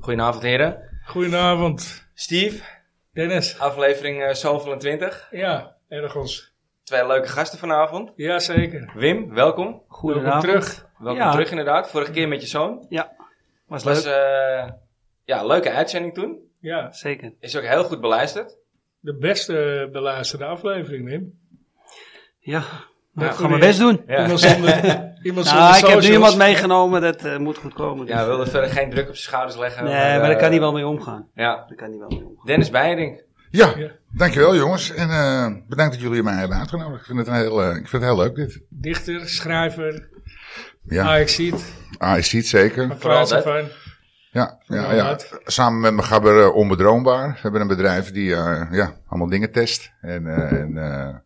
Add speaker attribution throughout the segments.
Speaker 1: Goedenavond, heren.
Speaker 2: Goedenavond,
Speaker 1: Steve,
Speaker 2: Dennis.
Speaker 1: aflevering eh, zoveel en 20.
Speaker 2: Ja, ergens.
Speaker 1: Twee leuke gasten vanavond.
Speaker 2: Jazeker.
Speaker 1: Wim, welkom.
Speaker 2: Welkom
Speaker 3: Goedenavond.
Speaker 2: terug.
Speaker 1: Welkom
Speaker 3: Ja.
Speaker 1: terug, inderdaad. Vorige keer met je zoon.
Speaker 3: Was leuk.
Speaker 1: Was eh, ja, een leuke uitzending toen.
Speaker 2: Ja,
Speaker 3: Zeker.
Speaker 1: Is ook heel goed beluisterd.
Speaker 2: de beste beluisterde aflevering, Wim.
Speaker 3: Ja.
Speaker 2: Ja,
Speaker 3: ik ga mijn
Speaker 2: weer.
Speaker 3: best doen.
Speaker 1: Ja.
Speaker 2: Iemand zonder, iemand zonder
Speaker 3: Nou, ik heb nu
Speaker 2: socials.
Speaker 3: iemand meegenomen, dat eh, moet goed komen. dus.
Speaker 1: Ja, we wilden verder geen druk op zijn schouders leggen.
Speaker 3: nee, maar
Speaker 1: eh,
Speaker 3: daar kan hij wel mee omgaan.
Speaker 1: Ja.
Speaker 3: Daar kan hij wel mee omgaan.
Speaker 1: Dennis Beiring.
Speaker 4: Ja,
Speaker 2: Ja.
Speaker 4: dankjewel jongens. En eh, bedankt dat jullie mij hebben uitgenodigd. Ik vind het een heel, eh, ik vind het heel leuk dit.
Speaker 2: Dichter, schrijver,
Speaker 4: Ja,
Speaker 2: ah, ik zie het.
Speaker 4: ah, je ziet zeker.
Speaker 2: Maar plaats
Speaker 1: dat.
Speaker 2: ervan.
Speaker 4: Ja, ja,
Speaker 2: Vooral
Speaker 4: ja.
Speaker 2: dat.
Speaker 4: Samen met mijn gabber eh, Onbedroombaar. We hebben een bedrijf die eh, ja, allemaal dingen test. En, eh, en eh,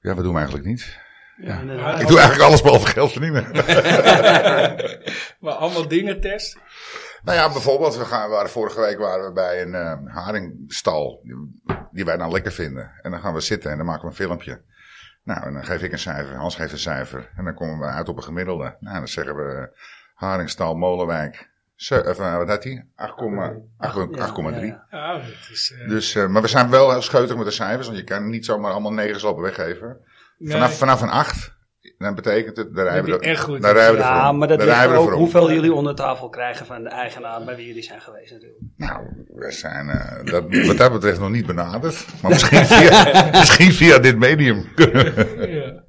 Speaker 4: ja, wat doen we eigenlijk niet?
Speaker 3: Ja,
Speaker 2: Ja.
Speaker 3: inderdaad.
Speaker 4: Ik doe eigenlijk alles behalve geld verdienen.
Speaker 2: Maar allemaal dingen test.
Speaker 4: nou ja, bijvoorbeeld, we gaan, waren, vorige week waren we bij een eh, haringstal die, die wij dan lekker vinden. En dan gaan we zitten en dan maken we een filmpje. Nou, en dan geef ik een cijfer, Hans geeft een cijfer. En dan komen we uit op een gemiddelde. Nou, dan zeggen we eh, haringstal Molenwijk. Ze, of, eh, wat had hij? 8,3.
Speaker 3: Ja, ja, ja.
Speaker 2: Ja, dat is... eh,
Speaker 4: Dus, eh, maar we zijn wel heel scheutig met de cijfers, want je kan niet zomaar allemaal negens lopen weggeven. Vanaf,
Speaker 2: nee.
Speaker 4: vanaf een 8, dan betekent het, daar rijden we
Speaker 2: die
Speaker 4: er-
Speaker 2: echt goed
Speaker 4: daar
Speaker 2: is.
Speaker 4: rijden we er voor
Speaker 3: Ja,
Speaker 4: om.
Speaker 3: maar dat
Speaker 4: Daar
Speaker 3: ligt
Speaker 4: rijden
Speaker 3: er
Speaker 4: we er
Speaker 3: ook
Speaker 4: voor om.
Speaker 3: hoeveel jullie onder tafel krijgen van de eigenaar bij wie jullie zijn geweest natuurlijk.
Speaker 4: Nou, we zijn eh, dat, wat dat betreft nog niet benaderd. Maar misschien via, misschien via dit medium. eh,
Speaker 2: Ja,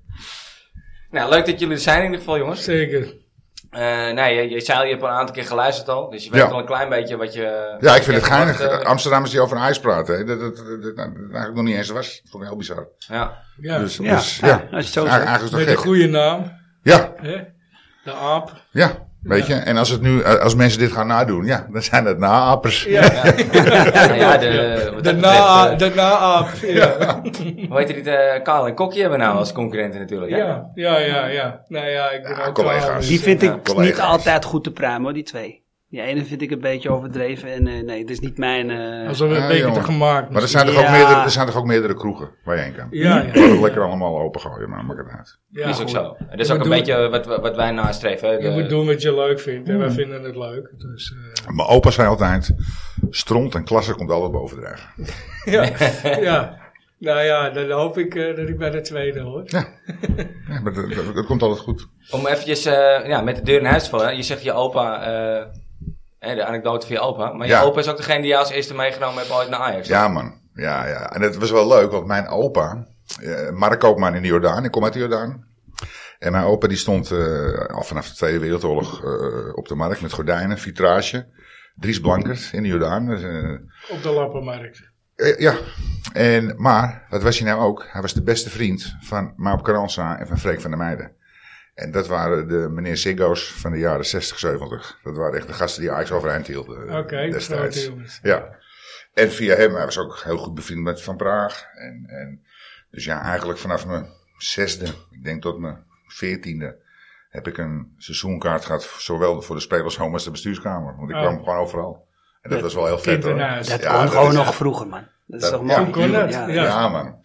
Speaker 1: Nou, leuk dat jullie er zijn in ieder geval, jongens.
Speaker 2: zeker.
Speaker 1: Eh nee, je, je zei al, je hebt al een aantal keer geluisterd al. Dus je weet
Speaker 4: Ja.
Speaker 1: al een klein beetje wat je...
Speaker 4: ja, ik vind het
Speaker 1: verwacht,
Speaker 4: geinig.
Speaker 1: eh,
Speaker 4: Amsterdammers die over ijs praten, hè, dat, dat, dat, nou, dat eigenlijk nog niet eens was. Dat vond ik heel bizar.
Speaker 1: eh. ja.
Speaker 2: Ja,
Speaker 4: Dus,
Speaker 3: Ja,
Speaker 4: dus,
Speaker 3: ja,
Speaker 4: ja.
Speaker 3: als je het zo
Speaker 4: Eigen-
Speaker 3: zegt.
Speaker 4: Eigenlijk is
Speaker 2: met
Speaker 4: het toch
Speaker 2: een
Speaker 4: gek.
Speaker 2: goede naam.
Speaker 4: Ja,
Speaker 2: Hè? De aap.
Speaker 4: ja. Weet je, en als, het nu, eh, als mensen dit gaan nadoen, ja, dan zijn het naappers.
Speaker 2: Ja,
Speaker 1: Nou ja, de... wat
Speaker 2: de,
Speaker 1: dat
Speaker 2: na,
Speaker 3: eh,
Speaker 1: betreft,
Speaker 2: de na-aap. ja.
Speaker 1: eh, hoe heet die? eh Karel en Kokkie hebben we nou als concurrenten natuurlijk. hè?
Speaker 2: Ja, ja, ja, ja. Nou ja, ik ben
Speaker 4: Ja,
Speaker 2: ook
Speaker 4: collega's.
Speaker 2: klaar, dus,
Speaker 3: Die vind
Speaker 4: Ja,
Speaker 3: ik
Speaker 4: collega's.
Speaker 3: niet altijd goed te pruimen hoor, die twee. Die ene vind ik een beetje overdreven en eh, nee, het is niet mijn... eh,
Speaker 2: Alsof we een
Speaker 4: Ja,
Speaker 2: beetje
Speaker 4: jongen.
Speaker 2: te gemaakt.
Speaker 4: Maar er zijn, toch ook
Speaker 3: Ja.
Speaker 4: meerdere, er zijn toch ook meerdere kroegen waar je heen kan.
Speaker 2: Ja, ja.
Speaker 4: Lekker allemaal opengooien, maar maakt het uit.
Speaker 2: ja,
Speaker 1: is ook
Speaker 2: goed.
Speaker 1: zo. Dat is
Speaker 2: Je
Speaker 1: ook een
Speaker 2: moet
Speaker 1: beetje eh, wat, wat wij nastreven. Hè? eh,
Speaker 2: Je
Speaker 1: De-
Speaker 2: moet doen wat je leuk vindt.
Speaker 4: Hmm.
Speaker 2: En wij vinden het leuk. Dus, eh,
Speaker 4: Mijn opa zei altijd, stront en klasse komt altijd bovendrijven.
Speaker 2: ja. Nou ja, dan hoop ik eh, dat ik bij de tweede hoor.
Speaker 4: Ja, maar dat, dat- dat komt altijd goed.
Speaker 1: Om eventjes eh, ja, met de deur in huis te vallen. Je zegt je opa, eh, hè, de anekdote van je opa. Maar
Speaker 4: Ja.
Speaker 1: je opa is ook degene die jou als eerste meegenomen heeft ooit naar Ajax.
Speaker 4: Ja, man. Ja, ja. En het was wel leuk, want mijn opa, eh, Mark Koopman in de Jordaan, ik kom uit de Jordaan. En mijn opa die stond eh, al vanaf de Tweede Wereldoorlog eh, op de markt met gordijnen, vitrage. Dries Blankert in de Jordaan. Dat is, eh,
Speaker 2: Op de Lappenmarkt.
Speaker 4: Eh, ja, en, maar wat was hij nou ook? Hij was de beste vriend van Maap Caranza en van Freek van der Meijden. En dat waren de meneer Ziggo's van de jaren 60, 70. Dat waren echt de gasten die Ajax overeind hielden eh,
Speaker 2: Oké, grote
Speaker 4: destijds.
Speaker 2: jongens.
Speaker 4: Ja. En via hem, hij was ook heel goed bevriend met Van Praag. En, en, dus ja, eigenlijk vanaf mijn zesde, ik denk tot mijn veertiende, heb ik een seizoenkaart gehad. Zowel voor de spelershome als de bestuurskamer. Want ik
Speaker 2: Oh.
Speaker 4: kwam gewoon overal. En dat was wel heel vet hoor.
Speaker 2: Kinderhuis.
Speaker 3: dat
Speaker 4: Ja,
Speaker 3: kon
Speaker 4: dat
Speaker 3: gewoon
Speaker 4: is-
Speaker 3: nog vroeger man. Dat is
Speaker 4: Dat-
Speaker 3: toch
Speaker 4: ja,
Speaker 3: mooi.
Speaker 4: Toen kon
Speaker 2: dat,
Speaker 3: ja.
Speaker 2: ja.
Speaker 4: ja man.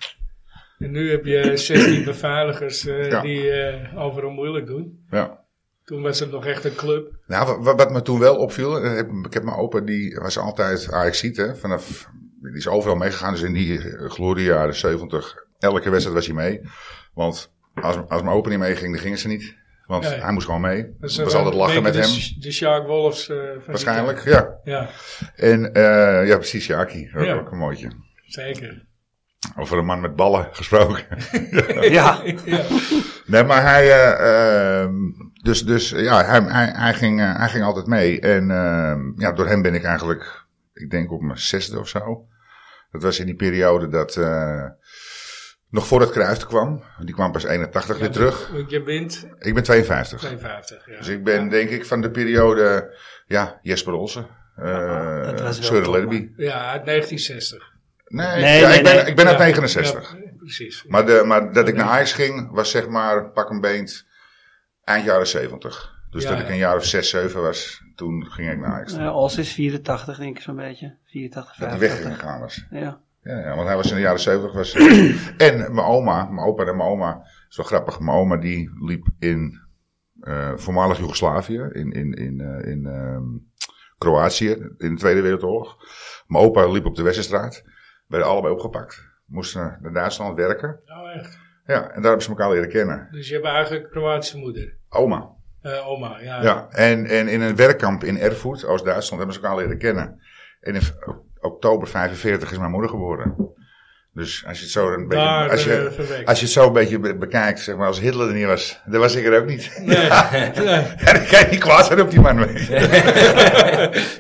Speaker 2: En nu heb je 16 beveiligers eh,
Speaker 4: Ja.
Speaker 2: die eh, overal moeilijk doen.
Speaker 4: Ja.
Speaker 2: Toen was het nog echt een club.
Speaker 4: Nou, wa- wa- wat, me toen wel opviel, eh, ik, ik heb mijn opa, die was altijd Ajaxiet, hè, vanaf, die is overal meegegaan, dus in die eh, gloriejaren 70, elke wedstrijd was hij mee. Want als, als mijn opa niet meeging, dan gingen ze niet, want
Speaker 2: Nee.
Speaker 4: hij moest gewoon mee.
Speaker 2: Dat
Speaker 4: Dat
Speaker 2: is,
Speaker 4: was
Speaker 2: eh,
Speaker 4: altijd lachen
Speaker 2: een
Speaker 4: met
Speaker 2: beetje
Speaker 4: hem,
Speaker 2: De, Sh- de Shark Wolves. eh, van die
Speaker 4: waarschijnlijk, ja.
Speaker 2: tijd. Ja,
Speaker 4: En, eh, ja, precies, Jaki, ook,
Speaker 2: Ja.
Speaker 4: ook een mooitje.
Speaker 2: zeker.
Speaker 4: Over een man met ballen gesproken.
Speaker 3: Ja,
Speaker 2: ja.
Speaker 4: Nee, maar hij. eh, ehm, dus, dus ja, hij, hij, hij, ging, eh, hij ging altijd mee. En ehm, ja, door hem ben ik eigenlijk, ik denk op mijn zesde of zo. Dat was in die periode dat. eh, nog voordat Cruijff er kwam. Die kwam pas 81 weer terug.
Speaker 2: Want je wint
Speaker 4: Ik ben 52.
Speaker 2: 52. Ja.
Speaker 4: Dus ik ben denk ik van de periode. Ja, Jesper Olsen. eh
Speaker 3: Ah, dat was wel
Speaker 4: Sören
Speaker 3: top,
Speaker 4: Lerby.
Speaker 3: man.
Speaker 2: ja, uit 1960.
Speaker 4: Nee,
Speaker 3: Nee,
Speaker 4: ja,
Speaker 3: nee,
Speaker 4: ik ben,
Speaker 3: nee.
Speaker 4: Ik ben uit
Speaker 2: Ja,
Speaker 4: 69.
Speaker 2: ja, precies.
Speaker 4: Maar, de, maar dat ik naar Ajax ging, was zeg maar pak een beent eind jaren 70. Dus
Speaker 2: Ja,
Speaker 4: dat
Speaker 2: ja.
Speaker 4: ik een jaar of 6, 7 was, toen ging ik naar Ajax.
Speaker 3: Eh Os is 84 denk ik zo'n beetje. 84,
Speaker 4: Dat
Speaker 3: 85.
Speaker 4: hij weg
Speaker 2: eh.
Speaker 4: ging gaan was.
Speaker 3: Ja.
Speaker 4: Ja, ja, want hij was in de jaren 70. Was, eh, en mijn oma, mijn opa en mijn oma, zo grappig, mijn oma die liep in eh, voormalig Joegoslavië, in, in, in, eh, in ehm, Kroatië in de Tweede Wereldoorlog. Mijn opa liep op de Westerstraat. Werden allebei opgepakt. Moesten naar Duitsland werken.
Speaker 2: Nou, echt.
Speaker 4: Ja, en daar hebben ze elkaar leren kennen.
Speaker 2: Dus je hebt eigenlijk Kroatische moeder.
Speaker 4: Oma.
Speaker 2: Eh, oma, ja.
Speaker 4: Ja, en, en in een werkkamp in Erfurt, Oost-Duitsland, hebben ze elkaar leren kennen. En in v- oktober 45 is mijn moeder geboren. Dus als je het zo een beetje,
Speaker 2: Daar
Speaker 4: als,
Speaker 2: ben je
Speaker 4: je,
Speaker 2: verwekt.
Speaker 4: als je het zo een beetje be- bekijkt, zeg maar, als Hitler er niet was, dan was ik er ook niet.
Speaker 2: Nee, nee.
Speaker 4: En dan kan je niet kwaad zijn op die man. weet je.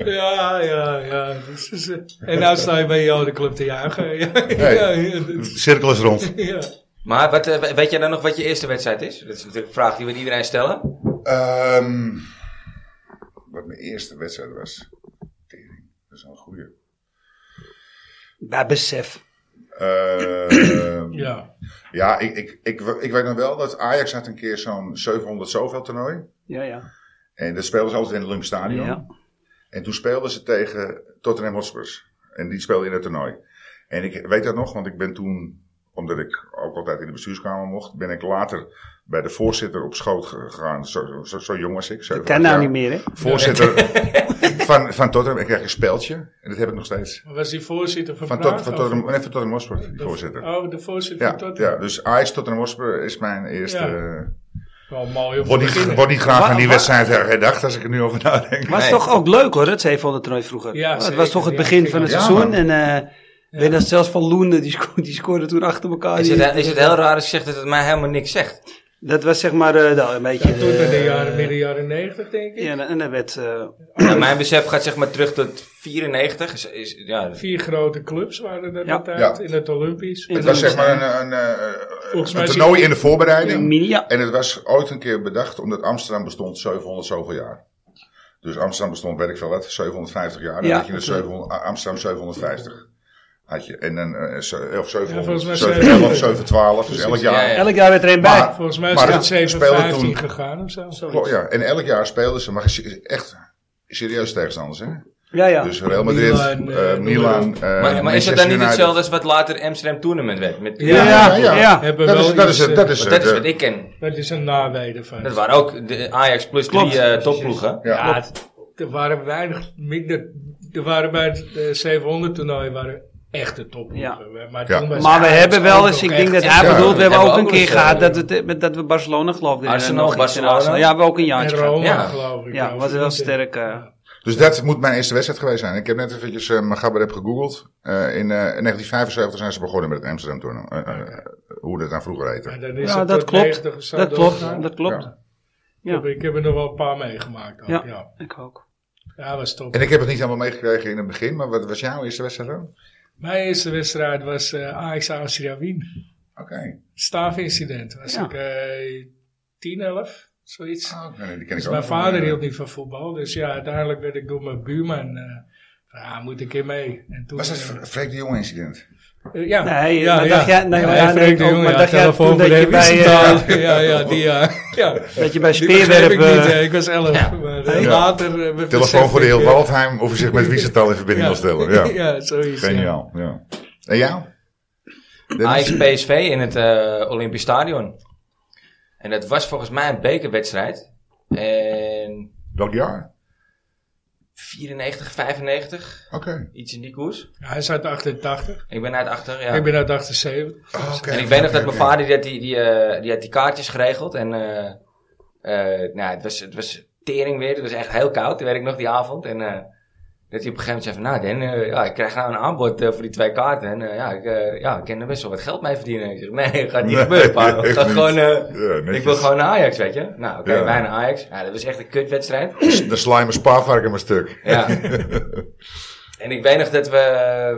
Speaker 2: Ja, ja, ja. Dus, dus, eh, en nou sta je bij jou de club te jagen. Ja, ja, ja,
Speaker 4: De
Speaker 2: dat-
Speaker 4: cirkel is rond.
Speaker 2: ja.
Speaker 1: Maar wat, eh, weet jij dan nog wat je eerste wedstrijd is? Dat is natuurlijk een vraag die we iedereen stellen.
Speaker 4: Ehm, wat mijn eerste wedstrijd was. Tering, dat is wel een goeie.
Speaker 3: Bij besef.
Speaker 4: Eh,
Speaker 2: ja.
Speaker 4: ja, ik, ik, ik, ik weet nog wel dat Ajax had een keer zo'n 700 zoveel toernooi.
Speaker 3: Ja, ja.
Speaker 4: En dat speelden ze altijd in het Lumpstadion.
Speaker 3: Ja.
Speaker 4: En toen speelden ze tegen Tottenham Hotspurs. En die speelden in het toernooi. En ik weet dat nog, want ik ben toen, omdat ik ook altijd in de bestuurskamer mocht, ben ik later bij de voorzitter op schoot ge- gegaan. Zo, zo, zo jong was ik.
Speaker 3: Dat
Speaker 4: 7,
Speaker 3: kan
Speaker 4: 8
Speaker 3: nou
Speaker 4: jaar.
Speaker 3: niet meer, hè?
Speaker 4: Voorzitter van, van Tottenham. Ik kreeg een speeltje. En dat heb ik nog steeds.
Speaker 2: Was die voorzitter van,
Speaker 4: Van, tot,
Speaker 2: Praag?
Speaker 4: van
Speaker 2: of-
Speaker 4: Tottenham, nee, van Tottenham Hotspurs, die
Speaker 2: de-
Speaker 4: voorzitter.
Speaker 2: Oh, de voorzitter van
Speaker 4: Ja,
Speaker 2: Tottenham.
Speaker 4: ja, dus Ajax Tottenham Hotspurs is mijn eerste...
Speaker 2: Ja.
Speaker 4: eh,
Speaker 2: Wel mooi om te
Speaker 4: Word niet,
Speaker 2: beginnen.
Speaker 4: word niet graag
Speaker 3: Wa-
Speaker 4: aan die
Speaker 3: wa-
Speaker 4: wedstrijd herdacht als ik er nu over nadenk.
Speaker 3: Maar het
Speaker 1: Nee.
Speaker 3: is toch ook leuk hoor, dat 700 toernooi vroeger.
Speaker 2: Ja,
Speaker 3: het
Speaker 2: zeker.
Speaker 3: was toch het
Speaker 2: Ja,
Speaker 3: begin
Speaker 2: ik
Speaker 3: van het
Speaker 4: denk
Speaker 3: seizoen.
Speaker 4: dat-
Speaker 3: En eh weet dat zelfs van Loenen, die, sco die scoorde toen achter
Speaker 2: Ah,
Speaker 3: elkaar.
Speaker 1: Is
Speaker 3: Die-
Speaker 1: het, is het heel raar als je zegt dat het mij helemaal niks zegt?
Speaker 3: Dat was zeg maar eh, nou, een beetje...
Speaker 2: Ja, toen in de
Speaker 3: eh,
Speaker 2: jaren, midden jaren negentig, denk ik.
Speaker 3: Ja, en dat werd... eh,
Speaker 1: Ja, mijn besef gaat zeg maar terug tot 94. Is, is, ja,
Speaker 4: Eh,
Speaker 2: Vier grote clubs waren er
Speaker 3: Ja.
Speaker 2: altijd
Speaker 4: Ja.
Speaker 2: in het Olympisch.
Speaker 3: Ja.
Speaker 4: Het was zeg maar een, een, eh,
Speaker 2: Volgens
Speaker 4: een
Speaker 2: mij
Speaker 4: toernooi in de
Speaker 3: een
Speaker 4: voorbereiding.
Speaker 3: mini, ja.
Speaker 4: En het was ooit een keer bedacht omdat Amsterdam bestond 700 zoveel jaar. Dus Amsterdam bestond, weet ik veel wat, 750 jaar. Dan
Speaker 3: Ja,
Speaker 4: had je een
Speaker 3: oké.
Speaker 4: 700, A- Amsterdam 750. Had je, en dan, eh, ze- of
Speaker 2: Ja,
Speaker 4: 700,
Speaker 2: volgens mij
Speaker 4: 711, 712, dus elk
Speaker 1: Precies, ja,
Speaker 4: jaar.
Speaker 1: ja.
Speaker 3: Elk jaar werd er een bij.
Speaker 4: Maar-
Speaker 2: Volgens mij is
Speaker 4: Maar
Speaker 2: het
Speaker 4: dat speelde
Speaker 2: 715
Speaker 4: toen-
Speaker 2: gegaan of zo.
Speaker 4: Klopt, ja. En elk jaar speelden ze, maar se- echt serieus tegenstanders. Hè?
Speaker 3: ja, ja.
Speaker 4: Dus Real Madrid, eh,
Speaker 2: Milan, eh,
Speaker 4: Milan, eh,
Speaker 1: maar, maar is het
Speaker 4: Manchester
Speaker 1: dan niet
Speaker 4: United.
Speaker 1: hetzelfde als wat later Amsterdam Tournament werd? Met,
Speaker 2: Ja,
Speaker 1: Want
Speaker 3: ja,
Speaker 4: ja, ja.
Speaker 3: ja.
Speaker 2: Hebben
Speaker 4: Dat
Speaker 2: wel
Speaker 4: is, dat is,
Speaker 2: iets, eh,
Speaker 4: dat is,
Speaker 1: dat is
Speaker 4: eh,
Speaker 1: wat ik ken.
Speaker 2: Dat is een nawijde van.
Speaker 1: Dat waren ook de Ajax plus
Speaker 3: Klopt.
Speaker 1: drie eh, topploegen.
Speaker 4: ja.
Speaker 2: Ja, het- er waren weinig minder. Er waren bij het eh, 700 toernooi waren echte topploegen. Maar,
Speaker 4: Ja.
Speaker 2: toen was
Speaker 3: Maar we
Speaker 2: Ajax
Speaker 3: hebben wel
Speaker 2: ook
Speaker 3: eens,
Speaker 2: nog
Speaker 3: ik denk
Speaker 2: echt-
Speaker 3: dat hij
Speaker 4: Ja,
Speaker 3: bedoelt,
Speaker 1: we
Speaker 3: we hebben
Speaker 1: hebben
Speaker 3: ook een
Speaker 1: ook
Speaker 3: keer
Speaker 1: eens,
Speaker 3: gehad
Speaker 1: eh,
Speaker 3: dat, het, eh, dat we Barcelona geloofden. in, eh,
Speaker 1: Arsenal,
Speaker 3: nog iets in
Speaker 1: Barcelona.
Speaker 3: Arsenal. Ja, we hebben ook een
Speaker 2: en
Speaker 3: jaartje gehad.
Speaker 2: Roma,
Speaker 1: Ja.
Speaker 2: geloof ik.
Speaker 3: Ja,
Speaker 2: of
Speaker 3: was wel
Speaker 2: niet?
Speaker 3: sterk. eh.
Speaker 4: Dus dat moet mijn eerste wedstrijd geweest zijn. Ik heb net eventjes eh, mijn gabber heb gegoogeld. Eh, in eh, 1975 zijn ze begonnen met het Amsterdam toernooi. Eh, eh, eh, hoe dat dan vroeger
Speaker 2: Maar
Speaker 4: heette.
Speaker 2: dan is
Speaker 3: Ja,
Speaker 2: het
Speaker 3: dat
Speaker 2: tot
Speaker 3: klopt.
Speaker 2: 90 of zo
Speaker 3: Dat klopt,
Speaker 2: doorgegaan.
Speaker 3: dat klopt.
Speaker 4: Ja.
Speaker 3: Ja.
Speaker 2: Ik heb er nog wel een paar meegemaakt. Ook.
Speaker 3: Ja.
Speaker 2: Ja. ja.
Speaker 3: Ik ook.
Speaker 2: was top.
Speaker 4: En ik heb het niet helemaal meegekregen in het begin, maar wat was jouw eerste wedstrijd dan? Oké.
Speaker 2: Mijn eerste wedstrijd was eh Ajax Austria Wien. Staafincident. Was
Speaker 3: Ja.
Speaker 2: ik eh 10, 11, zoiets.
Speaker 4: Ah, oké, nee, die ken ik
Speaker 2: Dus
Speaker 4: ook
Speaker 2: mijn
Speaker 4: nog. eh,
Speaker 2: vader hield niet van voetbal. Dus ja, uiteindelijk werd ik door mijn buurman. eh, van, ja, moet ik hier mee? En toen,
Speaker 4: Was dat
Speaker 2: eh,
Speaker 4: Fre- Freek de Jong incident?
Speaker 2: eh, ja.
Speaker 3: Nee,
Speaker 2: ja,
Speaker 3: maar dacht jij- nee, maar ja,
Speaker 2: Freek
Speaker 3: nee,
Speaker 2: de
Speaker 3: ook,
Speaker 2: Jong,
Speaker 3: maar
Speaker 2: ja,
Speaker 3: dacht jij
Speaker 2: telefoon
Speaker 3: toen
Speaker 2: van
Speaker 3: dat je
Speaker 2: de
Speaker 3: bij,
Speaker 2: Wiesentaal. ja, ja, die ja. ja.
Speaker 3: Dat je bij
Speaker 2: Die begreep ik niet,
Speaker 3: speerwerpen...
Speaker 2: eh, ik was 11. Maar, eh,
Speaker 4: Ja.
Speaker 2: later, eh, besefte
Speaker 4: Telefoon voor de
Speaker 2: ik,
Speaker 4: heel
Speaker 2: eh,
Speaker 4: Waldheim of u zich met Wiesenthal in verbinding wil stellen. Ja.
Speaker 2: ja, zoiets. ja.
Speaker 4: Geniaal. Ja. En jou? Dennis?
Speaker 1: Ajax PSV in het eh, Olympisch Stadion. En dat was volgens mij een bekerwedstrijd. En
Speaker 4: Welk jaar?
Speaker 1: 94, 95,
Speaker 4: Oké.
Speaker 1: iets in die koers.
Speaker 2: Hij is uit 88.
Speaker 1: Ik ben uit achter, ja.
Speaker 2: Ik ben uit 78.
Speaker 4: Ah, oké.
Speaker 1: en ik weet nog dat
Speaker 4: Oké,
Speaker 1: mijn
Speaker 4: oké.
Speaker 1: vader die had die, die, eh, die, had die kaartjes geregeld. En eh, eh, nou, het, was, het was tering weer. Het was echt heel koud. Dat weet ik nog die avond. En eh, dat hij op een gegeven moment zei van... Nou Den, eh, ja, ik krijg nou een aanbod eh, voor die twee kaarten. En eh, ja, ik, eh, ja, ik kan er best wel wat geld mee verdienen. Ik zeg, nee, gaat niet
Speaker 4: Nee,
Speaker 1: gebeuren. pa.
Speaker 4: echt
Speaker 1: Gaat
Speaker 4: niet.
Speaker 1: gewoon... eh,
Speaker 4: Ja, netjes.
Speaker 1: ik wil gewoon naar Ajax, weet je. Nou, oké,
Speaker 4: Ja.
Speaker 1: wij naar Ajax. Ja, dat was echt een kutwedstrijd.
Speaker 4: De slime spaarvarken maar stuk.
Speaker 1: Ja. en ik weet nog dat we eh,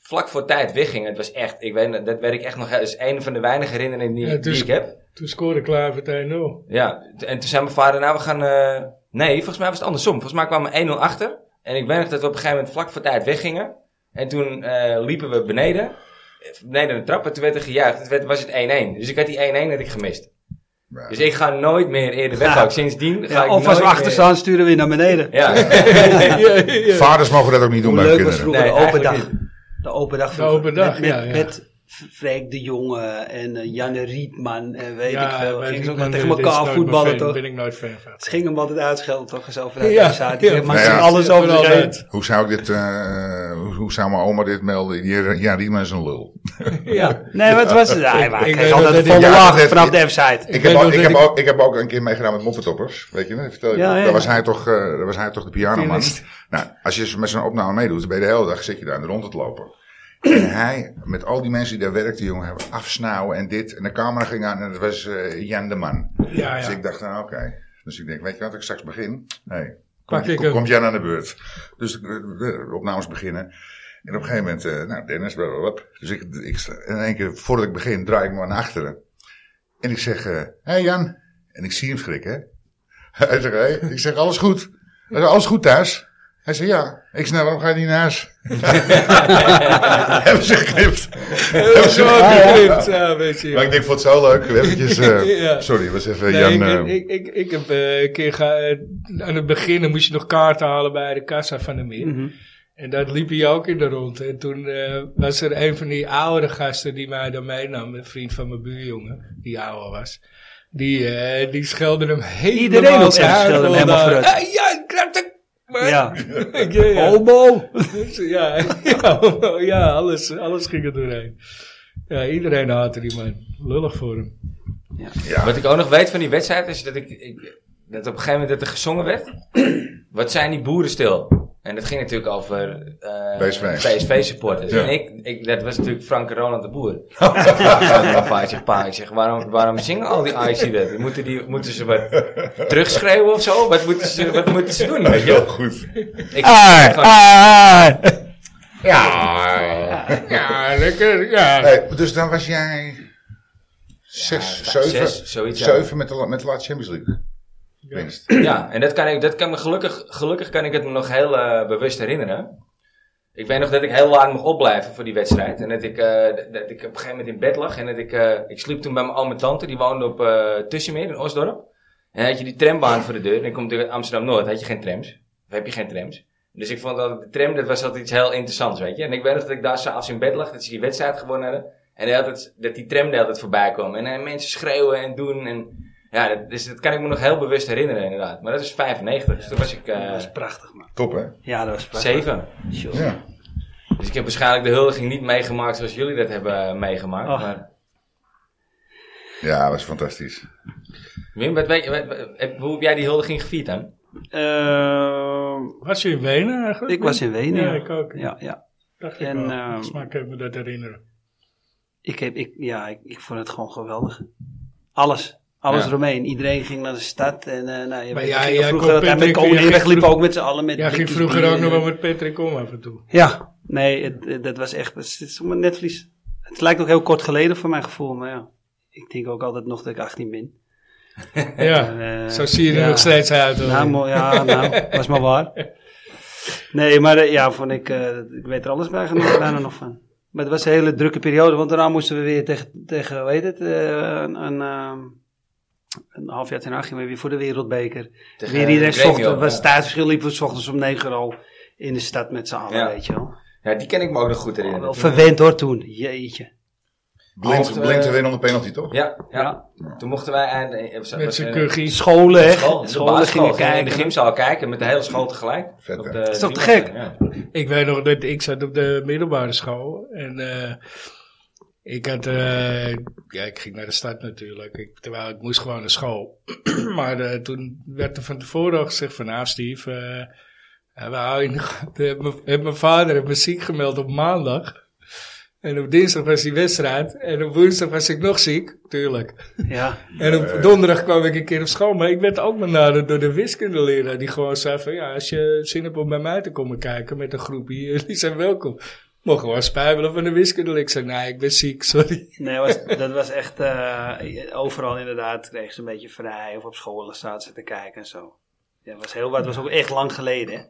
Speaker 1: vlak voor tijd weggingen. Het was echt, ik weet, dat weet ik echt nog. Dat is een van de weinige herinneringen die,
Speaker 2: Ja, het
Speaker 1: die
Speaker 3: dus-
Speaker 2: is-
Speaker 1: ik heb.
Speaker 2: Toen scoorde Kluivert 1-0.
Speaker 1: Ja, t- en toen zei mijn vader, nou we gaan... eh, nee, volgens mij was het andersom. Volgens mij kwamen we 1-0 achter. En ik weet nog dat we op een gegeven moment vlak voor tijd weggingen. En toen eh, liepen we beneden. eh, Beneden de trap. En toen werd er gejuicht. Het werd, was het 1-1. Dus ik had die 1-1 had ik gemist.
Speaker 4: Ja.
Speaker 1: Dus ik ga nooit meer eerder weg.
Speaker 3: Ja.
Speaker 1: Ook Sindsdien ga
Speaker 3: Ja,
Speaker 1: ik
Speaker 3: of als we
Speaker 1: nooit
Speaker 3: achter
Speaker 1: meer-
Speaker 3: staan, sturen we je naar beneden.
Speaker 1: Ja.
Speaker 4: Vaders mogen dat ook niet doen
Speaker 3: Hoe
Speaker 4: bij hun
Speaker 3: leuk was
Speaker 4: kinderen.
Speaker 3: vroeger
Speaker 1: Nee,
Speaker 3: de open
Speaker 1: eigenlijk
Speaker 3: dag. De open dag
Speaker 2: open dag,
Speaker 3: Met,
Speaker 2: ja, ja.
Speaker 3: met V- Freek de Jonge en eh, Janne Rietman en weet
Speaker 2: ja,
Speaker 3: ik veel.
Speaker 2: bij
Speaker 3: Gingen ze
Speaker 2: Rietman,
Speaker 3: ook tegen
Speaker 2: eh, dit is nooit
Speaker 3: elkaar
Speaker 2: mijn
Speaker 3: voetballen
Speaker 2: fan,
Speaker 3: toch?
Speaker 2: ben ik nooit fan van.
Speaker 3: Ze gingen hem altijd uitschelden toch eens over de
Speaker 2: Ja,
Speaker 3: organisatie.
Speaker 2: ja.
Speaker 3: maar
Speaker 4: Nou
Speaker 3: ze
Speaker 4: ja,
Speaker 3: gingen alles over de
Speaker 2: Vooral
Speaker 3: heen.
Speaker 2: dat.
Speaker 4: Hoe zou ik dit, eh, hoe, hoe zou mijn oma dit melden? Ja, ja Riemen is een lul.
Speaker 3: Ja. Nee, wat was het? Hij
Speaker 2: ik
Speaker 3: kreeg
Speaker 2: weet
Speaker 3: altijd
Speaker 2: dat
Speaker 3: volle
Speaker 4: dit- ja,
Speaker 3: laag
Speaker 4: dit-
Speaker 3: vanaf de website.
Speaker 4: Ik
Speaker 2: weet
Speaker 4: heb,
Speaker 2: nog
Speaker 4: ook, ik,
Speaker 2: dat
Speaker 4: heb
Speaker 2: ik-
Speaker 4: ook, ik heb ook een keer meegedaan met Moppetoppers. Weet je, dat vertel ik.
Speaker 3: Ja, ja, ja.
Speaker 4: Daar, was hij toch, eh, daar was hij toch de pianoman.
Speaker 2: Pianist.
Speaker 4: Nou, als je met zo'n opname meedoet, dan ben je de hele dag zit je daar rond het lopen. En hij, met al die mensen die daar werkten, jongen, hebben afsnauwen en dit. En de camera ging aan en dat was eh, Jan de Man.
Speaker 2: Ja,
Speaker 4: Dus
Speaker 2: ja.
Speaker 4: ik dacht, nou oké. Dus ik denk, weet je wat, ik straks begin. Nee,
Speaker 2: Pak
Speaker 4: kom-
Speaker 2: ik
Speaker 4: kom-
Speaker 2: hem.
Speaker 4: komt Jan aan de beurt. Dus de, de opnames beginnen. En op een gegeven moment, eh, nou Dennis, blablabla. Dus ik, ik, sta- in één keer, voordat ik begin, draai ik me naar achteren. En ik zeg, hé hey Jan. En ik zie hem schrikken. Hij zegt, hey. ik zeg, alles goed. Hij zegt, alles goed thuis? Hij zegt, ja. Ik zeg, nou, waarom ga je niet naar huis? Hebben ze geknipt. Hebben ze
Speaker 2: Zo
Speaker 4: geknipt.
Speaker 2: geknipt, ja, weet je.
Speaker 4: Maar ik denk, vond het zo leuk. We hebben eventjes, eh,
Speaker 2: Ja.
Speaker 4: Sorry, was even
Speaker 2: Nee,
Speaker 4: Jan...
Speaker 2: ik,
Speaker 4: eh,
Speaker 2: ik, ik, ik heb eh, een keer ga, eh, aan het begin dan moest je nog kaarten halen bij de kassa van de meer.
Speaker 3: Mhm.
Speaker 2: En dat liep hij ook in de rond. En toen eh, was er een van die oudere gasten die mij dan meenam, een vriend van mijn buurjongen, die ouder was. Die, eh, die schelde hem helemaal
Speaker 3: Iedereen op
Speaker 2: zijn
Speaker 3: F schelde hem
Speaker 2: huid
Speaker 3: helemaal
Speaker 2: vandaan.
Speaker 3: verrot.
Speaker 2: Eh, ja, ik raak de- maar-
Speaker 3: Ja.
Speaker 2: Ik, ja, ja.
Speaker 3: Homo!
Speaker 2: Dus, ja, ja, ja, alles, alles ging er doorheen. Ja, iedereen haatte die man. Lullig voor hem.
Speaker 4: Ja.
Speaker 1: Wat ik ook nog weet van die wedstrijd is dat ik, ik dat op een gegeven moment dat er gezongen werd. Wat zijn die boeren stil? En dat ging natuurlijk over eh,
Speaker 4: PSV.
Speaker 1: supporters.
Speaker 4: Ja.
Speaker 1: En ik, ik, dat was natuurlijk Frank en Roland de Boer. Ja, ik zeg, pa, ik zeg, waarom, waarom zingen al die IC dat? Moeten, die, moeten ze wat terugschreeuwen of zo? Wat moeten ze, wat moeten ze doen?
Speaker 4: Dat
Speaker 1: Weet
Speaker 4: is
Speaker 1: je?
Speaker 4: wel
Speaker 1: wel?
Speaker 4: eh, goed.
Speaker 1: Ik,
Speaker 2: Ah,
Speaker 1: gewoon-
Speaker 4: Ja.
Speaker 2: Ja, lekker. Ja,
Speaker 4: Hey, dus dan was jij zes,
Speaker 1: Ah, vijf,
Speaker 4: zeven,
Speaker 1: zes, zoiets, ja.
Speaker 4: zeven met, de, la- met de laatste Champions League winst.
Speaker 1: Ja, en dat kan ik, dat kan me gelukkig, gelukkig kan ik het me nog heel eh, bewust herinneren. Ik weet nog dat ik heel lang mocht opblijven voor die wedstrijd. En dat ik, eh, dat- dat ik op een gegeven moment in bed lag. En dat ik, eh, ik sliep toen bij mijn oom en tante. Die woonde op eh Tussenmeer in Osdorp. En dan had je die trambaan voor de deur. En ik kom natuurlijk uit Amsterdam-Noord. Had je geen trams. Of heb je geen trams. Dus ik vond altijd de tram, dat was altijd iets heel interessants, weet je. En ik weet nog dat ik daar s'avonds in bed lag. Dat ze die wedstrijd gewonnen hadden. En dat, het, dat die tram de hele tijd voorbij kwam. En eh, mensen schreeuwen en doen. En ja, dat, is, dat kan ik me nog heel bewust herinneren, inderdaad. Maar dat is 95, dus toen was ik
Speaker 3: Dat
Speaker 1: eh
Speaker 3: was prachtig, man.
Speaker 4: Top, hè?
Speaker 3: Ja, dat was prachtig.
Speaker 1: 7.
Speaker 3: Tjoh.
Speaker 4: Ja.
Speaker 1: Dus ik heb waarschijnlijk de huldiging niet meegemaakt zoals jullie dat hebben eh, meegemaakt.
Speaker 3: Ach.
Speaker 1: Maar
Speaker 4: Ja, dat was fantastisch.
Speaker 1: Wim, wat weet je, wat- wat- heb- hoe heb jij die huldiging gevierd dan?
Speaker 3: Ehm,
Speaker 2: Was je in Wenen eigenlijk?
Speaker 3: ik was in Wenen.
Speaker 2: Ja, ik ook.
Speaker 3: Ja, ja.
Speaker 2: Dacht
Speaker 3: En,
Speaker 2: ik wel.
Speaker 3: ehm,
Speaker 2: Volgens mij kan ik me dat herinneren.
Speaker 3: Ik, heb, ik, ja, ik, ik vond het gewoon geweldig. Alles. Alles
Speaker 1: Ja.
Speaker 3: eromheen. Iedereen ging naar de stad. En eh nou, je
Speaker 2: Maar
Speaker 3: weet,
Speaker 2: ja,
Speaker 3: we gingen
Speaker 2: jij
Speaker 3: vroeger
Speaker 2: kon
Speaker 3: altijd met
Speaker 2: Patrick- jij
Speaker 3: koning
Speaker 2: ging
Speaker 3: wegliepen,
Speaker 2: vroeg-
Speaker 3: ook met z'n allen. Met
Speaker 2: Ja, ging
Speaker 3: blikjes
Speaker 2: vroeger
Speaker 3: bier
Speaker 2: ook
Speaker 3: en-
Speaker 2: nog wel met Patrick om af en toe.
Speaker 3: eh. Ja, nee, het, het- dat was echt, het is- het is om een netvlies. Het lijkt ook heel kort geleden voor mijn gevoel, maar ja. Ik denk ook altijd nog dat ik 18 ben.
Speaker 2: Ja,
Speaker 3: Eh,
Speaker 2: zo zie je er
Speaker 3: ja.
Speaker 2: nog steeds uit. hoor.
Speaker 3: Nou, mooi, ja, nou, was maar waar. Nee, maar eh, ja, vond ik, eh, ik weet er alles bij genomen, daar nog van. Maar het was een hele drukke periode, want daarna moesten we weer tegen, tegen hoe heet het, eh, een, een, ehm, een half jaar ten acht gingen we weer voor de Wereldbeker.
Speaker 1: Tegen
Speaker 3: weer iedereen
Speaker 1: Grêmio,
Speaker 3: ochtend, was
Speaker 1: ja.
Speaker 3: tijdsverschil liepen we 's ochtends om 9 al in de stad met z'n allen,
Speaker 1: Ja.
Speaker 3: weet je wel.
Speaker 1: Ja, die ken ik me ook nog goed herinneren.
Speaker 3: Wel verwend hoor toen, jeetje.
Speaker 4: Blind,
Speaker 1: Of, eh,
Speaker 4: blind te winnen onder penalty, toch?
Speaker 1: Ja, ja.
Speaker 3: Ja.
Speaker 1: Toen mochten wij... aan de- was-
Speaker 2: Met
Speaker 1: was-
Speaker 2: zijn
Speaker 1: eh,
Speaker 3: Die
Speaker 2: kuggies.
Speaker 3: scholen, hè?
Speaker 1: school, de
Speaker 3: scholen
Speaker 1: basisschool,
Speaker 3: gingen
Speaker 1: gingen in de
Speaker 3: kijken.
Speaker 1: gymzaal kijken met de hele school tegelijk.
Speaker 4: Vet, hè?
Speaker 1: Dat
Speaker 3: is toch te gek?
Speaker 1: Ja.
Speaker 2: Ik weet nog dat ik zat op de middelbare school. En eh, ik had... eh, ja, ik ging naar de stad natuurlijk. Ik, terwijl ik moest gewoon naar school. maar eh, toen werd er van tevoren al gezegd van... Nou Steve, eh, eh, we houden je in de gaten." Heb mijn- heb mijn vader heeft me ziek gemeld op maandag. En op dinsdag was die wedstrijd. En op woensdag was ik nog ziek. Tuurlijk.
Speaker 3: Ja,
Speaker 2: En op donderdag kwam ik een keer op school, maar ik werd ook benaderd door de wiskundeleraar. Die gewoon zei van, ja, als je zin hebt om bij mij te komen kijken met een groepje, jullie zijn welkom. Mocht gewoon spijbelen van de wiskundeleraar. Ik zei, nee, ik ben ziek, sorry.
Speaker 3: nee, was, dat was echt. eh, overal inderdaad kregen ze een beetje vrij. Of op scholen zaten ze te kijken en zo. Ja, het was heel wat. Het was ook echt lang geleden. hè.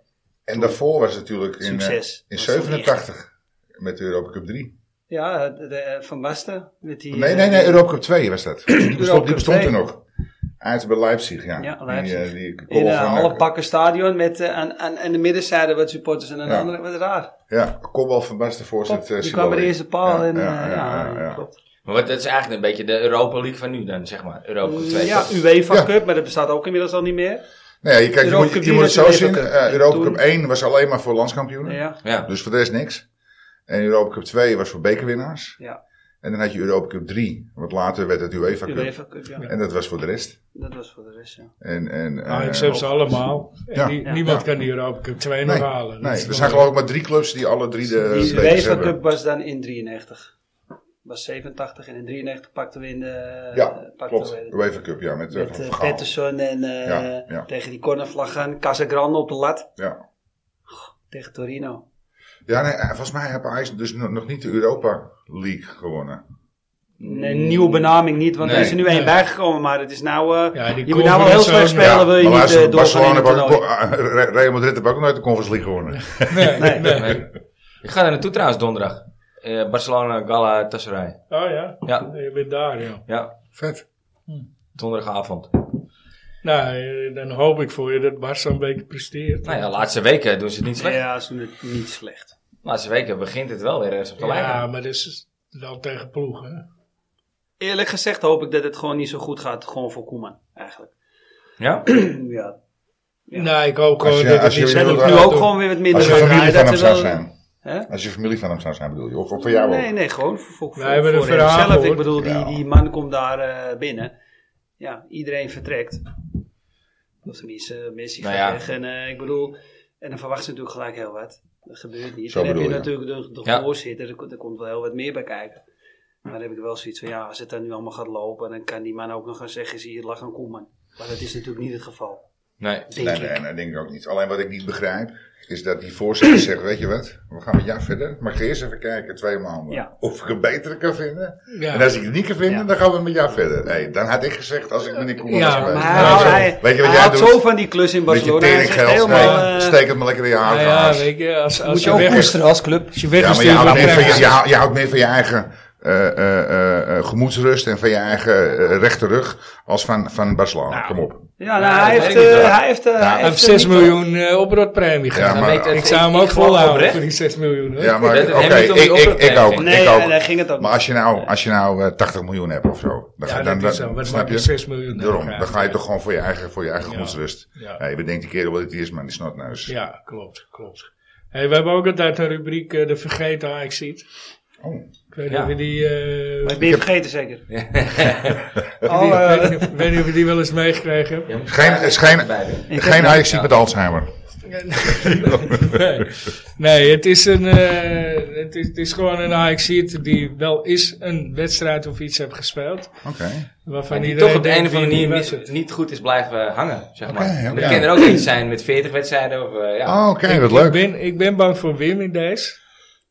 Speaker 4: En daarvoor was het natuurlijk in, eh,
Speaker 3: Succes.
Speaker 4: in
Speaker 3: Dat was
Speaker 4: 87 met de Europa Cup 3.
Speaker 3: Ja, de- de- Van Basten. Met die,
Speaker 4: Nee,
Speaker 3: eh,
Speaker 4: nee, nee, Europa Cup 2 was dat. Die bestond,
Speaker 3: Europa
Speaker 4: die
Speaker 3: Cup
Speaker 4: bestond er
Speaker 3: 2.
Speaker 4: nog. Uit bij Leipzig, ja.
Speaker 3: Ja,
Speaker 4: Die,
Speaker 3: Leipzig.
Speaker 4: eh, die goal
Speaker 3: In
Speaker 4: van,
Speaker 3: een
Speaker 4: eh,
Speaker 3: alle pakken stadion met eh, aan, aan, aan de middenzijde wat supporters en aan de
Speaker 4: Ja.
Speaker 3: andere wat raar.
Speaker 4: Ja, kopbal van Bas de
Speaker 3: Klopt,
Speaker 4: voorzet. eh,
Speaker 3: die kwam bij de
Speaker 4: Siboldi.
Speaker 3: eerste paal
Speaker 4: Ja,
Speaker 3: en eh,
Speaker 4: ja,
Speaker 3: ja,
Speaker 4: ja, ja, ja.
Speaker 3: klopt.
Speaker 1: Maar wat, dat is eigenlijk een beetje de Europa League van nu dan, zeg maar. Europa League 2.
Speaker 3: Mm, Ja, UEFA
Speaker 4: Ja.
Speaker 3: Cup, maar dat bestaat ook inmiddels al niet meer.
Speaker 4: Nee, Nou je, kijkt, je,
Speaker 3: Europa
Speaker 4: moet,
Speaker 3: Cup
Speaker 4: je moet het zo
Speaker 3: drie was
Speaker 4: zien.
Speaker 3: Europa Cup.
Speaker 4: eh, Europa
Speaker 3: Toen-
Speaker 4: Cup 1 was alleen maar voor landskampioenen.
Speaker 3: Ja,
Speaker 1: Ja.
Speaker 4: Dus voor de rest niks. En Europa Cup 2 was voor bekerwinnaars.
Speaker 3: ja.
Speaker 4: En dan had je Europa Cup 3. Wat later werd het UEFA Cup.
Speaker 3: UEFA Cup, ja.
Speaker 4: En dat was voor de rest.
Speaker 3: Dat was voor de rest, ja.
Speaker 4: En, en, eh,
Speaker 2: Ah, ik heb ze allemaal. En
Speaker 4: Ja.
Speaker 2: nie-
Speaker 3: Ja.
Speaker 2: Niemand
Speaker 4: Ja.
Speaker 2: kan die Europa Cup 2
Speaker 4: Nee,
Speaker 2: nog halen. Dus
Speaker 4: nee,
Speaker 2: Dat is
Speaker 4: er zijn
Speaker 2: wel-
Speaker 4: geloof ik maar drie clubs die alle drie de
Speaker 3: Die
Speaker 4: bekers
Speaker 3: UEFA
Speaker 4: hebben.
Speaker 3: Cup was dan in 93. Was 87 en in 93 pakten we in de...
Speaker 4: Ja,
Speaker 3: pakten
Speaker 4: klopt.
Speaker 3: we-
Speaker 4: UEFA Cup, ja. Met, eh,
Speaker 3: Met
Speaker 4: Van
Speaker 3: eh,
Speaker 4: Gaal.
Speaker 3: Patterson en eh,
Speaker 4: Ja, ja.
Speaker 3: tegen die cornervlag aan. Casagrande op de lat
Speaker 4: Ja,
Speaker 3: tegen Torino.
Speaker 4: ja nee, eh, volgens mij heeft Ajax dus no- nog niet de Europa League gewonnen.
Speaker 3: Nee, Een
Speaker 4: Mm.
Speaker 3: nieuwe benaming niet, want er is er nu
Speaker 2: Nee.
Speaker 3: één bijgekomen. Maar het is nou... eh,
Speaker 2: Ja, die
Speaker 3: je moet nou wel heel
Speaker 2: conference
Speaker 3: slecht
Speaker 2: zone.
Speaker 3: spelen, wil je
Speaker 4: maar
Speaker 3: niet
Speaker 4: luister,
Speaker 3: eh doorgaan in
Speaker 4: Barcelona
Speaker 3: het
Speaker 4: heeft ook-
Speaker 3: toernooi.
Speaker 4: eh, Re- Real Madrid heeft ook nooit de Conference League gewonnen.
Speaker 3: Nee,
Speaker 1: Nee. Ik ga daar naartoe trouwens donderdag. Eh, Barcelona, Gala, Tasserij.
Speaker 2: Oh ja?
Speaker 1: Ja.
Speaker 2: je bent daar, ja.
Speaker 1: Ja,
Speaker 4: Vet.
Speaker 1: donderdagavond.
Speaker 2: Nou, eh, dan hoop ik voor je dat Barca een beetje presteert.
Speaker 1: Nou ja, de laatste weken doen ze het niet slecht.
Speaker 3: Ja, ze doen het niet slecht.
Speaker 1: De laatste weken begint het wel weer ergens op te lijken.
Speaker 2: Ja, maar dat is dan tegen ploegen.
Speaker 3: Eerlijk gezegd hoop ik dat het gewoon niet zo goed gaat. Gewoon voor Koeman, eigenlijk.
Speaker 1: Ja?
Speaker 3: ja. Ja.
Speaker 2: Nee, ik eh, hoop gewoon
Speaker 4: je-
Speaker 2: dat het
Speaker 4: als je
Speaker 2: niet
Speaker 3: Ze
Speaker 4: wil eh,
Speaker 2: zo
Speaker 3: hebben het
Speaker 4: dat
Speaker 3: nu
Speaker 2: gaat
Speaker 3: ook
Speaker 2: doen.
Speaker 3: gewoon weer wat minder.
Speaker 4: Als je
Speaker 3: gedaan.
Speaker 4: familie
Speaker 3: Dat
Speaker 4: van hem
Speaker 3: ze
Speaker 4: zou
Speaker 3: wel-
Speaker 4: zijn.
Speaker 3: Hè?
Speaker 4: Als je familie van hem zou zijn, bedoel je? Of, of voor jou ook?
Speaker 3: Nee, nee, gewoon voor, voor, voor,
Speaker 2: Wij hebben
Speaker 3: voor
Speaker 2: een verhaal
Speaker 3: hemzelf. Ik
Speaker 2: gehoord.
Speaker 3: bedoel, die,
Speaker 4: Ja.
Speaker 3: die man komt daar eh, binnen. Ja, iedereen vertrekt. Of tenminste, eh, Messi
Speaker 1: Nou
Speaker 3: gaat
Speaker 1: ja.
Speaker 3: weg. En eh, ik bedoel, en dan verwacht ze natuurlijk gelijk heel wat. Dat gebeurt niet.
Speaker 4: Zo
Speaker 3: dan heb je
Speaker 4: bedoel je.
Speaker 3: natuurlijk de, de
Speaker 1: Ja.
Speaker 3: voorzitter, er, ko- er komt wel heel wat meer bij kijken. Maar dan heb ik wel zoiets van, ja, als het dan nu allemaal gaat lopen, dan kan die man ook nog gaan zeggen, zie je, het lag aan Koeman. Maar dat is natuurlijk niet het geval,
Speaker 1: Nee.
Speaker 3: denk
Speaker 4: Nee,
Speaker 3: ik.
Speaker 4: nee, nee, denk ik ook niet. Alleen wat ik niet begrijp, is dat die voorzitter zegt, weet je wat, we gaan met jou verder. Maar ga eerst even kijken, twee maanden,
Speaker 3: Ja.
Speaker 4: of ik een betere kan vinden.
Speaker 2: Ja.
Speaker 4: En als ik het niet kan vinden,
Speaker 3: Ja.
Speaker 4: dan gaan we met jou verder. Nee, dan had ik gezegd, als ik meneer Koeman
Speaker 2: Ja,
Speaker 4: was geweest.
Speaker 3: Maar
Speaker 2: Ja,
Speaker 3: hij,
Speaker 4: Nou, zo,
Speaker 3: hij,
Speaker 4: weet je wat
Speaker 3: hij
Speaker 4: jij
Speaker 3: houdt
Speaker 4: doet?
Speaker 3: zo van die klus in
Speaker 4: beetje
Speaker 3: Barcelona. Hij zegt
Speaker 4: teringgeld,
Speaker 3: helemaal,
Speaker 4: nee,
Speaker 3: eh,
Speaker 4: steek het maar lekker in je haar.
Speaker 2: Nou ja, weet je, als, als
Speaker 5: Moet je
Speaker 2: je
Speaker 5: ook
Speaker 2: weg is,
Speaker 5: koesteren als club.
Speaker 2: als je
Speaker 4: ja, maar je
Speaker 2: weggestuurd
Speaker 4: houdt,
Speaker 2: wordt,
Speaker 4: meer van je,
Speaker 2: krijg
Speaker 4: je, hou- je houdt meer van je eigen eh, eh, eh, eh, gemoedsrust en van je eigen eh, rechte rug als van, van Barcelona. Kom op.
Speaker 3: Ja, nou, hij,
Speaker 1: dat
Speaker 3: heeft,
Speaker 1: weet ik
Speaker 3: eh,
Speaker 1: niet, hoor.
Speaker 3: hij heeft... eh, hij
Speaker 4: hij
Speaker 2: Hij
Speaker 3: heeft
Speaker 2: heeft 6
Speaker 3: er niet-
Speaker 2: miljoen eh, oprotpremie
Speaker 4: Ja,
Speaker 2: gehad.
Speaker 4: maar-
Speaker 1: ik-
Speaker 2: ik zou hem ook
Speaker 1: geloof
Speaker 2: volhouden
Speaker 1: oprecht.
Speaker 2: voor die 6 miljoen. Hoor.
Speaker 4: Ja, maar
Speaker 1: dat
Speaker 4: oké,
Speaker 1: hebben we toen
Speaker 4: ik,
Speaker 1: niet
Speaker 4: ik, ik ook.
Speaker 1: opgegeven.
Speaker 3: Nee,
Speaker 4: ik ook.
Speaker 3: en daar ging het ook
Speaker 4: Maar
Speaker 3: niet.
Speaker 4: als je nou, als je nou eh, 80 miljoen hebt of zo, dan,
Speaker 2: Ja,
Speaker 4: ga-
Speaker 2: dat
Speaker 4: dan,
Speaker 2: is
Speaker 4: dan,
Speaker 2: zo. Wat
Speaker 4: snap
Speaker 2: maakt
Speaker 4: je?
Speaker 2: die 6 miljoen? nou?
Speaker 4: Daarom,
Speaker 2: Ja.
Speaker 4: dan ga je toch gewoon voor je eigen, voor je eigen
Speaker 2: Ja.
Speaker 4: gemoedsrust.
Speaker 2: Ja.
Speaker 4: Ja. je bedenkt die kerel wat het is, maar die is not neus.
Speaker 2: Ja, klopt, klopt. Hey, we hebben ook altijd een rubriek, eh, de vergeten Ajax ziet.
Speaker 4: Oh.
Speaker 2: Ik weet niet
Speaker 1: Ja.
Speaker 2: of je die, eh,
Speaker 3: Maar ik ben je vergeten zeker.
Speaker 2: die-
Speaker 3: Oh, eh,
Speaker 2: ik weet niet of- ik weet niet of je die wel eens meegekregen hebt.
Speaker 1: Ja, maar-
Speaker 4: Geen-
Speaker 1: Ja,
Speaker 4: geen-
Speaker 1: erbij.
Speaker 3: Ik
Speaker 4: Geen
Speaker 3: heb-
Speaker 4: Ajax met Alzheimer.
Speaker 2: nee. nee, het is, een, eh, het, is, het is gewoon een ajax die wel eens een wedstrijd of iets heeft gespeeld.
Speaker 4: Oké.
Speaker 2: Waarvan
Speaker 1: Maar die
Speaker 2: iedereen
Speaker 1: toch op de
Speaker 2: denkt,
Speaker 1: een of andere
Speaker 2: wie-
Speaker 1: manier
Speaker 2: wie was
Speaker 1: niet,
Speaker 2: het?
Speaker 1: niet goed is blijven hangen, zeg maar.
Speaker 4: Oké, oké.
Speaker 1: Dat kan er ook iets zijn met 40 wedstrijden of... eh, ja.
Speaker 4: Oh, Oké, wat leuk.
Speaker 2: Ik ben, ik ben bang voor Wim in deze.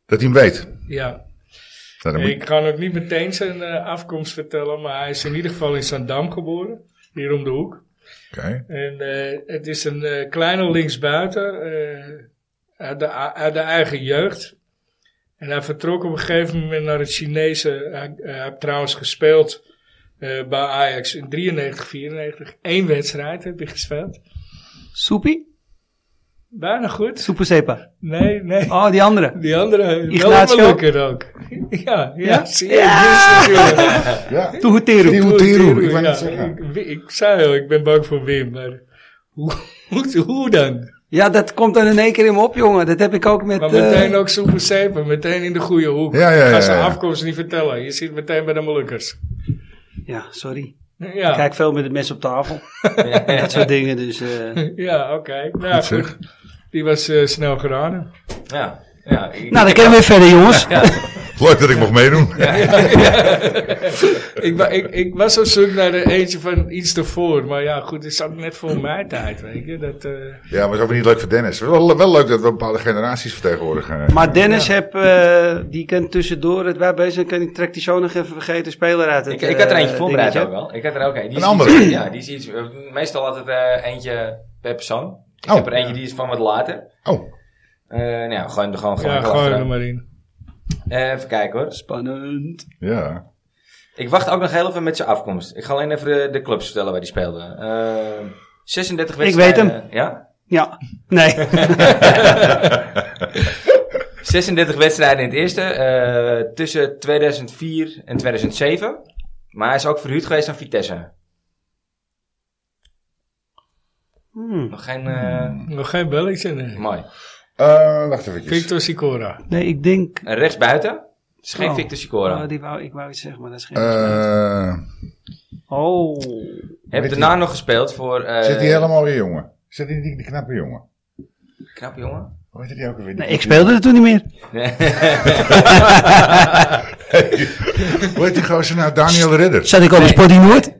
Speaker 4: Dat hij hem weet.
Speaker 2: Ja,
Speaker 4: Nou, dan moet-
Speaker 2: ik kan ook niet meteen zijn eh, afkomst vertellen, maar hij is in ieder geval in Zandam geboren. Hier om de hoek.
Speaker 4: Oké.
Speaker 2: En eh, het is een eh, kleine linksbuiten eh, uit, de, uit de eigen jeugd. En hij vertrok op een gegeven moment naar het Chinese. Hij, hij heeft trouwens gespeeld eh, bij Ajax in 93, 94. Eén wedstrijd heb je gespeeld.
Speaker 3: Soepie?
Speaker 2: Bijna goed.
Speaker 3: Soepe Sepa.
Speaker 2: Nee, nee.
Speaker 3: Oh, die andere.
Speaker 2: Die andere,
Speaker 3: Ignacio?
Speaker 2: wel makkelijker ook. ja, ja,
Speaker 3: Ja.
Speaker 2: zie je. dit is natuurlijk-
Speaker 4: Ja.
Speaker 3: Toehuteru.
Speaker 4: Nieuwe Teru, ik wou
Speaker 2: Ja,
Speaker 4: net zeggen.
Speaker 2: ik- Ik zei al, ik ben bang voor Wim, maar hoe, hoe, hoe dan?
Speaker 3: Ja, dat komt dan in één keer in me op, jongen. Dat heb ik ook met...
Speaker 2: Maar
Speaker 3: eh,
Speaker 2: meteen ook super zeepen, meteen in de goede hoek.
Speaker 4: Ja, ja, ja,
Speaker 2: Ga ze
Speaker 4: ja, ja.
Speaker 2: afkomst niet vertellen. Je zit meteen bij de Molukkers.
Speaker 3: Ja, sorry.
Speaker 2: Ja,
Speaker 3: Ik kijk veel met het mes op tafel. dat soort dingen, dus... eh.
Speaker 2: ja oké. Nou,
Speaker 4: zeg.
Speaker 2: goed. Die was eh, snel geraden.
Speaker 1: Ja. Ja, ik-
Speaker 3: Nou, dan kunnen we weer verder, jongens.
Speaker 4: Leuk dat ik mocht meedoen.
Speaker 2: ik, wa- ik, ik was op zoek naar er eentje van iets ervoor. Maar ja, goed, het zat net voor mijn tijd, weet je. Dat, eh,
Speaker 4: Ja, maar het is ook weer niet leuk voor Dennis. Wel, wel leuk dat we bepaalde generaties vertegenwoordigen.
Speaker 3: Maar Dennis, heb, eh, die kan tussendoor het wij bezig zijn. Kan ik trek die zo nog even vergeten speler uit het
Speaker 1: Ik, ik had er
Speaker 3: eh,
Speaker 1: eentje voorbereid ook
Speaker 3: dingetje.
Speaker 1: wel. Ik had er ook een. Die
Speaker 4: Een
Speaker 1: is
Speaker 4: andere?
Speaker 1: iets- ja, die is iets... eh, Meestal altijd eh, eentje per persoon. Ik
Speaker 4: Oh.
Speaker 1: heb er eentje die is van wat later.
Speaker 4: Oh,
Speaker 1: Eh nou ja, gewoon er gewoon
Speaker 2: ja,
Speaker 1: gelijk
Speaker 2: gooi
Speaker 1: achteraan.
Speaker 2: er maar in.
Speaker 1: Eh, Even kijken hoor.
Speaker 3: Spannend.
Speaker 4: ja.
Speaker 1: Ik wacht ook nog heel even met zijn afkomst. Ik ga alleen even de, de clubs vertellen waar die speelde. Eh, 36
Speaker 3: Ik weet
Speaker 1: wedstrijden.
Speaker 3: hem.
Speaker 1: Ja?
Speaker 3: Ja, nee.
Speaker 1: 36 wedstrijden in het eerste. eh, tussen 2004 en 2007. Maar hij is ook verhuurd geweest aan Vitesse.
Speaker 3: Hmm.
Speaker 1: Nog geen... eh,
Speaker 2: Nog geen belletje, nee.
Speaker 1: Mooi.
Speaker 4: Eh, wacht even.
Speaker 2: Victor Sicora.
Speaker 3: Nee, ik denk...
Speaker 1: En rechtsbuiten. Is geen
Speaker 3: Oh.
Speaker 1: Victor Sicora.
Speaker 3: Oh, die wou, ik wou iets zeggen, maar dat is geen...
Speaker 4: Eh,
Speaker 3: oh.
Speaker 1: Heb
Speaker 4: weet
Speaker 1: daarna nog gespeeld voor... eh,
Speaker 4: zit die hele mooie jongen? Zit die, die, die knappe jongen?
Speaker 1: Knap jongen.
Speaker 4: Hoe heet die ook alweer?
Speaker 3: Nee, ik speelde er toen niet meer.
Speaker 4: Hoe heet die gozer nou? Daniel Ridder.
Speaker 3: Zat ik op de Sporting Noord?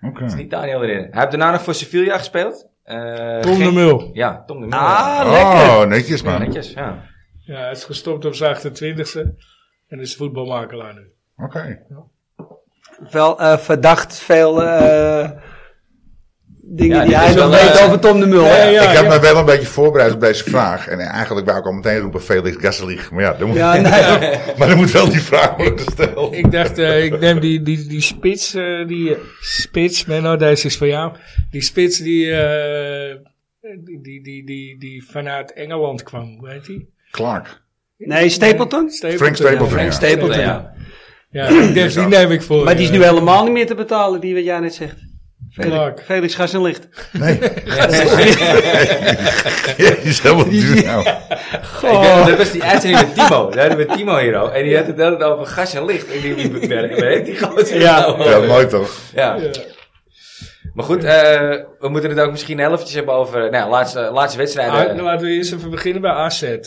Speaker 4: Oké.
Speaker 1: Niet Daniel erin. Hij heeft daarna nog voor Sevilla gespeeld. Eh,
Speaker 2: Tom de
Speaker 1: geen-
Speaker 2: Mul.
Speaker 1: Ja, Tom de Mul.
Speaker 3: Ah, lekker.
Speaker 4: Oh, netjes
Speaker 1: ja,
Speaker 4: man. Oké.
Speaker 1: netjes, ja.
Speaker 2: Ja, hij is gestopt op zijn 28e. En is voetbalmakelaar nu.
Speaker 3: Wel eh, verdacht veel eh, dingen
Speaker 1: Ja,
Speaker 3: die
Speaker 1: dit
Speaker 3: hij
Speaker 1: is
Speaker 3: nog
Speaker 1: wel,
Speaker 3: weet
Speaker 1: eh,
Speaker 3: over Tom de Mul. hè?
Speaker 2: nee, ja.
Speaker 4: ik heb me wel een beetje voorbereid op deze vraag. En eigenlijk wou ik al meteen roepen Felix Gasselig. Maar ja, dan moet,
Speaker 3: Ja, nee.
Speaker 4: maar dan moet wel die vraag worden gesteld.
Speaker 2: Ik dacht, eh, ik neem die, die, die spits, eh, die eh, spits, Menno, deze is voor jou. Die spits die, eh, die, die, die, die, die vanuit Engeland kwam, weet je?
Speaker 4: Clark.
Speaker 3: Nee, Stapleton?
Speaker 4: Frank Stapleton.
Speaker 2: ja.
Speaker 4: ja.
Speaker 1: Stapleton,
Speaker 2: ja.
Speaker 1: ja.
Speaker 2: Ja, ik dacht, die neem ik voor.
Speaker 3: Maar die is
Speaker 2: eh,
Speaker 3: nu helemaal niet meer te betalen, die wat jij net zegt.
Speaker 2: Clark.
Speaker 3: Felix, Felix Gas en Licht.
Speaker 4: Nee. die is helemaal duur nou.
Speaker 1: Ik weet, dat was die uitzending met Timo. Daar hadden we Timo hier al. En die had het altijd over gas en licht. En die die beperken. Weet die gozer
Speaker 3: Ja.
Speaker 1: nou over?
Speaker 4: Ja, mooi toch?
Speaker 1: Ja.
Speaker 2: Ja.
Speaker 1: Maar goed, eh, we moeten het ook misschien helftjes hebben over... Nou, laatste, laatste
Speaker 2: Ah,
Speaker 1: wedstrijden.
Speaker 2: Laten we eerst even beginnen bij AZ. Eh,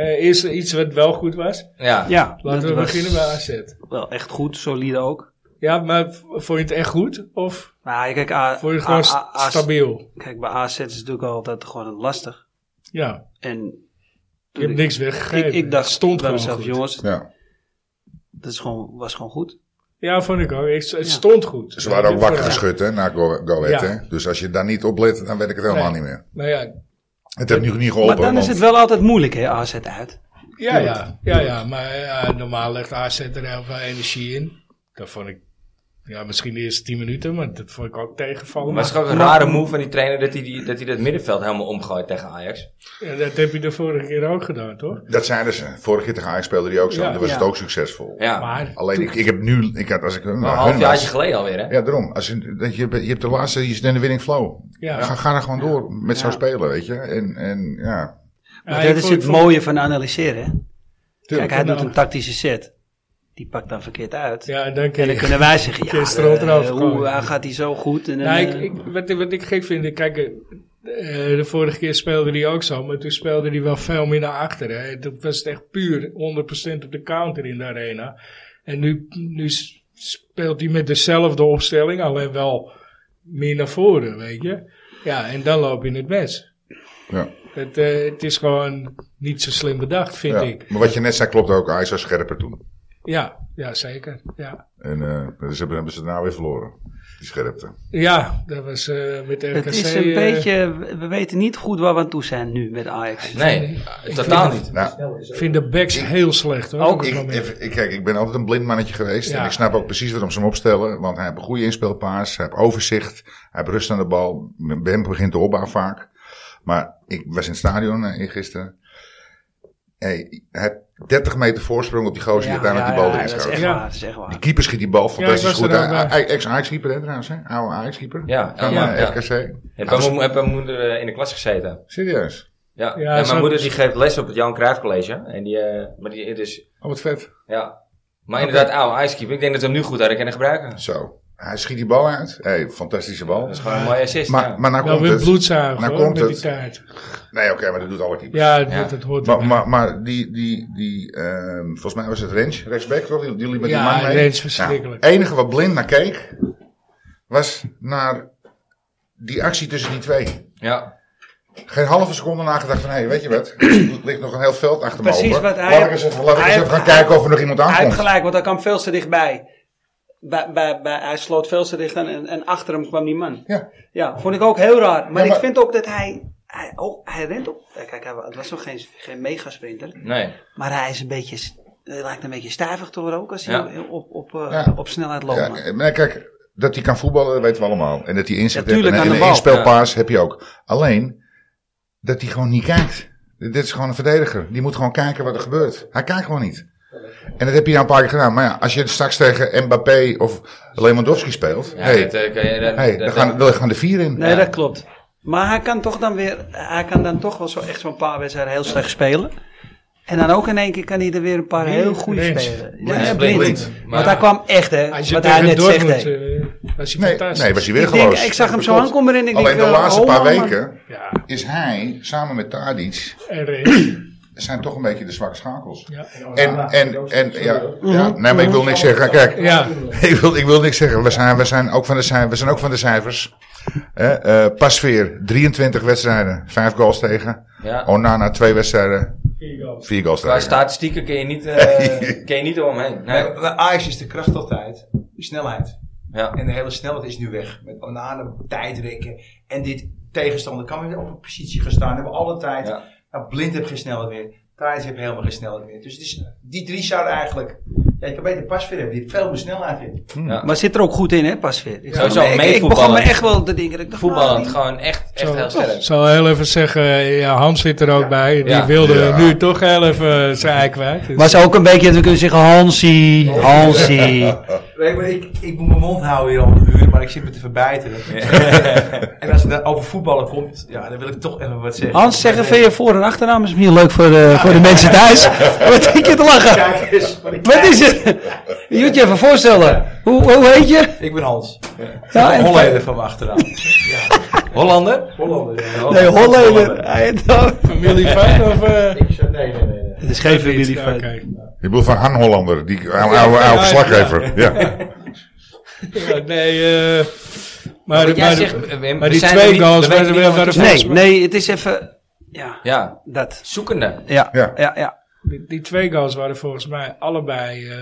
Speaker 2: eerst iets wat wel goed was.
Speaker 1: Ja.
Speaker 3: Ja,
Speaker 2: Laten
Speaker 3: dat
Speaker 2: we
Speaker 3: was
Speaker 2: beginnen bij AZ.
Speaker 3: Wel echt goed, solide ook.
Speaker 2: Ja, maar v- vond je het echt goed? Of
Speaker 3: Maar ja, kijk, A-
Speaker 2: vond je het gewoon
Speaker 3: A-
Speaker 2: st-
Speaker 3: A- A-
Speaker 2: stabiel?
Speaker 3: kijk, bij AZ is het natuurlijk altijd gewoon lastig.
Speaker 2: Ja,
Speaker 3: En
Speaker 2: je hebt niks weggegeven.
Speaker 3: ik, ik dacht
Speaker 2: Het stond
Speaker 3: bij
Speaker 2: gewoon
Speaker 3: mezelf,
Speaker 2: goed.
Speaker 3: jongens,
Speaker 4: Ja.
Speaker 3: dat is gewoon, was gewoon goed.
Speaker 2: Ja, vond ik ook. Ik- het
Speaker 3: Ja.
Speaker 2: stond goed. eh,
Speaker 4: Ze Dus waren ook
Speaker 2: Ja,
Speaker 4: wakker
Speaker 2: ja.
Speaker 4: geschud hè, na Go, Go Ahead,
Speaker 2: Ja.
Speaker 4: hè. Dus als je daar niet op let, dan weet ik het helemaal
Speaker 2: Nee.
Speaker 4: niet meer.
Speaker 2: Nou ja,
Speaker 4: Het heeft nu niet
Speaker 3: Maar
Speaker 4: geholpen.
Speaker 3: dan is het
Speaker 4: want-
Speaker 3: wel altijd moeilijk, hè, AZ uit.
Speaker 2: ja, ja, ja, ja. Maar ja, normaal legt AZ er heel veel energie in. Dat vond ik, ja, misschien de eerste 10 minuten, maar dat vond ik ook tegenvallen.
Speaker 1: Maar het is ook een rare move van die trainer dat hij, die, dat, hij dat middenveld helemaal omgooit tegen Ajax.
Speaker 2: Ja, dat heb je de vorige keer ook gedaan, toch?
Speaker 4: Dat zeiden ze. Vorige keer tegen Ajax speelde die ook zo.
Speaker 2: Ja.
Speaker 4: toen was
Speaker 3: Ja.
Speaker 4: het ook succesvol.
Speaker 1: Ja,
Speaker 2: Maar
Speaker 4: Alleen ik, ik heb nu... Ik had, als ik, nou,
Speaker 1: een half jaartje geleden alweer, hè?
Speaker 4: Ja, daarom. Als je, dat je, je hebt de laatste, je zit in de winning flow.
Speaker 2: Ja.
Speaker 4: Ga, ga er gewoon door met
Speaker 3: Ja.
Speaker 4: zo'n spelen, weet je. En, en ja,
Speaker 3: Maar
Speaker 2: Ja, ik
Speaker 3: dat is
Speaker 2: vond-
Speaker 3: het mooie van analyseren, hè. Kijk, hij
Speaker 2: Nou.
Speaker 3: doet een tactische set. Die pakt dan verkeerd uit.
Speaker 2: Ja, en dan
Speaker 3: En
Speaker 2: kun
Speaker 3: dan
Speaker 2: je...
Speaker 3: kunnen wij zeggen, ja,
Speaker 2: Kun je strot
Speaker 3: eh,
Speaker 2: eraf
Speaker 3: hoe
Speaker 2: gooien.
Speaker 3: hij gaat hij zo goed? En, dan,
Speaker 2: Nou, ik,
Speaker 3: eh,
Speaker 2: ik, wat, wat ik gek vind, kijk, eh, eh, de vorige keer speelde hij ook zo, maar toen speelde hij wel veel meer naar achteren. hè. Toen was het echt puur 100% op de counter in de arena. En nu, nu s- speelt hij met dezelfde opstelling, alleen wel meer naar voren, weet je. Ja, en dan loop je in het mes.
Speaker 4: ja.
Speaker 2: Het, eh, het is gewoon niet zo slim bedacht, vind
Speaker 4: ja.
Speaker 2: ik.
Speaker 4: Maar wat je net zei klopt ook. Ajax was scherper toen.
Speaker 2: Ja, ja zeker. Ja.
Speaker 4: En eh dus hebben, hebben ze daarna weer verloren. Die scherpte.
Speaker 2: ja, dat was eh, met RKC.
Speaker 3: het is een
Speaker 2: eh,
Speaker 3: beetje, we- we weten niet goed waar we aan toe zijn nu met Ajax.
Speaker 1: Nee, eh, totaal niet.
Speaker 4: Nou,
Speaker 2: Ik vind de backs heel slecht hoor.
Speaker 3: Ook.
Speaker 2: op dit
Speaker 4: ik,
Speaker 2: moment.
Speaker 4: even- ik, kijk, ik ben altijd een blind mannetje geweest.
Speaker 2: Ja.
Speaker 4: En ik snap ook precies waarom ze hem opstellen. Want hij heeft een goede inspeelpaas. Hij heeft overzicht. Hij heeft rust aan de bal. Ben begint de opbouw vaak. Maar ik was in het stadion eh, eergisteren. Hey, hij heeft 30 meter voorsprong op die gozer die uiteindelijk die bal erin
Speaker 3: ja, dat is
Speaker 4: schoot.
Speaker 3: echt
Speaker 2: Ja.
Speaker 3: waar, dat is echt waar.
Speaker 4: Die keeper schiet die bal fantastisch
Speaker 2: was er
Speaker 4: goed.
Speaker 2: ook bij.
Speaker 4: Hij- hij- Ex-Ajax-keeper hè, trouwens, hè? Oude Ajax-keeper.
Speaker 1: Ja,
Speaker 4: Van
Speaker 1: ja,
Speaker 4: eh,
Speaker 1: ja.
Speaker 4: RKC.
Speaker 1: Ik heb
Speaker 4: Nou,
Speaker 1: bij
Speaker 4: dat
Speaker 1: mijn- heb bij mijn moeder eh, in de klas gezeten.
Speaker 4: is- serieus.
Speaker 1: Ja.
Speaker 2: Ja,
Speaker 1: en
Speaker 2: zo-
Speaker 1: mijn moeder die geeft les op het Jan Cruijff College. En die, eh, maar die dus,
Speaker 4: Oh, wat vet.
Speaker 1: ja. Maar inderdaad, oude icekeeper. Ik denk dat we hem nu goed hadden kunnen gebruiken. Dat
Speaker 4: Zo. Hij schiet die bal uit. Hey, fantastische bal.
Speaker 1: is gewoon een mooie assist. ja.
Speaker 4: Maar, maar nou
Speaker 2: Nou,
Speaker 4: komt
Speaker 2: weer
Speaker 4: het.
Speaker 2: bloedzuigen
Speaker 4: Nou
Speaker 2: hoor,
Speaker 4: komt
Speaker 2: met die
Speaker 4: het.
Speaker 2: taart.
Speaker 4: Nee, oké, maar dat doet alle keepers.
Speaker 2: Ja, dat,
Speaker 1: Ja.
Speaker 2: dat hoort
Speaker 4: Maar,
Speaker 2: erbij.
Speaker 4: maar, maar die, die, die ehm, volgens mij was het Rens, rechtsback toch? Die, die liep met
Speaker 2: Ja,
Speaker 4: die man mee.
Speaker 2: Rens, verschrikkelijk.
Speaker 4: Nou, enige wat blind naar keek, was naar die actie tussen die twee.
Speaker 1: ja.
Speaker 4: Geen halve seconde nagedacht van, hé, weet je wat? Er ligt nog een heel veld achter me
Speaker 3: Precies
Speaker 4: open.
Speaker 3: wat hij-
Speaker 4: Laat ik eens even, laat ik
Speaker 3: hij
Speaker 4: eens
Speaker 3: heeft-
Speaker 4: even gaan kijken of er nog iemand
Speaker 3: Hij heeft
Speaker 4: aankomt.
Speaker 3: gelijk, want hij kwam veel te dichtbij. Bij, bij, bij, hij sloot veel te dicht aan en, en achter hem kwam die man.
Speaker 4: Ja.
Speaker 3: Ja, vond ik ook heel raar. Maar,
Speaker 4: Ja, maar-
Speaker 3: ik vind ook dat hij, hij, ook, hij rent op. eh, Kijk, hij, wa- het was nog geen, geen megasprinter.
Speaker 1: Nee.
Speaker 3: Maar hij is een beetje s- Het lijkt een beetje stijvig toch ook als hij
Speaker 1: Ja.
Speaker 3: op, op, eh,
Speaker 4: Ja.
Speaker 3: op snelheid loopt.
Speaker 4: Ja, eh,
Speaker 3: man.
Speaker 4: nee, kijk, dat hij kan voetballen, dat weten we allemaal. En dat hij inzet
Speaker 3: Ja, tuurlijk,
Speaker 4: heeft.
Speaker 3: aan
Speaker 4: En, en
Speaker 3: de
Speaker 4: een
Speaker 3: bal.
Speaker 4: inspelpaas heb je ook. Alleen, dat hij gewoon niet kijkt. Dit is gewoon een verdediger. Die moet gewoon kijken wat er gebeurt. Hij kijkt gewoon niet. En dat heb je nou een paar keer gedaan. Maar ja, als je straks tegen Mbappé of Lewandowski speelt.
Speaker 1: Ja,
Speaker 4: hey,
Speaker 1: dat, eh, kan je- dat-
Speaker 4: hey,
Speaker 1: dat-
Speaker 4: dan gaan, wil je gewoon de vier in.
Speaker 3: Nee, dat klopt. Maar hij kan toch dan weer, hij kan dan toch wel zo echt zo'n paar wedstrijden heel slecht spelen. En dan ook in één keer kan hij er weer een paar heel goede
Speaker 2: Blind.
Speaker 3: spelen.
Speaker 2: Blind.
Speaker 3: Ja,
Speaker 1: Blind.
Speaker 3: blind.
Speaker 1: Blind.
Speaker 3: Want
Speaker 1: Maar-
Speaker 3: hij kwam echt, hè,
Speaker 2: Als je
Speaker 3: wat hij
Speaker 2: tegen
Speaker 3: net zegt.
Speaker 2: Dortmund,
Speaker 3: hè.
Speaker 2: eh, was hij
Speaker 4: Nee,
Speaker 2: fantastisch.
Speaker 4: nee, was hij weer
Speaker 3: Ik, denk,
Speaker 4: geloos.
Speaker 3: ik zag hem zo
Speaker 4: Klopt.
Speaker 3: aankomen en ik
Speaker 4: Alleen
Speaker 3: denk,
Speaker 4: de
Speaker 3: eh,
Speaker 4: laatste
Speaker 3: oh,
Speaker 4: paar
Speaker 3: man.
Speaker 4: weken
Speaker 2: Ja,
Speaker 4: is hij, samen met Tadic,
Speaker 2: en Rees.
Speaker 4: zijn toch een beetje de zwakke schakels.
Speaker 2: Ja.
Speaker 4: En, en, en, ja, ja, nee, maar ik wil niks zeggen. Kijk,
Speaker 2: Ja.
Speaker 4: ik, wil, ik wil niks zeggen. We zijn, we zijn, ook, van de, cij- we zijn ook van de cijfers. Eh eh Pasveer, 23 wedstrijden, 5 goals tegen.
Speaker 2: Oh,
Speaker 1: Ja.
Speaker 4: Onana, 2 wedstrijden, 4 goals
Speaker 1: Qua
Speaker 4: tegen.
Speaker 1: statistieken kun je niet, eh kun je niet eromheen. Nee.
Speaker 5: Nee, bij Ajax is de kracht altijd de snelheid.
Speaker 1: Ja.
Speaker 5: En de hele snelheid is nu weg. Met Onana, tijdrekken. En dit tegenstander kan weer op een positie gaan staan. Hebben alle tijd.
Speaker 1: Ja.
Speaker 5: Nou, blind heb geen snelheid meer. Thijs heeft helemaal geen snelheid meer. Dus het is, die drie zouden eigenlijk... Ja, je kan beter Pasveer hebben. Die heeft veel meer snelheid in.
Speaker 2: Hmm.
Speaker 3: Maar zit er ook goed in, hè, pas weer. Ik,
Speaker 1: Sowieso,
Speaker 3: ik- ik, begon
Speaker 1: meevoetballen.
Speaker 3: me echt wel te denken. dat ik dacht, nou,
Speaker 1: Voetballend
Speaker 3: die-
Speaker 1: gewoon echt, echt heel
Speaker 2: Ik
Speaker 1: sterk.
Speaker 2: zal heel even zeggen, ja, Hans zit er ook bij. Die
Speaker 1: Ja.
Speaker 2: wilde
Speaker 4: Ja.
Speaker 2: nu toch heel even zijn ei kwijt. Dus-
Speaker 3: was ook een beetje dat we kunnen zeggen, Hansie, Hansie.
Speaker 5: Weet je, maar ik, ik moet mijn mond houden hier al een uur. Maar ik zit me te verbijten. en als het dan over voetballen komt... Ja, dan wil ik toch even wat zeggen.
Speaker 3: Hans, zeggen van je voor- en achternaam is misschien leuk voor de, voor de mensen thuis. Wat denk je te lachen?
Speaker 5: Kijk eens wat ik
Speaker 3: Wat is het? Je moet je even voorstellen. Hoe, hoe heet je?
Speaker 5: Ik ben Hans.
Speaker 3: Ja, en-
Speaker 5: Holleder van mijn achteraan.
Speaker 1: Hollander?
Speaker 5: Hollander.
Speaker 3: Nee, Hollander. Hij heet-
Speaker 2: Familie van of... eh,
Speaker 5: Nee, nee, nee. nee.
Speaker 3: Het is geen familie
Speaker 2: Oké.
Speaker 3: van.
Speaker 4: Ik bedoel van Han Hollander, die oude, oude,
Speaker 2: ja,
Speaker 4: oude
Speaker 2: ja.
Speaker 4: verslaggever. Ja.
Speaker 2: Ja, nee, eh maar,
Speaker 1: Wat
Speaker 2: maar,
Speaker 1: jij
Speaker 2: maar,
Speaker 1: zegt, Wim, we
Speaker 2: maar die
Speaker 1: zijn
Speaker 2: twee
Speaker 1: er niet-
Speaker 2: goals
Speaker 1: we weten
Speaker 2: waren-
Speaker 1: niet wat
Speaker 2: waren
Speaker 1: het is.
Speaker 3: Nee, nee, het is even... Ja,
Speaker 1: Ja,
Speaker 3: dat.
Speaker 1: zoekende.
Speaker 3: Ja,
Speaker 4: Ja.
Speaker 3: ja, ja. ja.
Speaker 2: die, die twee goals waren volgens mij allebei eh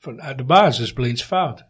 Speaker 2: vanuit de basis blinds fout.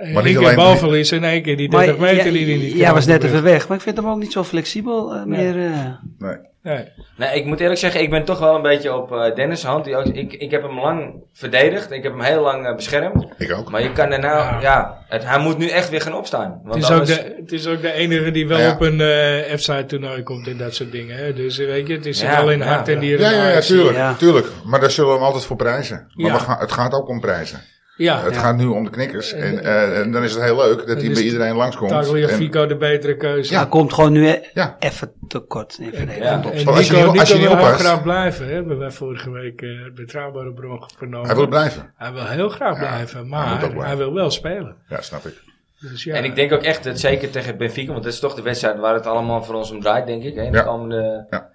Speaker 4: niet
Speaker 2: Eén keer
Speaker 4: alleen-
Speaker 2: balverlies en één keer die 30
Speaker 3: Maar
Speaker 2: meter
Speaker 3: ja,
Speaker 2: die hij niet
Speaker 3: ja,
Speaker 2: kan
Speaker 3: was net even
Speaker 2: overbruggen.
Speaker 3: weg. Maar ik vind hem ook niet zo flexibel eh, meer. eh.
Speaker 4: Nee.
Speaker 2: Nee.
Speaker 1: Nee, ik moet eerlijk zeggen, ik ben toch wel een beetje op eh, Dennis' hand. Die ook- ik, ik heb hem lang verdedigd. Ik heb hem heel lang eh, beschermd.
Speaker 4: Ik ook.
Speaker 1: Maar je kan daarna...
Speaker 2: Ja.
Speaker 1: Ja, het- hij moet nu echt weer gaan opstaan. Want
Speaker 2: Het, is ook
Speaker 1: anders-
Speaker 2: de, het is ook de enige die wel
Speaker 4: Ja, ja.
Speaker 2: op een eh F-side toernooi komt en dat soort dingen. Hè. Dus eh, weet je, het is
Speaker 1: Ja,
Speaker 2: wel in
Speaker 1: ja,
Speaker 2: hart en
Speaker 1: ja.
Speaker 2: nieren.
Speaker 4: Ja, ja, ja,
Speaker 2: Ajax.
Speaker 4: tuurlijk,
Speaker 3: Ja.
Speaker 4: tuurlijk. Maar daar zullen we hem altijd voor prijzen. Maar
Speaker 2: Ja.
Speaker 4: we gaan, het gaat ook om prijzen.
Speaker 2: Ja,
Speaker 4: Het gaat nu om de knikkers. En, eh, en dan is het heel leuk dat hij
Speaker 2: is
Speaker 4: bij iedereen langskomt. En,
Speaker 2: Tagliafico de betere keuze.
Speaker 3: Hij komt gewoon nu eh,
Speaker 4: Ja.
Speaker 3: even tekort. in
Speaker 1: Ja.
Speaker 3: verdediging.
Speaker 2: En
Speaker 4: Zo, als je
Speaker 2: Nico,
Speaker 4: niet- als je
Speaker 2: Nico
Speaker 4: niet
Speaker 2: wil heel
Speaker 4: oppast-
Speaker 2: graag blijven. Hè. Hebben wij vorige week eh betrouwbare bron vernomen.
Speaker 4: hij wil blijven.
Speaker 2: Hij wil heel graag blijven, maar
Speaker 4: hij
Speaker 2: hij,
Speaker 4: moet ook blijven.
Speaker 2: wil wel spelen.
Speaker 4: Ja, snap ik.
Speaker 2: Dus ja.
Speaker 1: En ik denk ook echt, dat zeker tegen Benfica, want dat is toch de wedstrijd waar het allemaal voor ons om draait, denk ik. Hè? In
Speaker 4: Ja.
Speaker 1: de komende...
Speaker 2: Ja,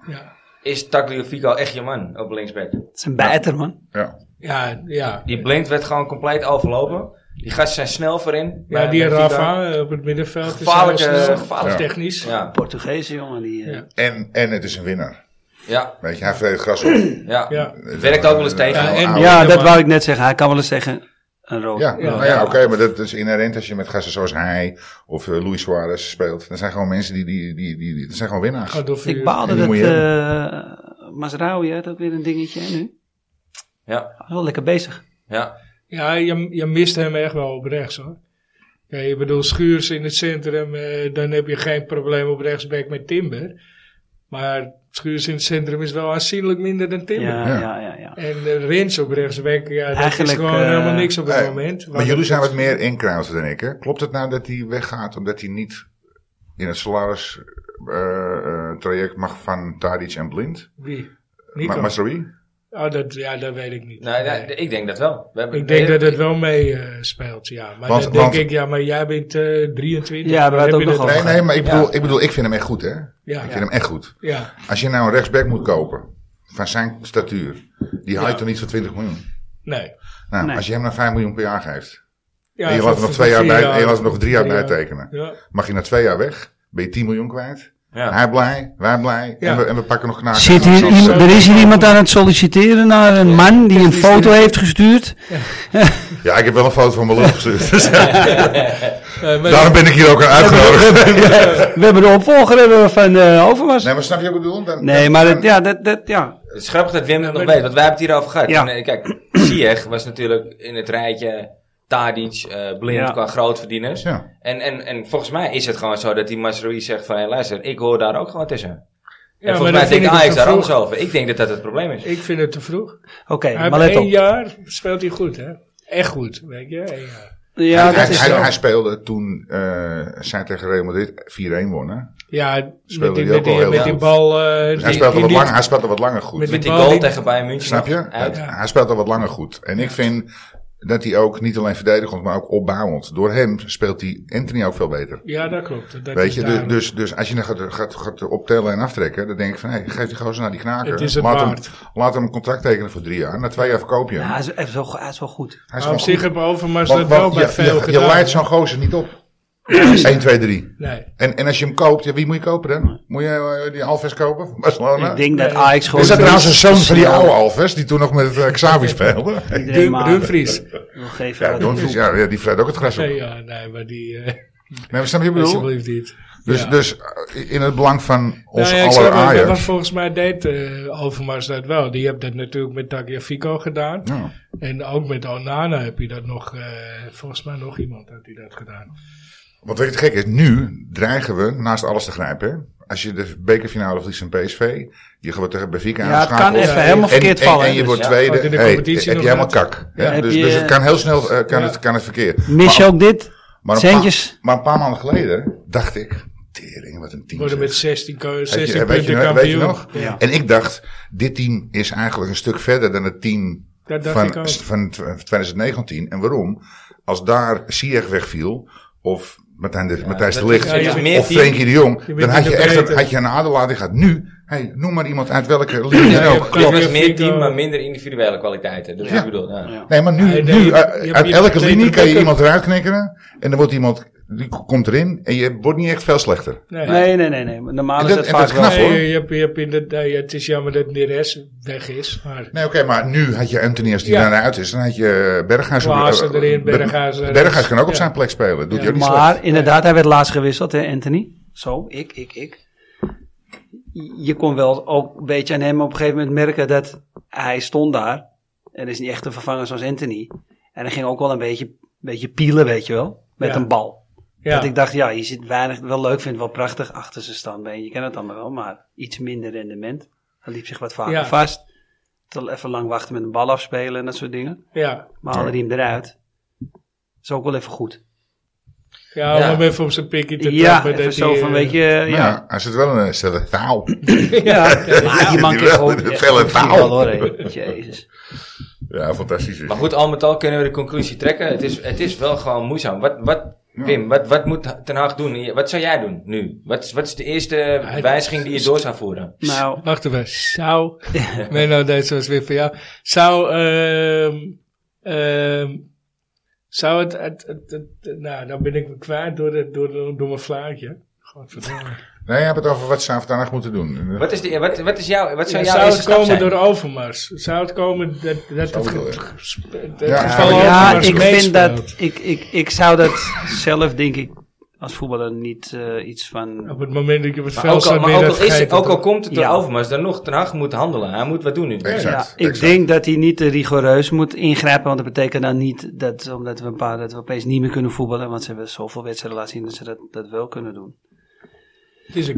Speaker 1: Is Tagliafico echt je man op linksback?
Speaker 3: Het is een bijter, man.
Speaker 4: Ja.
Speaker 2: ja. ja.
Speaker 1: Die blind werd gewoon compleet overlopen. Die gasten zijn snel voorin.
Speaker 2: Ja,
Speaker 1: Bij
Speaker 2: die
Speaker 1: Benfica.
Speaker 2: Rafa eh, op het middenveld is
Speaker 1: Gevaarlijke-
Speaker 2: heel snel,
Speaker 1: gevaarlijke-
Speaker 2: technisch.
Speaker 1: Ja,
Speaker 3: Portugese jongen. Die, eh,
Speaker 2: Ja.
Speaker 4: En, en het is een winnaar.
Speaker 1: ja,
Speaker 4: Weet je, hij vreet gras op.
Speaker 1: ja.
Speaker 2: Ja.
Speaker 1: Het werkt ook wel eens tegen.
Speaker 2: Ja, en-
Speaker 3: ja.
Speaker 4: Ja,
Speaker 3: dat wou ik net zeggen. Hij kan wel eens zeggen, een rood.
Speaker 4: ja, nou ja,
Speaker 2: Ja.
Speaker 4: oké, maar dat is inherent als je met gasten zoals hij of eh, Luis Suarez speelt. Dat zijn gewoon mensen die, die, die, die, die dat zijn gewoon winnaars.
Speaker 2: Gaat door
Speaker 3: Ik
Speaker 2: vuur.
Speaker 3: baalde
Speaker 4: Die
Speaker 3: dat
Speaker 4: moet je
Speaker 3: eh Masraoui had ook weer een dingetje hè, nu.
Speaker 1: Ja,
Speaker 3: Hij is wel lekker bezig.
Speaker 1: ja.
Speaker 2: Ja, je, je mist hem echt wel op rechts hoor. Ja, je bedoelt Schuurs in het centrum, eh, dan heb je geen probleem op rechtsback met Timber. Maar Schuurs in het centrum is wel aanzienlijk minder dan Timber.
Speaker 3: Ja,
Speaker 4: Ja.
Speaker 3: ja, ja. ja.
Speaker 2: En eh, Rens op rechtsback, ja, dat is
Speaker 3: Eigenlijk,
Speaker 2: gewoon
Speaker 3: eh,
Speaker 2: helemaal niks op het
Speaker 4: Nee,
Speaker 2: moment.
Speaker 4: maar
Speaker 2: Want
Speaker 4: jullie
Speaker 2: het-
Speaker 4: zijn wat meer in-crowd dan ik, hè? Klopt het nou dat hij weggaat omdat hij niet in het salaris eh, eh, traject mag van Tadic en Blind?
Speaker 2: Wie? Nico?
Speaker 4: Ma Masraoui?
Speaker 2: oh, dat, ja, dat weet ik niet.
Speaker 1: Nou,
Speaker 2: Nee.
Speaker 1: ja, ik denk dat wel. We hebben-
Speaker 2: Ik denk dat het wel mee eh, speelt, ja. Maar
Speaker 4: Want-
Speaker 2: dan denk
Speaker 4: want-
Speaker 2: ik, ja, maar jij bent eh 23.
Speaker 3: Ja, we
Speaker 2: dan
Speaker 3: hadden
Speaker 2: heb
Speaker 3: ook
Speaker 2: je
Speaker 3: nog
Speaker 2: dat-
Speaker 4: Nee,
Speaker 3: wel-
Speaker 4: nee, maar ik
Speaker 1: Ja.
Speaker 4: bedoel, ik bedoel, ik vind hem echt goed, hè?
Speaker 2: Ja,
Speaker 4: Ik
Speaker 2: ja.
Speaker 4: vind hem echt goed. Als je nou een rechtsback moet kopen van zijn statuur, die haal je
Speaker 2: Ja.
Speaker 4: toch niet voor 20 miljoen?
Speaker 2: Nee.
Speaker 4: Nou,
Speaker 3: Nee.
Speaker 4: als je hem nou 5 miljoen per jaar geeft,
Speaker 2: Ja,
Speaker 4: en je
Speaker 2: voor-
Speaker 4: laat hem nog
Speaker 2: voor
Speaker 4: twee jaar
Speaker 2: vier
Speaker 4: bij, en je laat hem nog drie jaar
Speaker 2: Drie jaar.
Speaker 4: bijtekenen,
Speaker 2: Ja.
Speaker 4: mag je na twee jaar weg, ben je 10 miljoen kwijt.
Speaker 1: Ja.
Speaker 4: Hij blij, wij blij.
Speaker 2: Ja.
Speaker 4: En, we, en we pakken nog knaken.
Speaker 3: Zit hier,
Speaker 4: Zoals-
Speaker 3: iem- er is hier iemand aan het solliciteren naar een man die een foto heeft gestuurd.
Speaker 4: Ja, ik heb wel een foto van mijn lul gestuurd. Dus
Speaker 2: Eh, maar-
Speaker 4: Daarom ben ik hier ook aan uitgenodigd.
Speaker 3: We hebben de opvolger hebben we van eh, Overmars.
Speaker 4: Nee, maar snap je wat ik bedoel? Dan-
Speaker 3: Nee, maar
Speaker 4: dan-
Speaker 3: dat, ja, dat, dat, ja.
Speaker 1: Het is grappig dat Wim het nog
Speaker 2: maar-
Speaker 1: weet, want wij hebben het hierover gehad.
Speaker 3: Ja.
Speaker 1: En, eh, kijk, Ziyech was natuurlijk in het rijtje Tadic, eh Blind
Speaker 3: Ja.
Speaker 1: qua grootverdieners.
Speaker 4: Ja.
Speaker 1: En, en, en volgens mij is het gewoon zo dat die Masrui zegt van, hé luister, ik hoor daar ook gewoon tussen.
Speaker 2: Ja,
Speaker 1: en
Speaker 2: maar
Speaker 1: volgens mij
Speaker 2: dat vind
Speaker 1: denkt
Speaker 2: ik
Speaker 1: Ajax
Speaker 2: te
Speaker 1: daar anders
Speaker 2: vroeg.
Speaker 1: over. Ik denk dat dat het probleem is.
Speaker 2: Ik vind het te vroeg.
Speaker 3: Oké,
Speaker 2: Hij
Speaker 3: maar
Speaker 2: heeft
Speaker 3: let
Speaker 2: één
Speaker 3: op.
Speaker 2: jaar speelt hij goed, hè? Echt goed, weet je? Eén jaar.
Speaker 3: Ja,
Speaker 4: hij,
Speaker 3: dat is
Speaker 4: hij,
Speaker 3: zo.
Speaker 4: hij speelde toen eh, zij tegen Real Madrid 4-1 wonnen.
Speaker 2: Ja,
Speaker 4: Speelde
Speaker 2: met die, met
Speaker 4: hij ook al
Speaker 2: die,
Speaker 4: heel
Speaker 2: met die
Speaker 4: goed.
Speaker 2: bal... eh,
Speaker 4: Dus hij
Speaker 2: die-
Speaker 4: speelt al
Speaker 2: die
Speaker 4: wat
Speaker 2: niet-
Speaker 4: langer, hij speelt al wat langer goed.
Speaker 2: Met
Speaker 1: Met die
Speaker 2: bal
Speaker 1: goal
Speaker 2: die-
Speaker 1: tegen Bayern München.
Speaker 4: Snap je?
Speaker 1: nog uit.
Speaker 4: Hij- Hij speelt al wat langer goed. En ik vind dat hij ook niet alleen verdedigend, maar ook opbouwend. Door hem speelt hij Anthony ook veel beter.
Speaker 2: Ja, dat klopt. Dat
Speaker 4: Weet
Speaker 2: is
Speaker 4: je, du-
Speaker 2: duidelijk.
Speaker 4: dus, dus als je dan gaat, gaat, gaat optellen en aftrekken, dan denk ik van, hé, geef die gozer naar die knaker.
Speaker 2: Het is het
Speaker 4: laat,
Speaker 2: waard.
Speaker 4: Hem, laat hem een contract tekenen voor drie jaar. Na twee jaar verkoop je hem.
Speaker 3: Ja, hij is, hij is wel, go- hij is wel goed.
Speaker 4: Hij is
Speaker 2: Maar op
Speaker 4: gewoon
Speaker 2: zich
Speaker 4: goed.
Speaker 2: hebben Overmars
Speaker 4: Want-
Speaker 2: dat wel
Speaker 4: want
Speaker 2: bij
Speaker 4: je-
Speaker 2: veel
Speaker 4: je, je
Speaker 2: gedaan.
Speaker 4: leidt zo'n gozer niet op. 1, 2, 3.
Speaker 2: Nee.
Speaker 4: En, en als je hem koopt, ja, wie moet je kopen dan? Moet je eh, die Alves kopen van Barcelona?
Speaker 3: Ik denk dat Ajax gewoon...
Speaker 4: Is dat trouwens een zoon van die
Speaker 3: snel
Speaker 4: oude Alves, die toen nog met eh, Xavi speelde?
Speaker 3: iedereen
Speaker 2: Dun,
Speaker 3: maar
Speaker 2: Dumfries.
Speaker 3: wil geven
Speaker 4: Ja,
Speaker 3: wat
Speaker 4: Dumfries, ja, ja, die vreet ook het gras op.
Speaker 2: Nee,
Speaker 4: Nee,
Speaker 2: ja, nee, maar die... eh
Speaker 4: maar snap je wat ik bedoel?
Speaker 2: alsjeblieft niet.
Speaker 4: Dus,
Speaker 2: Ja.
Speaker 4: dus eh, in het belang van ons
Speaker 2: Nou ja, ik
Speaker 4: aller
Speaker 2: snap het, maar
Speaker 4: Ajax.
Speaker 2: wat volgens mij deed eh, Overmars dat wel. Die heeft dat natuurlijk met Tagliafico gedaan.
Speaker 4: Ja.
Speaker 2: En ook met Onana heb je dat nog... eh, volgens mij nog iemand had die dat gedaan.
Speaker 4: Want weet je, het gek is, nu dreigen we naast alles te grijpen. hè? Als je de bekerfinale verliest van PSV, je gaat tegen Benfica
Speaker 3: Ja, het kan
Speaker 4: aanschakelen.
Speaker 3: even helemaal
Speaker 4: En,
Speaker 3: verkeerd
Speaker 4: en,
Speaker 3: vallen.
Speaker 4: en je
Speaker 3: dus.
Speaker 4: wordt
Speaker 1: Ja,
Speaker 4: tweede,
Speaker 2: ook in de
Speaker 4: hey, heb
Speaker 2: competitie
Speaker 4: je
Speaker 2: nog
Speaker 4: helemaal
Speaker 2: net.
Speaker 4: kak. hè?
Speaker 3: Heb
Speaker 4: Dus,
Speaker 3: je-
Speaker 4: dus het kan heel snel, eh, kan,
Speaker 2: Ja.
Speaker 4: het, kan het verkeer.
Speaker 3: Mis je
Speaker 4: Maar-
Speaker 3: ook dit?
Speaker 4: maar een
Speaker 3: centjes?
Speaker 4: paar- Maar een paar maanden geleden dacht ik, tering, wat een team.
Speaker 2: Worden
Speaker 4: zeg.
Speaker 2: met 16, ko-
Speaker 4: Weet
Speaker 2: 16
Speaker 4: je, weet, je,
Speaker 2: punten
Speaker 4: nog-
Speaker 2: kampioen.
Speaker 4: weet je nog?
Speaker 2: Ja.
Speaker 4: En ik dacht, dit team is eigenlijk een stuk verder dan het team
Speaker 2: Dat dacht ik ook.
Speaker 4: van, van tw- eh, 2019. En waarom? Als daar Sieg wegviel, of Martijn de, Matthijs de
Speaker 1: dat
Speaker 4: Ligt,
Speaker 1: is- ja, je bent meer
Speaker 4: of
Speaker 1: team.
Speaker 4: Frenkie de Jong,
Speaker 2: bent
Speaker 4: dan had je,
Speaker 2: minder
Speaker 4: echt een,
Speaker 2: breedte.
Speaker 4: had je een adelaar die gaat nu, hey, noem maar iemand uit welke linie
Speaker 2: Ja,
Speaker 4: dan
Speaker 2: je
Speaker 4: ook.
Speaker 2: hebt-
Speaker 1: Dus
Speaker 4: Klopt.
Speaker 1: het was meer
Speaker 2: Tagliafico-
Speaker 1: team, maar minder individuele kwaliteiten. Dat is
Speaker 4: Ja.
Speaker 1: wat ik bedoel. Ja.
Speaker 4: Nee, maar nu,
Speaker 2: Nee, nee,
Speaker 4: nu eh,
Speaker 2: je-
Speaker 4: uit-
Speaker 2: je-
Speaker 4: uit
Speaker 2: je-
Speaker 4: elke
Speaker 2: je-
Speaker 4: linie
Speaker 2: je-
Speaker 4: kan je
Speaker 2: je-
Speaker 4: iemand eruit knikkeren, en dan wordt iemand, die komt erin, en je wordt niet echt veel slechter.
Speaker 2: Nee.
Speaker 3: Nee, nee, nee. nee. Normaal
Speaker 4: En
Speaker 3: is
Speaker 4: dat-
Speaker 3: dat
Speaker 4: en dat
Speaker 3: vaak
Speaker 4: is
Speaker 3: wel...
Speaker 4: knap. hoor.
Speaker 2: Nee, je, je hebt, je hebt inderdaad, ja, het is jammer dat Neres weg is. Maar
Speaker 4: Nee, oké, maar nu had je Anthony als die
Speaker 2: Ja.
Speaker 4: daarna uit is. Dan had je Berghuis.
Speaker 2: Klaassen
Speaker 4: eh,
Speaker 2: erin,
Speaker 4: Ber-
Speaker 2: Berghuis erin.
Speaker 4: Berghuis kan ook op
Speaker 2: Ja.
Speaker 4: zijn plek spelen. Doet
Speaker 2: Ja.
Speaker 4: hij ook niet slecht.
Speaker 3: Maar inderdaad, hij werd laatst gewisseld, hè, Anthony? Zo, ik, ik, ik. Je kon wel ook een beetje aan hem op een gegeven moment merken dat hij stond daar. En is niet echt een vervanger zoals Anthony. En hij ging ook wel een beetje, beetje pielen, weet je wel, met
Speaker 2: Ja.
Speaker 3: een bal.
Speaker 2: ja,
Speaker 3: Dat ik dacht, ja, je zit weinig, wel leuk vindt, wel prachtig achter zijn standbeen. Je kent het allemaal wel, maar iets minder rendement. Hij liep zich wat vaker
Speaker 2: Ja.
Speaker 3: vast. Te even lang wachten met een bal afspelen en dat soort dingen.
Speaker 2: ja.
Speaker 3: Maar haalde hij hem eruit. Is ook wel even goed.
Speaker 2: ja,
Speaker 1: Ja.
Speaker 2: om hem even op zijn pikje te
Speaker 3: Ja,
Speaker 2: trappen.
Speaker 3: even
Speaker 2: dat
Speaker 3: zo
Speaker 2: hij,
Speaker 3: van,
Speaker 2: eh,
Speaker 3: weet je, ja.
Speaker 4: Maar ja, hij zit wel een stille taal.
Speaker 3: Ja, maar die man
Speaker 4: die
Speaker 3: kan
Speaker 4: wel-
Speaker 3: gewoon
Speaker 4: die
Speaker 3: echt
Speaker 4: felle
Speaker 3: goed
Speaker 4: taal.
Speaker 3: voetballen, hoor. hé. Jezus.
Speaker 4: Ja, fantastisch. is.
Speaker 1: Maar goed, al met al kunnen we de conclusie trekken. Het is, het is wel gewoon moeizaam. Wat, wat, Wim, wat, wat moet Ten Haag doen? Wat zou jij doen nu? Wat, is- wat is de eerste
Speaker 2: Hij-
Speaker 1: wijziging die je door zou voeren?
Speaker 3: Nou,
Speaker 2: Wacht even. Zou. Menno, deze was weer voor jou. Zou. ehm ehm zou het, het, het, het- Nou, dan ben ik me kwijt door, de, door, de- door mijn vlaagje. Godverdomme.
Speaker 4: Nee, je hebt het over wat ze vandaag moeten doen.
Speaker 1: Wat, is de, wat, wat, is jouw, wat zou
Speaker 2: Ja,
Speaker 1: jouw
Speaker 2: zou
Speaker 1: eerste
Speaker 2: het
Speaker 1: stap
Speaker 2: komen
Speaker 1: zijn?
Speaker 2: door Overmars? Zou het komen dat, dat het,
Speaker 4: bedoel
Speaker 2: ge-
Speaker 4: je.
Speaker 2: het,
Speaker 4: Ja,
Speaker 2: geval
Speaker 4: ja,
Speaker 3: ja,
Speaker 2: Overmars
Speaker 3: ik vind dat...
Speaker 2: meespeelt?
Speaker 3: Ik, ik, ik zou dat zelf, denk ik, als voetballer niet eh, iets van...
Speaker 2: Op het moment dat je wat
Speaker 1: Maar ook,
Speaker 2: veld
Speaker 1: al,
Speaker 2: zou
Speaker 1: maar ook, al is, het- ook al komt het door
Speaker 3: Ja.
Speaker 1: Overmars, dan nog Ten Hag moet handelen. Hij moet wat doen nu.
Speaker 4: Exact,
Speaker 3: Ja, ik
Speaker 4: exact.
Speaker 3: denk dat hij niet te rigoureus moet ingrijpen, want dat betekent dan niet dat, omdat we een paar, dat we opeens niet meer kunnen voetballen, want ze hebben zoveel wedstrijden laten zien dat ze dat, dat wel kunnen doen.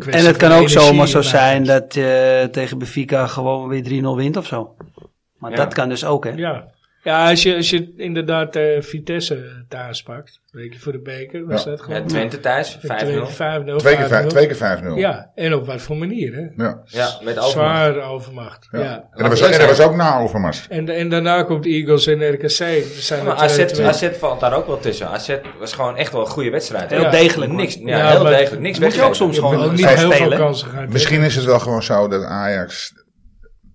Speaker 3: En het kan ook zomaar zo zijn dat je tegen Benfica gewoon weer 3-0 wint of zo. Maar
Speaker 1: Ja.
Speaker 3: dat kan dus ook, hè?
Speaker 2: Ja, ja als, je, als je inderdaad eh, Vitesse thuis pakt, weet je, voor de beker, was
Speaker 4: Ja.
Speaker 2: dat
Speaker 1: Ja,
Speaker 2: gewoon...
Speaker 1: Twente thuis, 5-0.
Speaker 2: 5-0.
Speaker 4: Twee keer
Speaker 2: 5-0.
Speaker 4: vijf- twee keer 5-0.
Speaker 2: Ja, en op wat voor manier, hè?
Speaker 4: Ja.
Speaker 1: Ja, met Overmars.
Speaker 2: Zwaar overmacht, ja.
Speaker 4: Ja. En er was, en er was ook na Overmars.
Speaker 2: En, en daarna komt Eagles en RKC. Er zijn
Speaker 1: Maar
Speaker 2: er twee-
Speaker 1: AZ,
Speaker 2: twee-
Speaker 1: AZ valt daar ook wel tussen. AZ was gewoon echt wel een goede wedstrijd.
Speaker 3: Heel
Speaker 2: Ja.
Speaker 3: degelijk. hoor.
Speaker 1: Niks, ja,
Speaker 2: Ja,
Speaker 1: heel
Speaker 2: maar-
Speaker 1: degelijk. Niks
Speaker 3: Moet je ook
Speaker 1: weggeven.
Speaker 3: soms
Speaker 2: Je hebt
Speaker 3: gewoon
Speaker 2: ook niet
Speaker 3: vrij
Speaker 2: heel veel
Speaker 3: spelen.
Speaker 2: kansen gehad. hè?
Speaker 4: Misschien is het wel gewoon zo dat Ajax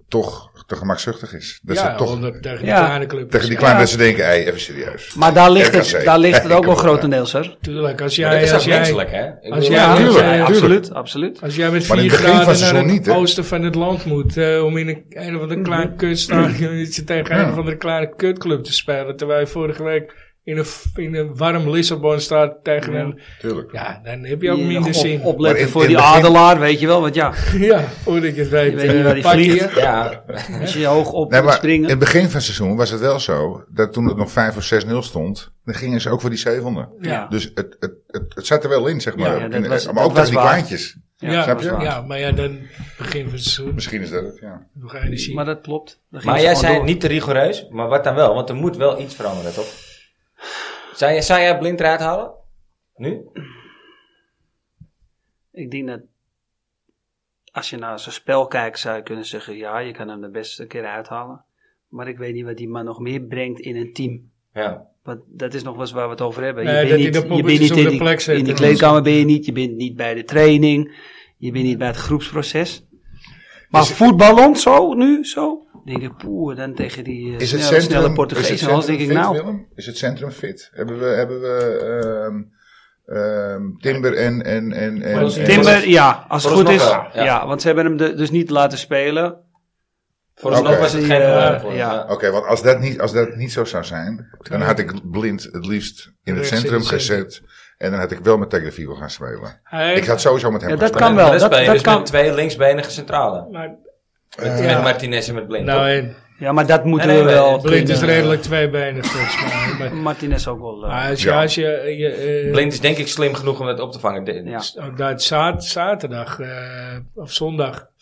Speaker 4: toch te gemakzuchtig is. Dat ze
Speaker 2: ja,
Speaker 4: toch eh,
Speaker 2: omdat tegen
Speaker 3: Ja.
Speaker 2: die kleine club.
Speaker 4: tegen die
Speaker 2: Ja,
Speaker 4: kleine mensen denken, hey, even serieus.
Speaker 3: Maar daar ligt het,
Speaker 4: RKC.
Speaker 3: daar ligt het
Speaker 4: Ja,
Speaker 3: ook wel
Speaker 4: kom op,
Speaker 3: grotendeels, hoor.
Speaker 2: Tuurlijk, als
Speaker 1: Maar dat
Speaker 2: jij,
Speaker 1: is
Speaker 2: als
Speaker 1: ook
Speaker 2: jij,
Speaker 1: menselijk, hè? Ik
Speaker 2: als
Speaker 1: bedoel,
Speaker 2: jij,
Speaker 1: ja,
Speaker 2: als
Speaker 4: tuurlijk.
Speaker 2: jij,
Speaker 4: Ja,
Speaker 3: absoluut, absoluut.
Speaker 2: als jij met
Speaker 4: Maar in
Speaker 2: 4
Speaker 4: het begin van het
Speaker 2: graden naar
Speaker 4: seizoen
Speaker 2: het
Speaker 4: niet, hè? Mhm.
Speaker 2: oosten van het land moet, eh, om in een, een of andere klein kutstadion iets tegen
Speaker 4: Ja.
Speaker 2: een of andere kleine kutclub te spelen, terwijl je vorige week in een, in een warm Lissabon staat tegen een,
Speaker 4: Tuurlijk.
Speaker 2: ja, dan heb je ook
Speaker 3: Op-
Speaker 2: minder zin.
Speaker 4: Maar
Speaker 3: opletten
Speaker 4: in-
Speaker 3: voor
Speaker 4: in
Speaker 3: die
Speaker 4: het begin-
Speaker 3: adelaar, weet je wel. Want ja,
Speaker 2: Ja, voordat je het weet,
Speaker 3: je weet niet
Speaker 2: eh,
Speaker 3: waar die
Speaker 2: pak je-
Speaker 3: vliegt.
Speaker 1: ja,
Speaker 3: Als je hoog op
Speaker 4: Nee,
Speaker 3: moet
Speaker 4: maar in het
Speaker 3: springen.
Speaker 4: begin van het seizoen was het wel zo dat toen het nog 5 of 6-0 stond, dan gingen ze ook voor die zevende.
Speaker 3: Ja.
Speaker 4: Dus het, het, het, het zat er wel in, zeg maar.
Speaker 3: Ja, ja, dat
Speaker 4: In-
Speaker 3: was-
Speaker 4: maar
Speaker 3: dat
Speaker 4: ook
Speaker 3: was
Speaker 4: tegen die
Speaker 3: waar.
Speaker 4: kleintjes.
Speaker 2: Ja,
Speaker 4: snap je?
Speaker 2: ja, maar ja, dan begin van het seizoen
Speaker 4: Misschien is dat het, ja.
Speaker 2: nog energie.
Speaker 3: Maar dat klopt. Dan ging
Speaker 1: maar
Speaker 3: ze
Speaker 1: jij
Speaker 3: gewoon
Speaker 1: zei
Speaker 3: door.
Speaker 1: niet te rigoureus, maar wat dan wel? Want er moet wel iets veranderen, toch? Zou, jij- zou jij blind eruit halen? Nu?
Speaker 3: Ik denk dat als je naar zijn spel kijkt, zou je kunnen zeggen: ja, je kan hem de beste keer uithalen. Maar ik weet niet wat die man nog meer brengt in een team.
Speaker 1: Ja.
Speaker 3: Want dat is nog wel eens waar we het over hebben.
Speaker 2: Nee,
Speaker 3: je
Speaker 2: dat
Speaker 3: bent niet,
Speaker 2: hij de
Speaker 3: je bent
Speaker 2: poppetjes
Speaker 3: niet
Speaker 2: op
Speaker 3: in,
Speaker 2: de
Speaker 3: die,
Speaker 2: plek zet
Speaker 3: in die
Speaker 2: en
Speaker 3: kleedkamer ben je niet. Je bent niet bij de training. Je bent niet bij het groepsproces. Maar voetballend zo, nu zo. denk ik, poeh, dan tegen die eh,
Speaker 4: Is het
Speaker 3: snelle,
Speaker 4: centrum,
Speaker 3: snelle
Speaker 4: is het
Speaker 3: Portugees. En
Speaker 4: centrum
Speaker 3: anders denk ik,
Speaker 4: fit,
Speaker 3: nou,
Speaker 4: Willem? Is het centrum fit? Hebben we, hebben we ehm, ehm, Timber en... en, en, en
Speaker 2: Timber-
Speaker 3: Timber, ja, als het goed is.
Speaker 1: Vooralsnog wel,
Speaker 3: Ja.
Speaker 1: ja.
Speaker 3: want ze hebben hem de- dus niet laten spelen.
Speaker 1: Volgens mij
Speaker 4: Oké.
Speaker 1: was het
Speaker 3: Die,
Speaker 1: geen
Speaker 3: eh,
Speaker 1: probleem voor hem,
Speaker 3: ja.
Speaker 4: Oké, want als dat, niet, als dat niet zo zou zijn, dan had ik blind het liefst in het
Speaker 2: Rechts in
Speaker 4: centrum
Speaker 2: het centrum.
Speaker 4: gezet. En dan had ik wel met Tagliafico gaan spelen.
Speaker 2: Hij-
Speaker 4: Ik had sowieso met hem
Speaker 3: Ja,
Speaker 4: gaan
Speaker 3: dat
Speaker 4: spelen.
Speaker 3: kan
Speaker 1: Maar
Speaker 3: wel.
Speaker 1: dan
Speaker 3: Dat,
Speaker 1: speel je
Speaker 3: dat
Speaker 1: dus met
Speaker 3: kan.
Speaker 1: twee linksbenige centralen.
Speaker 2: maar,
Speaker 1: Met,
Speaker 2: ja.
Speaker 1: met Martinez en met Blind.
Speaker 2: nou,
Speaker 1: toch?
Speaker 2: en
Speaker 3: Ja, maar dat moeten
Speaker 1: Nee, nee,
Speaker 3: we
Speaker 1: nee,
Speaker 3: wel.
Speaker 2: Blind is
Speaker 3: kunnen.
Speaker 4: eh,
Speaker 2: redelijk tweebenen volgens mij.
Speaker 4: dus-
Speaker 2: Maar,
Speaker 3: Martinez ook wel. eh,
Speaker 2: maar als je,
Speaker 4: Ja.
Speaker 2: als je, je eh,
Speaker 1: Blind is denk ik slim genoeg om dat op te vangen. De-
Speaker 3: ja.
Speaker 2: ook dat za- Oh, zaterdag eh, of zondag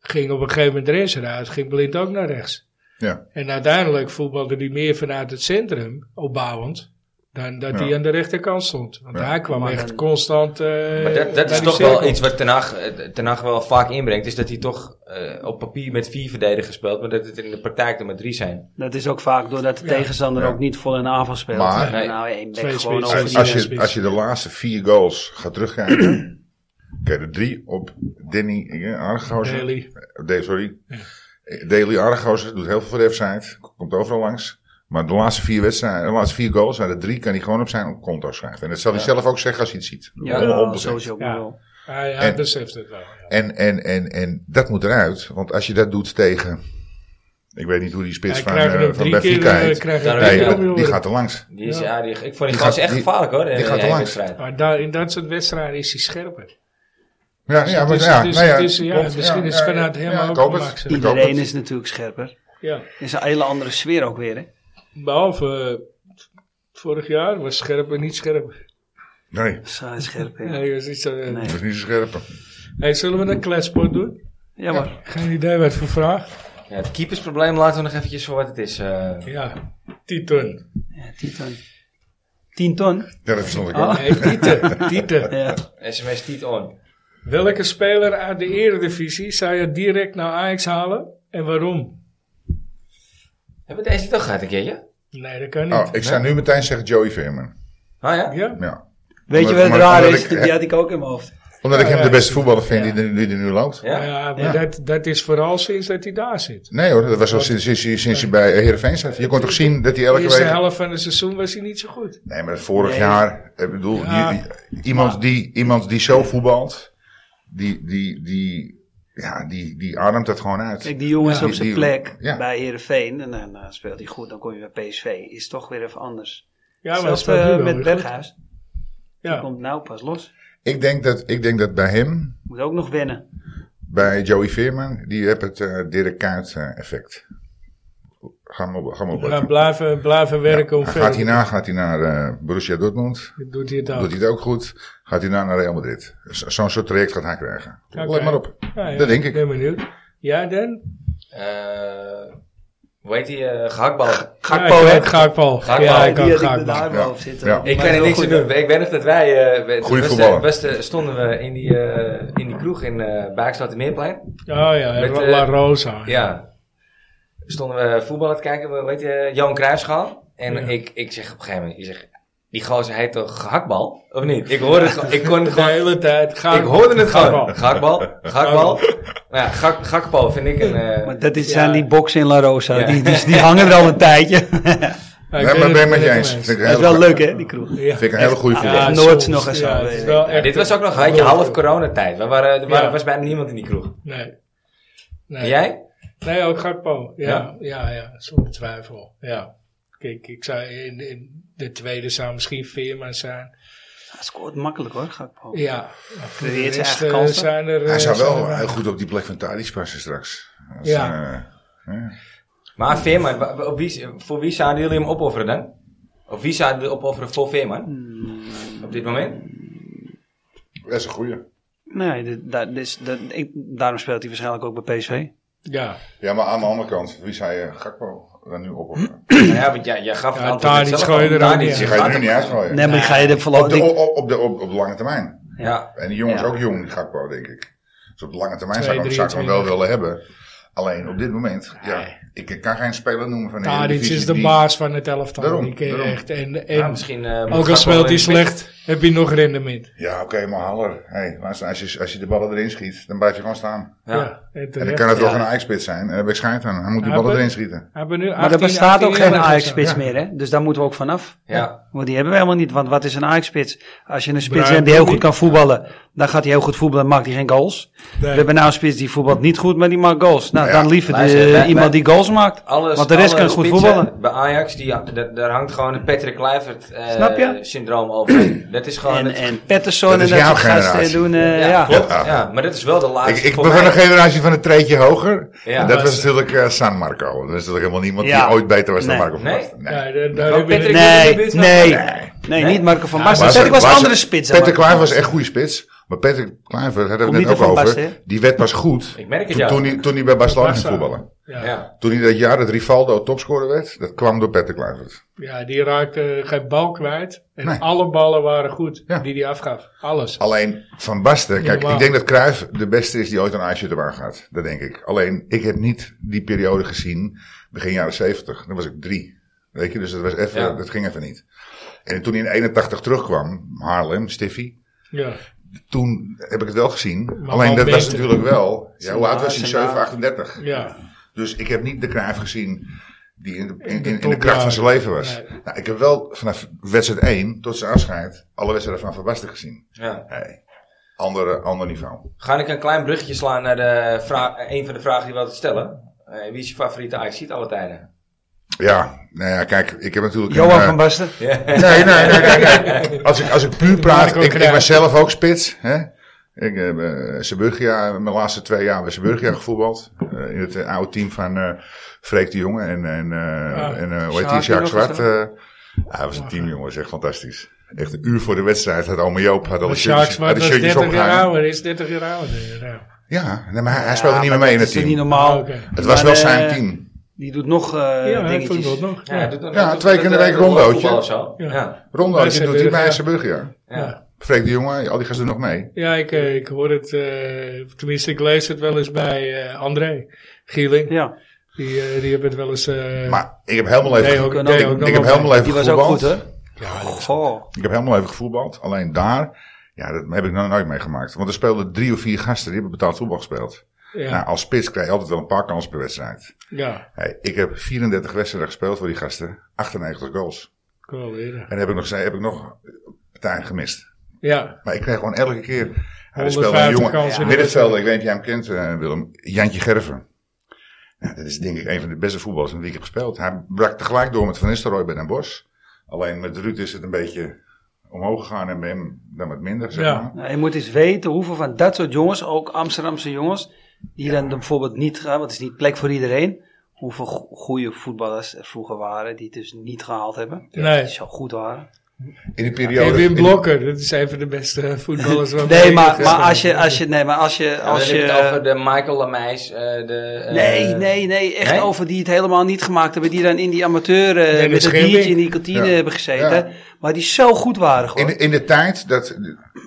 Speaker 2: ging op een gegeven moment rechts eruit, ging Blind ook naar rechts.
Speaker 4: Ja.
Speaker 2: En uiteindelijk voetbalde hij meer vanuit het centrum, opbouwend, dan dat
Speaker 4: Ja.
Speaker 2: hij aan de rechterkant stond. Want
Speaker 4: Ja.
Speaker 2: hij kwam
Speaker 3: Maar
Speaker 2: echt
Speaker 3: dan-
Speaker 2: constant. eh,
Speaker 1: Maar dat,
Speaker 2: naar
Speaker 1: dat is
Speaker 2: die
Speaker 1: toch
Speaker 2: cirkel.
Speaker 1: wel iets wat Ten Hag, eh, Ten Hag wel vaak inbrengt. Is dat hij toch eh, op papier met vier verdedigers speelt. Maar dat het in de praktijk er maar drie zijn.
Speaker 3: Dat is ook vaak doordat de tegenstander
Speaker 4: Ja.
Speaker 3: ook niet vol in de aanval speelt.
Speaker 4: Maar-
Speaker 3: Ja, nou, één bek
Speaker 2: Twee
Speaker 3: gewoon
Speaker 2: spitsen.
Speaker 3: over
Speaker 4: Als,
Speaker 3: die...
Speaker 4: als, je, als je de laatste vier goals gaat terugkijken, kun je er drie op Danny eh, Argouzer.
Speaker 2: Daly.
Speaker 4: Daly, Oh, sorry. Eh, Daily Argouzer doet heel veel voor de F-side, komt overal langs. Maar de laatste vier wedstrijden, de laatste vier goals, uit de drie kan hij gewoon op zijn konto schrijven. En dat zal hij zelf ook zeggen als hij het ziet.
Speaker 3: Ja,
Speaker 4: Om-
Speaker 3: ja,
Speaker 4: onbezet.
Speaker 3: sowieso ook
Speaker 2: Ja.
Speaker 3: wel.
Speaker 2: Hij, hij
Speaker 4: En-
Speaker 2: beseft het wel. ja.
Speaker 4: En, en, en, en dat moet eruit, want als je dat doet tegen, ik weet niet hoe die spits
Speaker 2: Hij
Speaker 4: van,
Speaker 2: krijgt er
Speaker 4: eh,
Speaker 2: ook
Speaker 4: van
Speaker 2: drie keer.
Speaker 4: Benfica
Speaker 2: eh,
Speaker 4: heet.
Speaker 2: krijgt er
Speaker 1: Daar-
Speaker 2: drie
Speaker 4: Nee,
Speaker 2: keer
Speaker 1: ja,
Speaker 4: maar
Speaker 2: op, joh.
Speaker 4: die gaat er langs.
Speaker 1: Die is, ja. die, ik vond die,
Speaker 4: Die
Speaker 1: gast
Speaker 4: gaat-
Speaker 1: echt
Speaker 4: die-
Speaker 1: gevaarlijk hoor. in-
Speaker 4: die gaat
Speaker 1: in
Speaker 4: er
Speaker 1: één
Speaker 4: langs.
Speaker 1: wedstrijd.
Speaker 2: Maar daar, in dat soort wedstrijden is hij scherper.
Speaker 4: Ja, ja, maar
Speaker 2: het is-
Speaker 4: ja,
Speaker 2: het is-
Speaker 4: nou ja,
Speaker 2: het is- ja,
Speaker 4: klopt,
Speaker 2: misschien is het vanuit hem ook
Speaker 4: ik hoop het.
Speaker 2: relaxed.
Speaker 4: Ik hoop
Speaker 3: Iedereen
Speaker 4: het.
Speaker 3: is natuurlijk scherper.
Speaker 2: Ja.
Speaker 3: Is een hele andere sfeer ook weer, hè?
Speaker 2: Behalve eh, vorig jaar was scherp en niet scherp.
Speaker 4: Nee,
Speaker 3: Saai scherp,
Speaker 2: Ja,
Speaker 3: ja.
Speaker 2: hij was niet zo, eh.
Speaker 3: Nee.
Speaker 4: dat is niet zo scherp.
Speaker 2: Hey, zullen we een kletspot doen?
Speaker 3: Jammer.
Speaker 2: Geen idee wat voor vraag.
Speaker 1: Ja, het keepersprobleem laten we nog eventjes voor wat het is. eh.
Speaker 2: Ja, Tieten.
Speaker 3: Ja, 10 ton. 10 ton?
Speaker 4: Ja, dat verstond ik
Speaker 3: Ah.
Speaker 4: ook.
Speaker 2: Nee, Tieten. Tieten.
Speaker 3: Ja.
Speaker 1: SMS niet on.
Speaker 2: Welke speler uit de eredivisie zou je direct naar Ajax halen en waarom?
Speaker 1: Hebben we deze niet al gehad een keertje?
Speaker 2: Nee, dat kan niet.
Speaker 4: Oh, ik zou nu meteen zeggen Joey Veerman.
Speaker 1: Ah ja?
Speaker 2: Ja?
Speaker 4: Ja.
Speaker 3: Weet je
Speaker 4: Omdat-
Speaker 3: wat het
Speaker 4: maar-
Speaker 3: raar
Speaker 4: omdat
Speaker 3: is?
Speaker 4: ik-
Speaker 3: Die had ik ook in mijn hoofd.
Speaker 4: Omdat ik
Speaker 2: Ja,
Speaker 4: hem de
Speaker 2: ja,
Speaker 4: beste voetballer vind die, er- die er nu loopt.
Speaker 1: Ja.
Speaker 2: Ja, maar Dat, dat is vooral sinds dat hij daar zit.
Speaker 4: Nee hoor, dat was al sinds, sinds, hij- sinds hij bij Heerenveen zat. Je kon toch zien dat hij
Speaker 2: De
Speaker 4: elke
Speaker 2: eerste
Speaker 4: week...
Speaker 2: helft van het seizoen was hij niet zo goed.
Speaker 4: Nee, maar vorig
Speaker 3: Nee.
Speaker 4: jaar... Ik bedoel,
Speaker 2: Ja.
Speaker 4: je- je- iemand, die, iemand die zo voetbalt, die, die, die, ja, die, die ademt het gewoon uit.
Speaker 3: Kijk, die jongen is
Speaker 4: Ja.
Speaker 3: op zijn
Speaker 4: Die-
Speaker 3: plek
Speaker 4: ja.
Speaker 3: bij Heerenveen. En dan eh, speelt hij goed, dan kom je bij PSV. Is toch weer even anders.
Speaker 2: Ja, maar
Speaker 3: Zelfs
Speaker 2: dat speelt nu
Speaker 3: eh,
Speaker 2: wel
Speaker 3: met
Speaker 2: weer
Speaker 3: Berghuis.
Speaker 2: goed.
Speaker 3: Die
Speaker 2: Ja.
Speaker 3: komt nou pas los.
Speaker 4: Ik denk dat, ik denk dat bij hem,
Speaker 3: Moet ook nog wennen.
Speaker 4: bij Joey Veerman, die hebt het eh Dirk Kuyt eh, effect. Ga maar, op- ga maar op.
Speaker 2: We gaan blijven, blijven werken om verder
Speaker 4: Gaat hij na, gaat hij naar eh, Borussia Dortmund.
Speaker 2: Dat doet hij het ook.
Speaker 4: Doet hij het ook goed? Gaat hij nou naar Real Madrid? Zo- Zo'n soort traject gaat hij krijgen.
Speaker 2: Oké.
Speaker 4: Let maar op.
Speaker 2: Ja, ja,
Speaker 4: Dat denk ik.
Speaker 2: ben benieuwd. Ja, Dan?
Speaker 1: Eh, hoe heet die? eh gehaktbal.
Speaker 3: Gakpo,
Speaker 2: ja,
Speaker 3: hè?
Speaker 2: ik ook Gakpo.
Speaker 1: Gakpo.
Speaker 2: Ja, ik
Speaker 3: die
Speaker 2: ook
Speaker 3: had ik er daar
Speaker 2: Gakpo.
Speaker 3: in mijn hoofd zitten.
Speaker 4: Ja.
Speaker 3: Maar
Speaker 1: Ik kan er
Speaker 3: heel
Speaker 1: niks aan
Speaker 3: goed.
Speaker 1: doen. Ik weet nog dat wij... eh we-
Speaker 4: Goeie
Speaker 1: we-
Speaker 4: voetballer.
Speaker 1: we- we- stonden we in die, eh, in die kroeg in eh Baakstad en Meerplein.
Speaker 2: Oh ja,
Speaker 1: Met,
Speaker 2: La
Speaker 1: eh,
Speaker 2: Rosa.
Speaker 1: Ja. Stonden we voetbal aan het kijken. Weet je, eh, Johan Cruijffschaal. En
Speaker 2: Ja.
Speaker 1: ik, ik zeg op een gegeven moment... Ik zeg, Die gozer heet toch gehaktbal? Of niet? Ik hoorde het, gewoon- ik kon het
Speaker 2: De
Speaker 1: gewoon
Speaker 2: hele tijd. Ga
Speaker 1: ik hoorde het
Speaker 2: Gakbal.
Speaker 1: gewoon. Gakbal. Gakbal. Maar ja, Gak, Gakpo vind ik een... eh,
Speaker 3: Maar dat is,
Speaker 2: Ja.
Speaker 3: zijn die boksen in La Rosa.
Speaker 1: Ja.
Speaker 3: Die, die, die hangen er al een tijdje.
Speaker 2: Ja,
Speaker 4: Nee, maar
Speaker 2: weet
Speaker 4: ben ik
Speaker 2: het,
Speaker 4: met je
Speaker 2: het
Speaker 4: eens.
Speaker 2: mee
Speaker 4: Vind ik een
Speaker 3: dat is
Speaker 4: hele
Speaker 3: wel
Speaker 4: goe-
Speaker 3: leuk, hè, die kroeg.
Speaker 2: Ja.
Speaker 4: Vind ik een hele goede
Speaker 3: Ja,
Speaker 4: voetbal.
Speaker 3: het
Speaker 2: soms,
Speaker 3: Noords nog eens zo,
Speaker 2: het is
Speaker 3: eh,
Speaker 2: wel
Speaker 3: ja.
Speaker 2: echt-
Speaker 1: dit was ook nog een beetje
Speaker 2: Ja.
Speaker 1: half coronatijd. We waren, er waren-
Speaker 2: Ja.
Speaker 1: was bijna niemand in die kroeg.
Speaker 2: Nee.
Speaker 1: En
Speaker 2: nee.
Speaker 1: jij?
Speaker 2: Nee, ook Gakpo. Ja,
Speaker 1: Ja?
Speaker 2: ja, ja, zonder twijfel. Ja. Kijk, ik zou in, in de tweede zou misschien Veerman zijn.
Speaker 3: Hij scoort makkelijk hoor, Gakpo.
Speaker 2: Ja. Maar voor de
Speaker 3: Creëert zijn
Speaker 2: rest,
Speaker 3: eigen
Speaker 2: eh,
Speaker 3: kansen.
Speaker 2: zijn er...
Speaker 4: Hij
Speaker 2: eh,
Speaker 4: zou
Speaker 2: zijn
Speaker 4: wel
Speaker 2: er-
Speaker 4: heel goed op die plek van Tadic passen straks. Als,
Speaker 2: Ja.
Speaker 4: eh,
Speaker 1: Maar Veerman, wa- wa- op wie, voor wie zouden jullie hem opofferen dan? Of wie zouden jullie opofferen voor Veerman?
Speaker 3: Hmm.
Speaker 1: Op dit moment?
Speaker 4: dat is eh, een goeie.
Speaker 3: Nee, dit- daar- dit is- dat- ik- daarom speelt hij waarschijnlijk ook bij PSV.
Speaker 2: Ja.
Speaker 4: Ja, maar aan de andere kant, wie zei je eh, Gakpo dan nu
Speaker 3: Hm?
Speaker 4: op?
Speaker 1: Nou ja, want jij, jij gaf het
Speaker 2: Ja,
Speaker 1: antwoord
Speaker 2: Tadic
Speaker 1: zelf
Speaker 2: gooi je
Speaker 1: al.
Speaker 2: er ook
Speaker 1: Tadic,
Speaker 2: niet
Speaker 4: Die
Speaker 2: in.
Speaker 4: ga je
Speaker 1: gaat
Speaker 4: nu
Speaker 1: hem-
Speaker 4: niet uitgooien.
Speaker 3: Nee, maar ik ga je er
Speaker 4: op, de,
Speaker 3: voorlopig...
Speaker 4: op, op, de, op, op de lange termijn.
Speaker 1: Ja.
Speaker 4: En die jongen is
Speaker 3: Ja.
Speaker 4: ook jong, die Gakpo, denk ik. Dus op de lange termijn zou ik hem-
Speaker 2: 2,
Speaker 4: zou ik hem wel
Speaker 2: 23.
Speaker 4: willen hebben. Alleen op dit moment, ja, ik kan geen speler noemen van de
Speaker 2: Tadic
Speaker 4: Eredivisie
Speaker 2: is de
Speaker 4: die-
Speaker 2: baas van het elftal.
Speaker 4: Daarom,
Speaker 2: die ken je
Speaker 4: daarom.
Speaker 2: echt. En, en
Speaker 1: Ja, misschien, eh, moet
Speaker 2: ook
Speaker 1: Gakpo
Speaker 2: al speelt hij
Speaker 1: in-
Speaker 2: slecht, heb je nog rendement.
Speaker 4: Ja, oké, maar Haller. Hey, luister, als, je, als je de ballen erin schiet, dan blijf je gewoon staan.
Speaker 1: Ja.
Speaker 4: En dan
Speaker 2: terecht.
Speaker 4: kan het wel
Speaker 3: Ja.
Speaker 4: een ajax zijn. En daar heb ik schijt aan. Hij moet die
Speaker 2: Hij
Speaker 4: ballen
Speaker 2: be-
Speaker 4: erin schieten.
Speaker 2: Hebben nu
Speaker 3: Maar er
Speaker 2: 18,
Speaker 3: bestaat ook
Speaker 2: 18,
Speaker 3: geen
Speaker 2: 21 of zo.
Speaker 3: Ajax-spits meer, hè? Dus daar moeten we ook vanaf.
Speaker 1: Ja.
Speaker 3: Want die hebben we helemaal niet. Want wat is een Ajax-spits? Als je een spits
Speaker 2: Bruin
Speaker 3: hebt die heel
Speaker 2: ook
Speaker 3: goed
Speaker 2: niet.
Speaker 3: kan voetballen, dan gaat hij heel goed voetballen en maakt hij geen goals.
Speaker 2: Nee.
Speaker 3: We hebben nou een spits die voetbalt niet goed, maar die maakt goals. Nou,
Speaker 4: Ja,
Speaker 3: dan liever de-
Speaker 1: luister, wij-
Speaker 3: iemand
Speaker 1: wij-
Speaker 3: die goals maakt.
Speaker 1: Alles,
Speaker 3: want de rest
Speaker 1: alle
Speaker 3: kan goed
Speaker 1: spitsen
Speaker 3: voetballen.
Speaker 1: Bij Ajax, die, ja, daar daar hangt gewoon het Patrick Kluivert eh,
Speaker 3: Snap je?
Speaker 1: syndroom over. Dat is gewoon...
Speaker 3: En,
Speaker 1: het-
Speaker 3: en Pettersson
Speaker 4: Dat
Speaker 3: en
Speaker 4: is
Speaker 3: dat
Speaker 4: jouw
Speaker 3: soort gasten
Speaker 4: generatie.
Speaker 3: doen. eh, ja,
Speaker 1: klopt.
Speaker 4: Ja.
Speaker 1: Ja. maar dat is wel de
Speaker 3: Ah,
Speaker 4: Ik,
Speaker 1: laatste.
Speaker 4: ik
Speaker 1: voor
Speaker 4: ben van
Speaker 1: mij.
Speaker 4: een generatie van een treetje hoger.
Speaker 1: Ja.
Speaker 4: en dat was
Speaker 2: Was-
Speaker 4: natuurlijk eh, San Marco. Dat was natuurlijk helemaal niemand
Speaker 3: Ja.
Speaker 4: die ooit beter was dan
Speaker 3: Nee.
Speaker 4: Marco van
Speaker 1: Nee?
Speaker 4: Basten.
Speaker 2: Ja, daar- daar
Speaker 1: Nou,
Speaker 2: heb je-
Speaker 1: Patrick-
Speaker 3: Nee,
Speaker 1: Wilde in de buurt van-
Speaker 3: nee,
Speaker 4: Nee.
Speaker 3: nee, niet Marco van Basten. Patrick
Speaker 4: Maar
Speaker 3: was een
Speaker 4: Basten-
Speaker 3: andere spits. dan
Speaker 4: Patrick
Speaker 3: Marco
Speaker 4: Kluivert was
Speaker 3: van
Speaker 4: echt goede spits. Maar Patrick Kluivert, daar hebben
Speaker 3: Komt
Speaker 4: we
Speaker 3: niet
Speaker 4: het ook
Speaker 3: van
Speaker 4: over.
Speaker 3: Basten, hè?
Speaker 4: die werd pas goed
Speaker 1: Ik merk het,
Speaker 4: toen,
Speaker 1: ja.
Speaker 4: toen, hij, toen hij bij Barcelona ging
Speaker 2: Barca.
Speaker 4: voetballen.
Speaker 2: Ja.
Speaker 1: Ja.
Speaker 4: Toen hij dat jaar dat Rivaldo topscorer werd, dat kwam door Patrick Kluivert.
Speaker 2: ja, die raakte geen bal kwijt. En
Speaker 4: Nee.
Speaker 2: alle ballen waren goed
Speaker 4: Ja.
Speaker 2: die hij afgaf. Alles.
Speaker 4: Alleen Van Basten, kijk,
Speaker 2: Normaal.
Speaker 4: ik denk dat Cruijff de beste is die ooit een Ajax erbij gaat. Dat denk ik. Alleen, ik heb niet die periode gezien, begin jaren 70. Dan was ik drie. Weet je, dus dat, was even,
Speaker 1: Ja.
Speaker 4: dat ging even niet. En toen hij in 81 terugkwam, Haarlem, Stiffy.
Speaker 2: Ja.
Speaker 4: Toen heb ik het wel gezien.
Speaker 2: Maar
Speaker 4: Alleen
Speaker 2: wel
Speaker 4: dat was
Speaker 2: beter.
Speaker 4: natuurlijk wel. Ja, hoe oud
Speaker 1: Sinatra,
Speaker 4: was hij? 7, 38.
Speaker 2: ja.
Speaker 4: Dus ik heb niet de Cruijff gezien die in de, in,
Speaker 2: de
Speaker 4: in, in de
Speaker 2: topjaren.
Speaker 4: kracht van zijn leven was.
Speaker 2: Nee.
Speaker 4: Nou, ik heb wel vanaf wedstrijd 1 tot zijn afscheid alle wedstrijden van Van Basten gezien.
Speaker 1: Ja.
Speaker 4: Hey, andere, ander niveau.
Speaker 1: Ga ik een klein bruggetje slaan naar de vraag, een van de vragen die we hadden stellen. Eh, wie is je favoriete ajax ziet alle tijden?
Speaker 4: Ja, nou ja, kijk, ik heb natuurlijk...
Speaker 3: Basten. Johan
Speaker 4: een,
Speaker 3: van
Speaker 4: eh,
Speaker 3: Basten.
Speaker 4: Nee, nee, nee, nee, nee. Als, ik, als ik puur praat,
Speaker 2: Marco
Speaker 4: ik, ik ben
Speaker 2: Cruijff.
Speaker 4: zelf ook spits. Hè? Ik heb eh Seburgia, mijn laatste twee jaar bij Seburgia gevoetbald. Eh, in het eh, oude team van eh Freek de Jonge en, en, eh en eh, hoe heet die,
Speaker 3: Ah, Sjaak
Speaker 4: Jacques
Speaker 3: nog
Speaker 4: Zwart.
Speaker 3: eens, hè?
Speaker 4: eh. Ah, hij was een team, jongens, echt fantastisch. Echt een uur voor de wedstrijd had oma Joop had al
Speaker 2: Maar
Speaker 4: de
Speaker 2: Sjaaks
Speaker 4: shirtjes, had
Speaker 2: was
Speaker 4: de shirtjes
Speaker 2: 30 jaar
Speaker 4: opgehangen.
Speaker 2: ouder. Is 30 jaar ouder. Ja.
Speaker 4: Ja, nee, maar hij, hij speelde niet
Speaker 3: Ja,
Speaker 4: meer mee in
Speaker 3: dat
Speaker 4: het
Speaker 3: is toch niet
Speaker 4: team.
Speaker 3: normaal.
Speaker 2: Oké.
Speaker 4: Het was
Speaker 3: Maar,
Speaker 4: wel
Speaker 3: eh,
Speaker 4: zijn team.
Speaker 3: Die doet nog eh,
Speaker 2: Ja, hij
Speaker 3: dingetjes.
Speaker 2: voetbalt nog.
Speaker 1: Ja,
Speaker 2: Ja.
Speaker 1: doet-
Speaker 4: Ja,
Speaker 1: doet-
Speaker 4: twee keer in de
Speaker 1: doet-
Speaker 4: week
Speaker 1: doet- doet-
Speaker 4: rondootje.
Speaker 1: voetbal of zo.
Speaker 2: Ja.
Speaker 1: Ja.
Speaker 4: Rondo,
Speaker 2: Bij
Speaker 4: die doet hij bij
Speaker 2: Zeeburgia.
Speaker 4: Seburgia.
Speaker 1: Ja.
Speaker 4: Freek de Jonge, al die gasten doen nog mee.
Speaker 2: Ja, ik, eh, ik hoor het, eh, tenminste ik lees het wel eens bij eh, André Gieling.
Speaker 3: Ja,
Speaker 2: Die, eh, die hebben het wel eens... eh,
Speaker 4: Maar ik heb helemaal even...
Speaker 2: deed ook-
Speaker 3: kunnen
Speaker 2: deed
Speaker 3: ook-
Speaker 2: ook nog
Speaker 4: ik heb
Speaker 2: wel
Speaker 4: helemaal even
Speaker 3: die was ook
Speaker 4: gevoetbald.
Speaker 3: goed, hè? Goh.
Speaker 4: Ik heb helemaal even gevoetbald. Alleen daar, ja, dat heb ik nog nooit meegemaakt. Want er speelden drie of vier gasten die hebben betaald voetbal gespeeld.
Speaker 2: bij. Ja,
Speaker 4: Nou, als spits krijg je altijd wel een paar kansen per wedstrijd.
Speaker 2: ja,
Speaker 4: Hey, ik heb 34 wedstrijden gespeeld voor die gasten. 98 goals.
Speaker 2: ik wel weer.
Speaker 4: En heb ik nog, heb ik nog partijen gemist.
Speaker 2: Ja,
Speaker 4: Maar ik kreeg gewoon elke keer... Ja, er
Speaker 2: 150
Speaker 4: speelde een jongen,
Speaker 2: kansen.
Speaker 4: middenvelder, ik weet niet of jij hem kent, eh, Willem. Jantje Gerven. Nou, dat is denk ik een van de beste voetballers met wie ik heb gespeeld. Hij brak tegelijk door met Van Nistelrooy bij Den Bosch. Alleen met Ruud is het een beetje omhoog gegaan en bij hem dan wat minder, zeg
Speaker 2: Ja.
Speaker 4: maar.
Speaker 3: Nou, je moet eens weten hoeveel van dat soort jongens, ook Amsterdamse jongens, die dan bijvoorbeeld niet gaan, want het is niet plek voor iedereen. Hoeveel go- goede voetballers er vroeger waren, die het dus niet gehaald hebben.
Speaker 2: Nee.
Speaker 3: Die zo goed waren.
Speaker 4: In de periode...
Speaker 2: Kevin
Speaker 4: in-
Speaker 2: Blokker, dat is een van de beste voetballers. waarmee
Speaker 3: Nee,
Speaker 2: ik
Speaker 3: maar,
Speaker 2: het
Speaker 3: maar
Speaker 2: heb.
Speaker 3: als je, als je, nee, maar als je,
Speaker 1: Als
Speaker 3: als
Speaker 1: je het over
Speaker 3: je...
Speaker 1: de Michael Lameis, eh, de... eh,
Speaker 3: Nee, nee, nee. Echt
Speaker 1: Nee?
Speaker 3: over die het helemaal niet gemaakt hebben. Die dan in die amateur eh,
Speaker 2: Dennis
Speaker 3: met een
Speaker 2: Schilling.
Speaker 3: biertje in die kantine
Speaker 4: Ja.
Speaker 3: hebben gezeten.
Speaker 4: Ja.
Speaker 3: Maar die zo goed waren
Speaker 4: In,
Speaker 3: gewoon.
Speaker 4: de- in de tijd dat...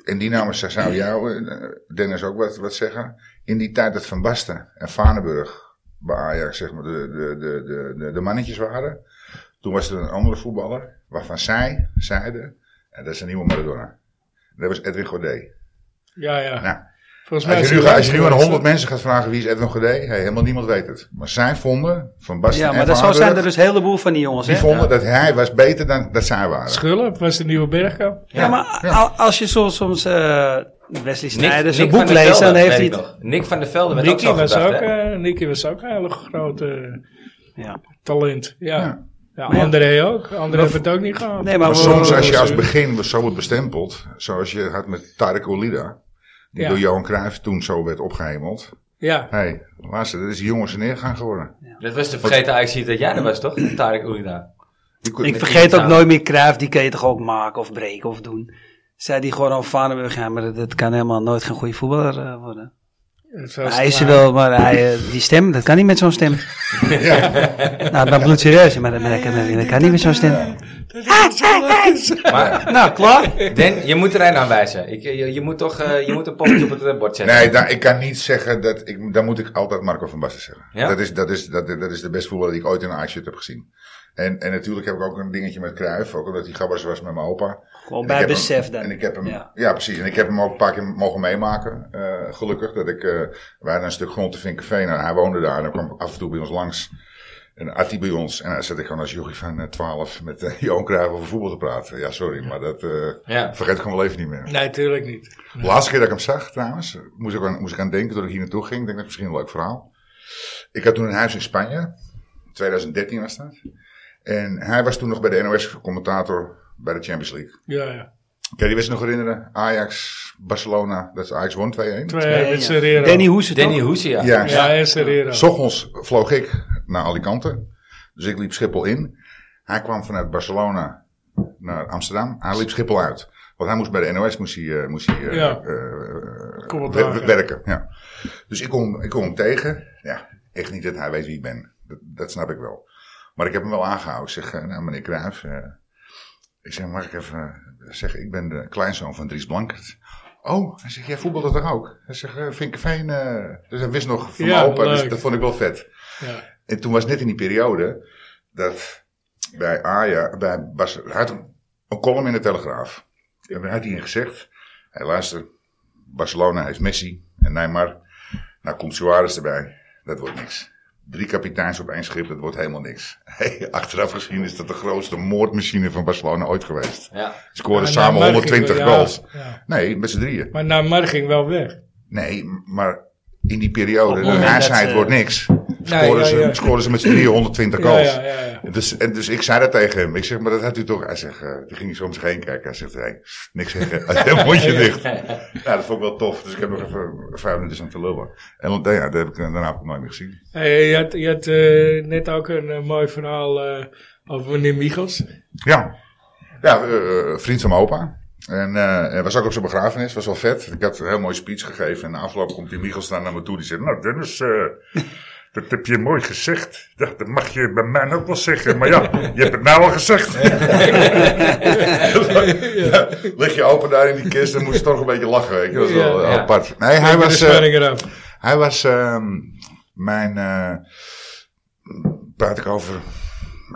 Speaker 4: En die namens zou jou, eh, Dennis, ook wat, wat zeggen. In die tijd dat Van Basten en Vaneburg bij Ajax, zeg maar, de, de, de, de, de, de mannetjes waren. Toen was er een andere voetballer, waarvan zij zeiden, en dat is een nieuwe Maradona. Dat was Edwin Godet.
Speaker 2: Ja, ja.
Speaker 4: Nou,
Speaker 2: Volgens mij
Speaker 4: als
Speaker 2: is
Speaker 4: je nu,
Speaker 2: hij
Speaker 4: als je nu aan
Speaker 2: geweest,
Speaker 4: 100 mensen gaat vragen wie is Edwin Godet, hey, helemaal niemand weet het. Maar zij vonden, van Bas
Speaker 3: Ja,
Speaker 4: en
Speaker 3: maar dat
Speaker 4: van
Speaker 3: zo zijn er dus
Speaker 4: Aardenburg,
Speaker 3: een heleboel van die jongens.
Speaker 4: die
Speaker 3: Hè?
Speaker 4: vonden dat hij was beter dan dat zij
Speaker 2: hè?
Speaker 4: waren.
Speaker 2: eh, Schulp was de nieuwe Bergkamp.
Speaker 3: Ja, maar al- als je soms, soms eh, Wesley
Speaker 1: Nick-
Speaker 3: Sneijder zijn
Speaker 1: Nick van
Speaker 3: boek
Speaker 1: der
Speaker 3: leest, dan
Speaker 1: Velde,
Speaker 3: heeft
Speaker 1: weet
Speaker 3: hij
Speaker 1: ik
Speaker 3: het.
Speaker 1: nog. Nick van der Velde werd
Speaker 2: Nicky
Speaker 1: ook zo
Speaker 2: was,
Speaker 1: gedacht,
Speaker 2: ook,
Speaker 1: hè?
Speaker 2: eh Nicky was ook een hele grote eh,
Speaker 3: Ja.
Speaker 2: talent. Ja.
Speaker 4: Ja.
Speaker 2: ja.
Speaker 3: ja.
Speaker 2: André ook. André heeft het ook niet gehad.
Speaker 3: Nee, maar,
Speaker 4: Maar
Speaker 3: we-
Speaker 4: soms als je
Speaker 2: we-
Speaker 4: als begin zo wordt bestempeld, zoals je had met Tarek Olida, die
Speaker 2: Ja.
Speaker 4: door Johan Cruijff toen zo werd opgehemeld.
Speaker 2: Ja.
Speaker 4: Hé, hey, luister, dat is die jongens neergaan geworden.
Speaker 1: Dat was de vergeten actie dat jij er was, toch? Tarek Oelida.
Speaker 4: Die kon-
Speaker 3: Ik
Speaker 4: die-
Speaker 3: vergeet ook
Speaker 1: samen.
Speaker 3: nooit meer Cruijff, die kan je toch ook maken of breken of doen. Zei die gewoon al Vanenburg, ja, maar dat- dat kan helemaal nooit geen goede voetballer eh, worden.
Speaker 2: Het was
Speaker 3: Hij is er
Speaker 2: klaar.
Speaker 3: wel, maar hij, eh, die stem, dat kan niet met zo'n stem. Nou, dan bloedserieus, maar dat, dat, kan, dat kan niet met zo'n stem.
Speaker 1: Maar,
Speaker 3: Nou, klaar.
Speaker 1: Den, je moet er een aan wijzen. Ik, je, je moet toch eh, je moet een poppetje op het eh, bord zetten.
Speaker 4: Nee, daar, ik kan niet zeggen dat ik. Dan moet ik altijd Marco van Basten zeggen.
Speaker 1: Ja?
Speaker 4: Dat, is, dat, is, dat, dat is de beste voetballer die ik ooit in een ijsje heb gezien. En, en natuurlijk heb ik ook een dingetje met Cruijff, ook omdat hij gabbers was met mijn opa.
Speaker 3: Gewoon
Speaker 4: En
Speaker 3: bij
Speaker 4: ik heb
Speaker 3: besef
Speaker 4: hem-
Speaker 3: dan.
Speaker 4: En ik heb hem, ja.
Speaker 3: Ja.
Speaker 4: precies. En ik heb hem ook een paar keer mogen meemaken. eh, gelukkig dat ik, eh wij hadden een stuk grond te Vinkenveen en hij woonde daar en hij kwam af en toe bij ons langs. En dan at hij bij ons en dan zat ik gewoon als jochie van eh, 12 met eh, Johan Cruijff over voetbal te praten. Ja, sorry, maar dat eh,
Speaker 1: Ja.
Speaker 4: vergeet ik gewoon wel even niet meer.
Speaker 2: Nee, tuurlijk niet.
Speaker 4: De laatste keer dat ik hem zag, trouwens, moest ik aan, moest ik aan denken toen ik hier naartoe ging. Ik denk dat is misschien een leuk verhaal. Ik had toen een huis in Spanje. 2013 was dat. En hij was toen nog bij de NOS commentator bij de Champions League.
Speaker 2: Ja, ja.
Speaker 4: Kan je die wedstrijd nog herinneren? Ajax, Barcelona. Dat is Ajax won 2-1.
Speaker 2: Twee met Serrero.
Speaker 3: Danny Hoese, toch?
Speaker 1: Danny Hoesia.
Speaker 4: Ja.
Speaker 2: Ja, en Serrero.
Speaker 4: S ochtends vloog ik naar Alicante. Dus ik liep Schiphol in. Hij kwam vanuit Barcelona naar Amsterdam. Hij liep Schiphol uit. Want hij moest bij de NOS moest hij, eh, moest hij, eh,
Speaker 2: Ja.
Speaker 4: eh, eh,
Speaker 2: Kom op
Speaker 4: wer-
Speaker 2: dagen.
Speaker 4: werken. Ja. Dus ik kom, ik kom hem tegen. Ja, echt niet dat hij weet wie ik ben. Dat, dat snap ik wel. Maar ik heb hem wel aangehouden. Ik zeg, eh, nou, meneer Cruijff. eh, ik zeg, mag ik even eh, zeggen, ik ben de kleinzoon van Dries Blankert. Oh, hij zegt, jij voetbalde toch ook? Hij zegt, eh, Vinkenveen. eh, dus hij wist nog van
Speaker 2: Ja,
Speaker 4: mijn opa, dus
Speaker 2: leuk.
Speaker 4: dat vond ik wel vet.
Speaker 2: Ja.
Speaker 4: En toen was net in die periode dat bij Aja, bij Bas, hij had een, een column in de Telegraaf. En daar had hij in gezegd, hey, luister, Barcelona heeft Messi en Neymar. Nou komt Suarez erbij, dat wordt niks. Drie kapiteins op één schip, dat wordt helemaal niks. Hey, achteraf gezien is dat de grootste moordmachine van Barcelona ooit geweest.
Speaker 1: Ja.
Speaker 4: Ze scoorden
Speaker 2: Maar
Speaker 4: samen
Speaker 2: Neymar ging
Speaker 4: 120
Speaker 2: wel- ja,
Speaker 4: goals.
Speaker 2: ja.
Speaker 4: Nee, met z'n drieën.
Speaker 2: Maar Namar ging wel weg.
Speaker 4: Nee, maar in die periode,
Speaker 3: het
Speaker 4: dat
Speaker 3: moment
Speaker 4: hij
Speaker 3: dat
Speaker 4: zei het
Speaker 3: ze-
Speaker 4: wordt niks, scoorden,
Speaker 2: eh, ja, ja.
Speaker 4: Ze, scoorden ze met z'n drieën 120
Speaker 2: Ja,
Speaker 4: goals.
Speaker 2: ja, ja, ja.
Speaker 4: Dus, en dus ik zei dat tegen hem. Ik zeg, maar dat had u toch... Hij zegt, eh, toen ging hij soms heen kijken. Hij zegt, hey, niks zeggen. Dan moet je dicht. Nou, dat vond ik wel tof. Dus ik heb nog even vijf minuten staan te lullen. En want, nou ja, dat heb ik, daarna heb ik hem nooit meer gezien.
Speaker 2: Hey, je had, je had eh, net ook een eh, mooi verhaal eh, over meneer Michels.
Speaker 4: Ja. Ja, eh, eh, vriend van mijn opa. En eh, hij was ook op zijn begrafenis, was wel vet. Ik had een heel mooie speech gegeven. En na afloop komt die Michels daar naar me toe. Die zegt, nou Dennis, eh, dat heb je mooi gezegd. Ja, dat mag je bij mij ook wel zeggen. Maar ja, je hebt het nou al gezegd. Ja, lig je open daar in die kist, dan moet je toch een beetje lachen. Weet je. Dat is wel
Speaker 1: Ja. dus
Speaker 4: apart. Nee, hij
Speaker 2: Ik ben de
Speaker 4: was... eh,
Speaker 2: spanning eraf.
Speaker 4: hij was ehm, mijn, eh, praat ik over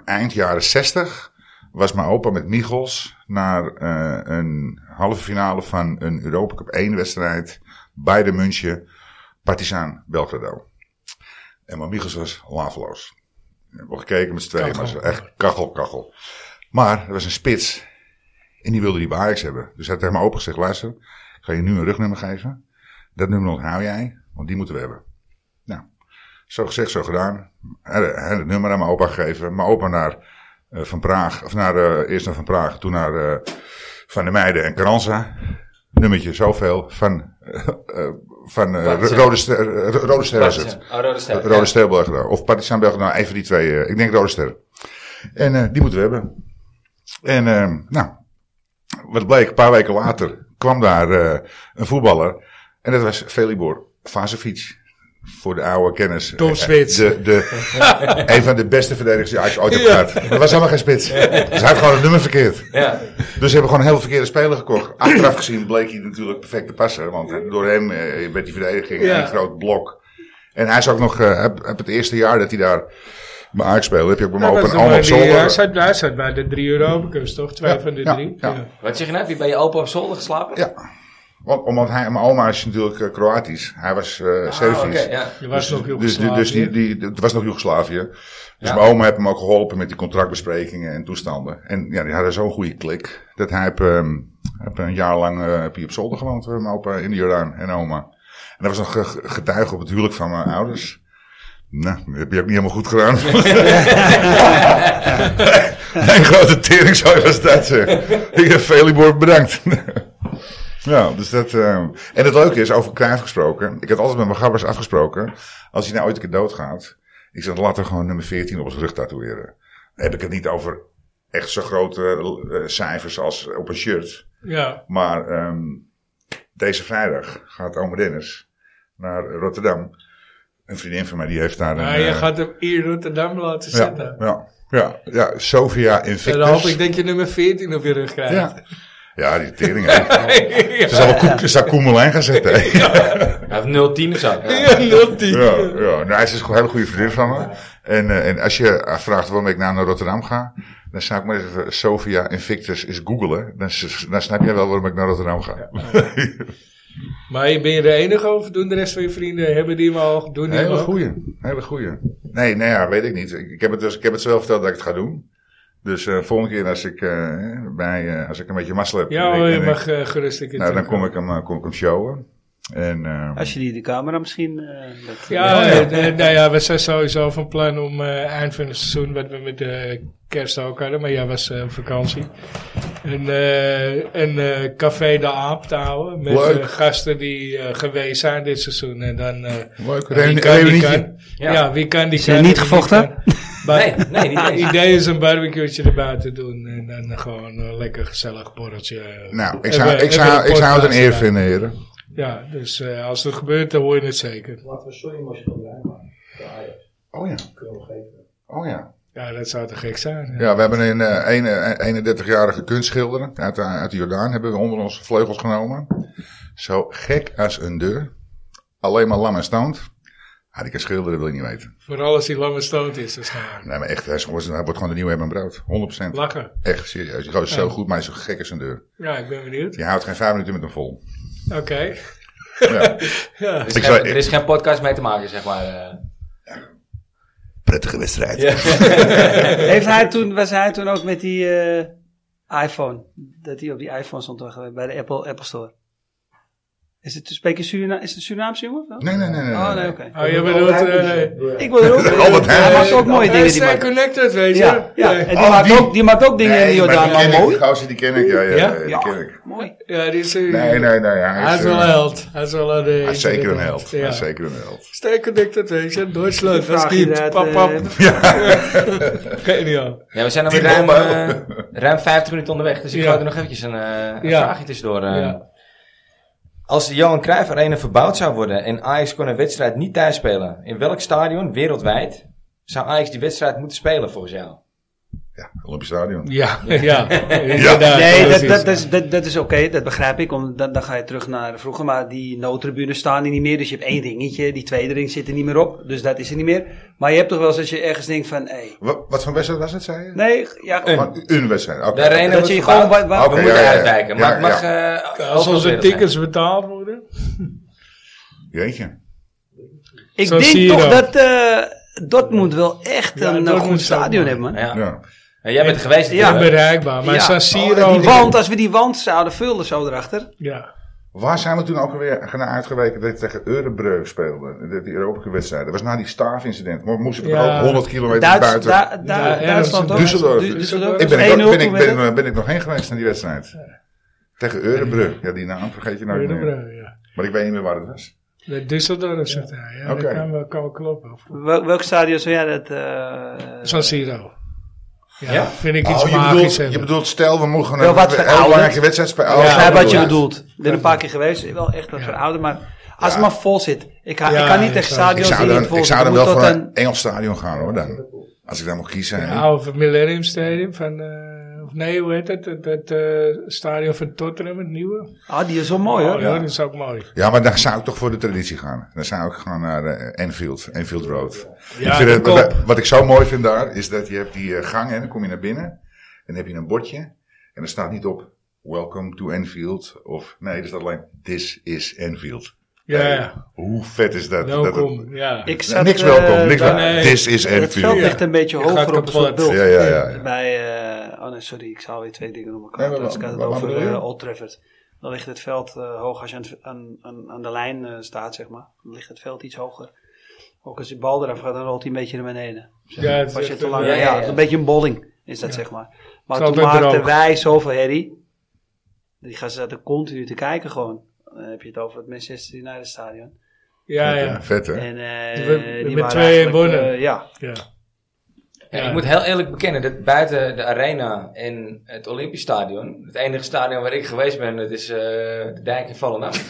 Speaker 4: eind jaren 60, was mijn opa met Michels naar eh, een halve finale van een Europa Cup 1 wedstrijd bij de München Partizan Belgrado. En mijn Michels was laveloos. We hebben gekeken met z'n tweeën, maar ze was echt kachel, kachel. Maar er was een spits en die wilde die bij Ajax hebben. Dus hij had tegen mijn opa gezegd, luister, ik ga je nu een rugnummer geven. Dat nummer onthoud jij, want die moeten we hebben. Nou, zo gezegd, zo gedaan. Hij hij had het nummer aan mijn opa gegeven. Mijn opa naar eh, Van Praag, of naar, eh, eerst naar Van Praag, toen naar eh, Van der Meijden en Carranza. Nummertje zoveel van, eh, eh, van eh,
Speaker 1: Partizan.
Speaker 4: Rode, Ster, eh, Rode Ster was het.
Speaker 1: Oh, Rode Ster.
Speaker 4: Rode Ster Belgrado. Of Partizan Belgrado. Nou, een van die twee. eh, ik denk Rode Ster. En eh, die moeten we hebben. En eh, nou, wat bleek, een paar weken later kwam daar eh, een voetballer. En dat was Velibor Vasevic. Voor de oude kennis. Eh,
Speaker 2: Tom Spits.
Speaker 4: De, de, een van de beste verdedigers die ik ooit heb gehad. Maar dat was helemaal geen spits. Dus hij had gewoon het nummer verkeerd.
Speaker 1: Ja.
Speaker 4: Dus ze hebben gewoon een heel verkeerde speler gekocht. Achteraf gezien bleek hij natuurlijk perfect te passen. Want door hem eh, werd die verdediging
Speaker 2: Ja.
Speaker 4: een groot blok. En hij is ook nog, eh, heb, heb het eerste jaar dat hij daar bij Ajax spelen heb je ook bij me
Speaker 2: Hij
Speaker 4: open
Speaker 2: was er
Speaker 4: arm
Speaker 2: bij
Speaker 4: op
Speaker 2: die, eh, hij
Speaker 4: zolder.
Speaker 2: zat- Hij zat bij de drie Europa Cups, toch? Twee
Speaker 4: Ja,
Speaker 2: van de
Speaker 4: ja,
Speaker 2: drie.
Speaker 4: ja.
Speaker 1: Wat zeg je nou? Heb je bij je opa op zolder geslapen?
Speaker 4: Ja, want, omdat hij, mijn oma is natuurlijk eh, Kroatisch. Hij was eh
Speaker 1: Ah,
Speaker 4: Servisch.
Speaker 1: oké, ja.
Speaker 2: Je was nog heel
Speaker 4: Dus, dus die, die, het was nog Joegoslavië. Dus mijn oma heeft hem ook geholpen met die contractbesprekingen en toestanden. En ja, die hadden zo'n goede klik. Dat hij heb, ehm, heb een jaar lang eh, heb hij op zolder gewoond, eh, mijn opa in de Jordaan en oma. En dat was nog ge- ge- getuige op het huwelijk van mijn ouders. Nou, dat heb je ook niet helemaal goed gedaan. Mijn grote teringzooi was dat. zeg. Ik heb Velibor bedankt. Ja, dus dat. ehm, En het leuke is, over Cruijff gesproken. Ik had altijd met mijn gabbers afgesproken. Als hij nou ooit een keer doodgaat. Ik zeg, laat er gewoon nummer 14 op zijn rug tatoeëren. Dan heb ik het niet over echt zo grote eh, cijfers als op een shirt.
Speaker 2: Ja,
Speaker 4: Maar ehm, deze vrijdag gaat Ome Dennis naar Rotterdam. Een vriendin van mij die heeft daar
Speaker 2: maar
Speaker 4: een.
Speaker 2: Ah, je
Speaker 4: eh,
Speaker 2: gaat hem in Rotterdam laten
Speaker 4: ja,
Speaker 2: zitten.
Speaker 4: ja, ja, ja, Sofia
Speaker 2: En
Speaker 4: Invictus.
Speaker 2: dan hoop ik dat je nummer 14 op je rug krijgt.
Speaker 4: Ja. Ja, die tering. hè. Ze zal wel Koen- ze zal Koen Melijn gaan zetten. hè.
Speaker 1: Hij heeft 0-10 of zo. Ja.
Speaker 2: Ja, nul tien.
Speaker 4: Ja, ja. Nou, ze is een hele goede vriendin van me. En, eh, en als je vraagt waarom ik nou naar Rotterdam ga, dan zou ik maar eens even Sofia Invictus eens googelen. Dan, s- dan snap jij wel waarom ik naar Rotterdam ga.
Speaker 2: Maar je- ben je de enige of doen de rest van je vrienden? Hebben die hem al? Doen die hem
Speaker 4: Hele
Speaker 2: ook?
Speaker 4: goeie. Hele goeie. Nee, nou ja, weet ik niet. Ik, ik heb het dus, ik heb het zo wel verteld dat ik het ga doen. Dus eh volgende keer als ik, eh, bij, eh, als ik een beetje mazzel heb.
Speaker 2: Ja
Speaker 4: en ik-
Speaker 2: hoor,
Speaker 4: en
Speaker 2: je
Speaker 4: ik-
Speaker 2: mag eh, gerust een keer
Speaker 4: nou, dan
Speaker 2: terugkomen.
Speaker 4: kom ik hem, eh, kom ik hem showen. En, ehm,
Speaker 3: Als je die de camera misschien... eh, dat-
Speaker 2: Ja, eh, eh, nou ja, we zijn sowieso van plan om eh, eind van het seizoen, wat we met de kerst ook hadden, maar jij was eh, op vakantie, een, eh, een eh, café de aap te houden met
Speaker 4: Leuk.
Speaker 2: eh, gasten die eh, geweest zijn dit seizoen. En dan, eh
Speaker 4: leuk.
Speaker 2: ja, wie
Speaker 4: Reuni-
Speaker 2: kan, die
Speaker 4: reunietje.
Speaker 2: kan. Ja.
Speaker 1: Ja.
Speaker 2: wie kan, die
Speaker 3: Zijn
Speaker 2: kan.
Speaker 3: niet
Speaker 2: en wie
Speaker 3: gevochten?
Speaker 2: kan. Maar
Speaker 1: Nee, nee, niet
Speaker 2: het
Speaker 1: eens.
Speaker 2: idee is een barbecue erbij te doen en dan gewoon een lekker gezellig borreltje.
Speaker 4: Nou, ik
Speaker 2: Even-
Speaker 4: zou, ik
Speaker 2: even
Speaker 4: zou,
Speaker 2: een
Speaker 4: ik zou het een
Speaker 2: podcast
Speaker 4: eer
Speaker 2: erbij.
Speaker 4: vinden, heren.
Speaker 2: Ja, dus eh, als het gebeurt, dan hoor je het zeker.
Speaker 5: Laten we sorry maar schilderij maken.
Speaker 4: Oh ja. Oh ja.
Speaker 2: Ja, dat zou te gek zijn. ja.
Speaker 4: Ja, we hebben een eh, ene- eh, 31-jarige kunstschilder uit, de- uit de Jordaan hebben we onder onze vleugels genomen. Zo gek als een deur. Alleen maar lam en stoont. Ah, die kan schilderen, wil je niet weten.
Speaker 2: Vooral als hij lang en stoot is, dus, waarschijnlijk.
Speaker 4: Nee, maar echt, hij, is gewoon, hij wordt gewoon de nieuwe hebben brood. 100%.
Speaker 2: Lachen.
Speaker 4: Echt, serieus. Die gozer is zo goed, maar hij is zo gek als een deur.
Speaker 2: Ja, ik ben benieuwd.
Speaker 4: Je houdt geen vijf minuten met hem vol.
Speaker 2: Oké.
Speaker 4: Ja.
Speaker 2: Ja.
Speaker 1: Er
Speaker 4: Ik
Speaker 1: is,
Speaker 4: zou-
Speaker 1: geen, er is geen podcast mee te maken, zeg maar. eh.
Speaker 4: Prettige wedstrijd.
Speaker 3: Heeft hij toen, was hij toen ook met die eh, iPhone? Dat hij op die iPhone stond toch, bij de Apple, Apple Store. Is het, spreek je Surina is het een Surinaamse jongen? of wel?
Speaker 4: Nee, nee, nee. nee, nee.
Speaker 3: Oh nee, oké.
Speaker 2: Oh, je bedoelt... eh
Speaker 3: Ik wil er ook.
Speaker 4: Albert Heijn.
Speaker 3: hij maakt ook mooie dingen. Die
Speaker 2: Hij eh,
Speaker 3: maakt.
Speaker 2: connected, weet je.
Speaker 3: Ja, ja. En die,
Speaker 4: Oh,
Speaker 3: maakt
Speaker 4: die-
Speaker 3: ook, die maakt ook dingen in de
Speaker 4: Nee, maar
Speaker 3: Jordaan,
Speaker 4: die ken
Speaker 3: maar
Speaker 4: ik,
Speaker 3: mooi.
Speaker 4: Die gozer, die ken ik. Ja, ja,
Speaker 2: Ja?
Speaker 4: ja, die ken ik.
Speaker 3: Mooi.
Speaker 2: Ja, die is... eh,
Speaker 4: Nee, nee, nee. Hij
Speaker 2: Hij
Speaker 4: is,
Speaker 2: is wel een
Speaker 4: eh,
Speaker 2: held. Hij is wel een... eh,
Speaker 4: hij is zeker een
Speaker 2: inderdaad.
Speaker 4: held. Hij
Speaker 2: Ja.
Speaker 4: is zeker een held.
Speaker 2: Stay connected, weet je. Duitsland, dat
Speaker 3: Vraag
Speaker 2: is diep.
Speaker 3: inderdaad,
Speaker 2: Pap,
Speaker 3: eh,
Speaker 2: pap. Geniaal.
Speaker 1: Ja, we zijn alweer
Speaker 4: Die
Speaker 1: ruim,
Speaker 4: bommen.
Speaker 1: eh, ruim 50 minuten onderweg, dus ik
Speaker 2: Ja.
Speaker 1: ga er nog eventjes een, eh, een
Speaker 2: Ja.
Speaker 1: vraagje tussendoor. eh.
Speaker 2: Ja.
Speaker 1: Als de Johan Cruijff Arena verbouwd zou worden en Ajax kon een wedstrijd niet thuis spelen, in welk stadion wereldwijd zou Ajax die wedstrijd moeten spelen volgens jou?
Speaker 4: Ja, Olympisch Stadion.
Speaker 2: Ja, ja. Inderdaad.
Speaker 3: Nee, dat,
Speaker 2: precies.
Speaker 3: dat, dat is, dat, dat is oké, dat begrijp ik. Om, dan, dan ga je terug naar vroeger, maar die noodtribunes staan er niet meer. Dus je hebt één dingetje, die tweede ring zit er niet meer op. Dus dat is er niet meer. Maar je hebt toch wel eens als je ergens denkt van, hé.
Speaker 4: Wat, wat voor wedstrijd was het, zei je?
Speaker 3: nee, ja,
Speaker 2: Eh,
Speaker 4: Oh, Een wedstrijd. oké.
Speaker 1: De Arena
Speaker 3: Dat
Speaker 1: wordt
Speaker 3: je
Speaker 1: verbouwd.
Speaker 3: gewoon wat- wat-
Speaker 1: we
Speaker 4: Oké,
Speaker 1: moeten
Speaker 4: ja, ja, ja.
Speaker 1: uitwijken, maar het
Speaker 4: Ja,
Speaker 1: mag... eh,
Speaker 2: Als
Speaker 1: overal
Speaker 2: onze
Speaker 1: wereld zijn.
Speaker 2: tickets betaald worden.
Speaker 4: Jeetje.
Speaker 3: Ik
Speaker 2: Zo zie je
Speaker 3: denk toch
Speaker 2: dan.
Speaker 3: dat eh, Dortmund wel echt
Speaker 2: Ja,
Speaker 3: een eh,
Speaker 2: Dortmund
Speaker 3: goed
Speaker 2: zou-
Speaker 3: stadion hebben. man.
Speaker 1: Ja.
Speaker 4: Ja.
Speaker 1: En jij bent er geweest
Speaker 3: Ja.
Speaker 1: natuurlijk.
Speaker 2: Bereikbaar. Maar
Speaker 3: Ja.
Speaker 2: San Siro...
Speaker 4: Oh, die
Speaker 3: Want als we die wand zouden vullen zo erachter.
Speaker 2: Ja.
Speaker 4: Waar zijn we toen ook alweer naar uitgeweken dat we tegen Eurebreuk speelden? Dat die Europese wedstrijd. Dat was na die staafincident. Maar moesten we er
Speaker 2: Ja.
Speaker 4: ook 100 kilometer
Speaker 3: Duits,
Speaker 4: buiten.
Speaker 3: da, da,
Speaker 2: Ja, ja,
Speaker 3: Duitsland
Speaker 2: dat
Speaker 3: ook.
Speaker 2: is-
Speaker 4: Düsseldorf.
Speaker 3: Du- Düsseldorf.
Speaker 4: ik ben, ik
Speaker 3: 1-0
Speaker 4: ook, ben, ik,
Speaker 3: toen werd
Speaker 4: ben,
Speaker 3: het.
Speaker 4: ben, ik nog heen geweest naar die wedstrijd. Tegen Eurebrug. Ja, die naam vergeet je nooit meer.
Speaker 2: Eurebro, ja.
Speaker 4: Maar ik weet niet meer waar het was.
Speaker 2: De Düsseldorf zegt hij. Ja, dat
Speaker 4: Oké.
Speaker 2: kan wel, kan wel kloppen.
Speaker 3: Wel- Welk stadion zou jij dat... eh,
Speaker 2: San Siro. Ja,
Speaker 1: Ja?
Speaker 2: vind ik iets
Speaker 4: Oh, je,
Speaker 2: magisch
Speaker 4: bedoelt,
Speaker 2: hebben.
Speaker 4: je bedoelt, stel we mogen
Speaker 3: Wel
Speaker 4: een
Speaker 3: wat
Speaker 4: heel
Speaker 3: verouderd.
Speaker 4: belangrijke wedstrijd spelen. Oh,
Speaker 2: Ja,
Speaker 3: Ik begrijp wat je
Speaker 4: ja.
Speaker 3: bedoelt. Ik ben een paar keer geweest. Wel echt wat
Speaker 2: Ja.
Speaker 3: verouderd. Maar als het
Speaker 4: Ja.
Speaker 3: maar vol zit. Ik, ga,
Speaker 2: Ja,
Speaker 3: ik kan niet
Speaker 2: ik
Speaker 3: tegen
Speaker 2: zou- ik
Speaker 4: Ik
Speaker 3: stadions
Speaker 4: zou
Speaker 3: die niet
Speaker 4: dan,
Speaker 3: vol
Speaker 4: ik zou
Speaker 3: zitten.
Speaker 4: dan
Speaker 3: Ik moet
Speaker 4: wel
Speaker 3: tot
Speaker 4: voor een
Speaker 3: een...
Speaker 4: Engels stadion gaan hoor dan. Als ik dan moet kiezen. hè.
Speaker 2: Ja, of het Millennium Stadium van, eh, of nee, hoe heet het? Het, het, eh, stadion van Tottenham, het nieuwe.
Speaker 3: Ah, die is wel mooi hoor.
Speaker 2: Oh, ja, dat is ook mooi.
Speaker 4: Ja, maar daar zou ik toch voor de traditie gaan. Dan zou ik gaan naar eh, Enfield, Enfield Road.
Speaker 2: Ja,
Speaker 4: ik vind het-
Speaker 2: de kop.
Speaker 4: wat, wat ik zo mooi vind daar, is dat je hebt die eh, gang en dan kom je naar binnen. En dan heb je een bordje. En er staat niet op, welcome to Enfield. Of, nee, er staat alleen, this is Enfield.
Speaker 2: Ja,
Speaker 4: Hey,
Speaker 2: ja.
Speaker 4: hoe vet is dat? dat het- Nou,
Speaker 2: welkom. Ja.
Speaker 3: Ik zat,
Speaker 4: niks
Speaker 3: eh,
Speaker 4: welkom, niks
Speaker 3: bij-
Speaker 4: welkom.
Speaker 2: nee.
Speaker 4: This is
Speaker 3: Het veld
Speaker 4: Enfield.
Speaker 2: Ja.
Speaker 4: Ja,
Speaker 3: ligt een beetje
Speaker 2: Je
Speaker 3: hoger
Speaker 2: gaat
Speaker 3: op een soort
Speaker 2: kapot.
Speaker 3: bult.
Speaker 4: ja, ja. ja.
Speaker 3: Bij, eh, oh nee, sorry, ik zal weer twee dingen om elkaar.
Speaker 4: Nee, maar
Speaker 3: dus
Speaker 4: wa-
Speaker 3: ik had het
Speaker 4: wa- wat
Speaker 3: over
Speaker 4: bedoel je?
Speaker 3: eh, Old Trafford. Dan ligt het veld eh, hoog als je aan, het- aan, aan, aan de lijn eh, staat, zeg maar. Dan ligt het veld iets hoger. Ook als die bal eraf gaat, dan rolt hij een beetje naar beneden.
Speaker 2: Ja, het is
Speaker 3: Als je
Speaker 2: echt
Speaker 3: te
Speaker 2: een- eh,
Speaker 3: lang, ja,
Speaker 1: ja, ja, ja.
Speaker 3: een beetje een bolling is dat, zeg maar. Maar
Speaker 2: Het is
Speaker 3: toen
Speaker 2: altijd
Speaker 3: maakten
Speaker 2: droog.
Speaker 3: wij zoveel herrie. Die gasten zaten continu te kijken gewoon. Dan heb je het over het Manchester United stadion.
Speaker 2: Ja, ja. Dus
Speaker 4: Vet, hè?
Speaker 3: En eh,
Speaker 2: We- we
Speaker 3: die
Speaker 2: met
Speaker 3: waren
Speaker 2: twee
Speaker 3: eigenlijk,
Speaker 2: wonnen.
Speaker 3: eh, ja,
Speaker 2: ja.
Speaker 1: Ja,
Speaker 2: Ja.
Speaker 1: Ik moet heel eerlijk bekennen dat buiten de arena en het Olympisch Stadion, het enige stadion waar ik geweest ben, dat is eh, de dijk in Vallenaf.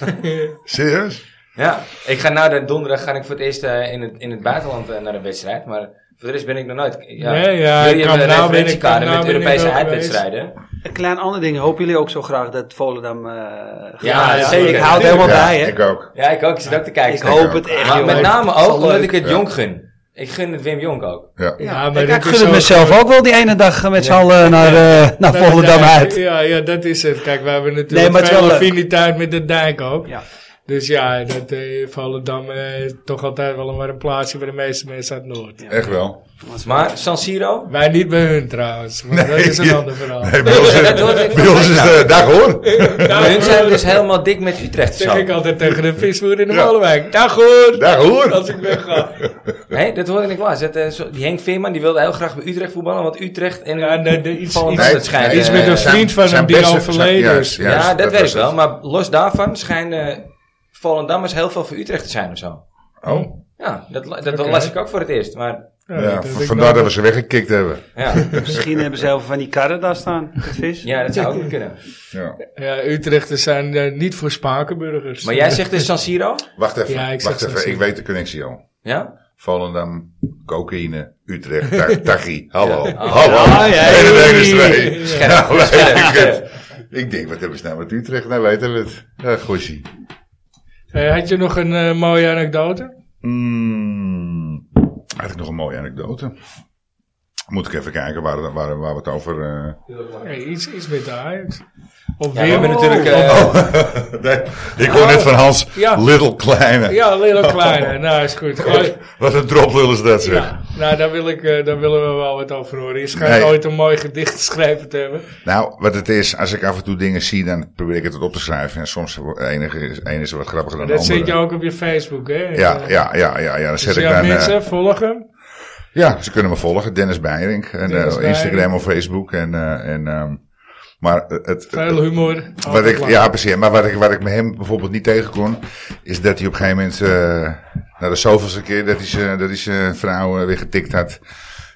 Speaker 4: Serieus?
Speaker 1: ja, ik ga nou de donderdag ga ik voor het eerst eh, in, het, in het buitenland eh, naar een wedstrijd, maar voor de rest ben ik nog nooit. Ja,
Speaker 2: Nee, ja, ik
Speaker 1: jullie
Speaker 2: kan
Speaker 1: hebben
Speaker 2: nou ben ik-
Speaker 1: referentiekader
Speaker 2: kan nou
Speaker 1: met
Speaker 2: ben ik
Speaker 1: Europese
Speaker 2: wel geweest.
Speaker 1: uitwedstrijden.
Speaker 3: Een klein ander ding. Hopen jullie ook zo graag dat Volendam... eh, gaat?
Speaker 1: Ja, zeker.
Speaker 3: Ik hou het helemaal
Speaker 4: Ja,
Speaker 3: bij, hè.
Speaker 4: Ik ook.
Speaker 1: Ja, ik ook. Ik zit ook te kijken.
Speaker 3: Ik hoop het echt,
Speaker 1: Maar
Speaker 3: joh.
Speaker 1: met name ook
Speaker 3: Zal
Speaker 1: omdat
Speaker 3: leuk.
Speaker 1: ik het
Speaker 4: Ja.
Speaker 1: Jonk gun. Ik gun het Wim Jonk ook.
Speaker 4: Ja.
Speaker 2: Ja,
Speaker 3: Ja,
Speaker 2: maar
Speaker 3: ik,
Speaker 2: dit
Speaker 3: ik
Speaker 2: is
Speaker 3: gun het
Speaker 2: ook
Speaker 3: mezelf ook wel die ene dag eh, met z'n allen naar, eh naar
Speaker 2: Dat-
Speaker 3: Volendam
Speaker 2: ja,
Speaker 3: uit.
Speaker 2: Ja, ja, dat is het. Kijk, we hebben
Speaker 3: Nee,
Speaker 2: natuurlijk
Speaker 3: maar het is
Speaker 2: veel
Speaker 3: wel leuk.
Speaker 2: affiniteit met de dijk ook.
Speaker 3: Ja.
Speaker 2: Dus ja, dat eh, Volendam eh, is toch altijd wel een warm plaatsje voor de meeste mensen uit Noord.
Speaker 4: Echt wel.
Speaker 1: Maar San Siro?
Speaker 2: Wij niet bij hun trouwens, want dat is een ander verhaal. Nou,
Speaker 4: Nee, bij ons,
Speaker 1: Dat hoort ik
Speaker 4: bij ons is de dag hoor.
Speaker 1: Maar hun zijn dus helemaal dik met Utrecht
Speaker 2: zeg ik
Speaker 1: zo.
Speaker 2: altijd tegen de visboer in de
Speaker 4: Ja.
Speaker 2: Molenwijk. Dag hoor!
Speaker 4: Dag
Speaker 2: Als
Speaker 4: hoor.
Speaker 2: ik wegga.
Speaker 1: Hé, dat hoorde ik laatst. Dat, eh, zo- die Henk Veerman die wilde heel graag bij Utrecht voetballen, want Utrecht en
Speaker 2: Ja, nee, de- iets-
Speaker 1: Volendam,
Speaker 2: iets-
Speaker 1: dat schijnt,
Speaker 2: iets
Speaker 1: eh,
Speaker 2: met een
Speaker 1: zijn-
Speaker 2: vriend van hem
Speaker 4: zijn
Speaker 2: die
Speaker 4: beste-
Speaker 2: overleden
Speaker 4: zijn-
Speaker 2: is.
Speaker 4: ja, juist,
Speaker 1: ja, dat
Speaker 4: dat
Speaker 1: weet ik
Speaker 4: was
Speaker 1: wel.
Speaker 4: het.
Speaker 1: Maar los daarvan schijnen Volendammers heel veel voor Utrecht te zijn of zo.
Speaker 4: Oh.
Speaker 1: Ja, dat, la- dat
Speaker 2: Oké.
Speaker 1: las ik ook voor het eerst. Maar
Speaker 2: Ja,
Speaker 4: Ja,
Speaker 2: dat nou- heb ik
Speaker 4: vandaar
Speaker 2: nog-
Speaker 4: dat we ze weggekikt hebben.
Speaker 1: ja,
Speaker 3: Misschien hebben ze heel veel van die karren daar staan. met Vis.
Speaker 1: ja dat zou ook kunnen.
Speaker 4: Ja.
Speaker 2: Ja, Utrechters zijn eh, niet voor Spakenburgers.
Speaker 1: Maar jij zegt dus San Siro?
Speaker 4: Wacht even,
Speaker 2: Ja, ik zeg
Speaker 4: wacht
Speaker 2: zo
Speaker 4: even.
Speaker 2: zien.
Speaker 4: Ik weet de connectie al.
Speaker 1: Ja?
Speaker 4: Volendam, cocaïne, Utrecht, Ta- Tachi. Hallo.
Speaker 3: Ah,
Speaker 4: Hallo.
Speaker 3: ja,
Speaker 4: Hele
Speaker 3: hey.
Speaker 4: week is twee.
Speaker 1: Scherp.
Speaker 4: Nou, weet
Speaker 1: Scherp,
Speaker 4: ik
Speaker 1: scherp.
Speaker 4: het. Ik denk, wat hebben ze nou met Utrecht? Nou weten we het. Ja, goeie.
Speaker 2: Eh, had je nog een eh, mooie anekdote?
Speaker 4: Hmm, had ik nog een mooie anekdote. Moet ik even kijken waar, waar, waar we het over... eh
Speaker 2: Nee, iets, iets met de Ajax.
Speaker 1: Ja,
Speaker 2: Of
Speaker 1: we
Speaker 2: weer
Speaker 1: hebben
Speaker 2: met
Speaker 1: natuurlijk... eh,
Speaker 4: Oh, nee, ik hoor net van Hans,
Speaker 2: Oh, ja.
Speaker 4: little kleine.
Speaker 2: Ja, Lilo Kleine. Nou, is goed. Gooi.
Speaker 4: Wat een droplul is dat zeg.
Speaker 2: Ja, nou, daar, wil ik, eh, daar willen we wel wat over horen. Je schijnt
Speaker 4: Nee.
Speaker 2: ooit een mooi gedicht geschreven te hebben.
Speaker 4: Nou, wat het is, als ik af en toe dingen zie, dan probeer ik het op te schrijven. En soms enige is, ene is wat grappiger dan de
Speaker 2: dat
Speaker 4: andere.
Speaker 2: zit je ook op je Facebook, hè? Eh,
Speaker 4: Ja, ja, ja, ja, ja. Dan zet
Speaker 2: Dus
Speaker 4: ik
Speaker 2: ja,
Speaker 4: dan, eh,
Speaker 2: mensen, volgen.
Speaker 4: ja, ze kunnen me volgen. Dennis Beirink. En, eh,
Speaker 2: Dennis
Speaker 4: Instagram
Speaker 2: Beirink.
Speaker 4: of Facebook. En, eh, en, ehm, maar het, het,
Speaker 2: Veel humor.
Speaker 4: wat
Speaker 2: Altijd
Speaker 4: ik,
Speaker 2: lachen.
Speaker 4: ja, precies. Maar wat ik, wat ik met hem bijvoorbeeld niet tegen kon, is dat hij op een gegeven moment, eh na de zoveelste keer dat hij zijn, dat hij zijn vrouw eh, weer getikt had,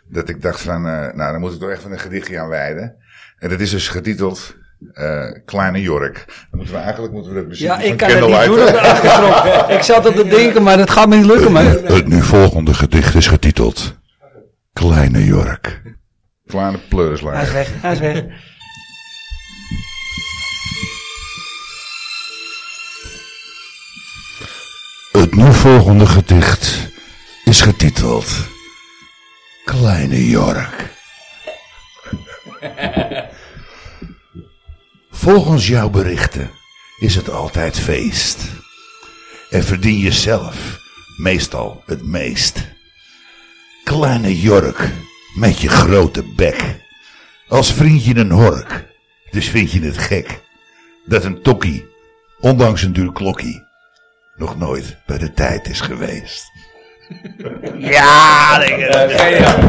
Speaker 4: dat ik dacht van, eh, nou, dan moet ik toch echt van een gedichtje aan wijden. En dat is dus getiteld, eh, Kleine Jork. Dan moeten we eigenlijk, moeten we dat muziekje
Speaker 3: Ja,
Speaker 4: van
Speaker 3: ik kan het niet
Speaker 4: Candlelight-
Speaker 3: doen op de achtergrond. Ik zat op te denken, maar dat gaat me niet lukken. Maar...
Speaker 4: Het nu volgende gedicht is getiteld, Kleine Jork. Kleine
Speaker 3: Hij is
Speaker 4: pleurislijst.
Speaker 3: weg, hij is weg.
Speaker 4: Het nu volgende gedicht is getiteld Kleine Jork. Volgens jouw berichten is het altijd feest. En verdien je zelf meestal het meest. Kleine Jork met je grote bek. Als vriend je een hork, dus vind je het gek. Dat een tokkie, ondanks een duur klokkie, nog nooit bij de tijd is geweest.
Speaker 3: Ja, denk ik.
Speaker 1: Geniaal.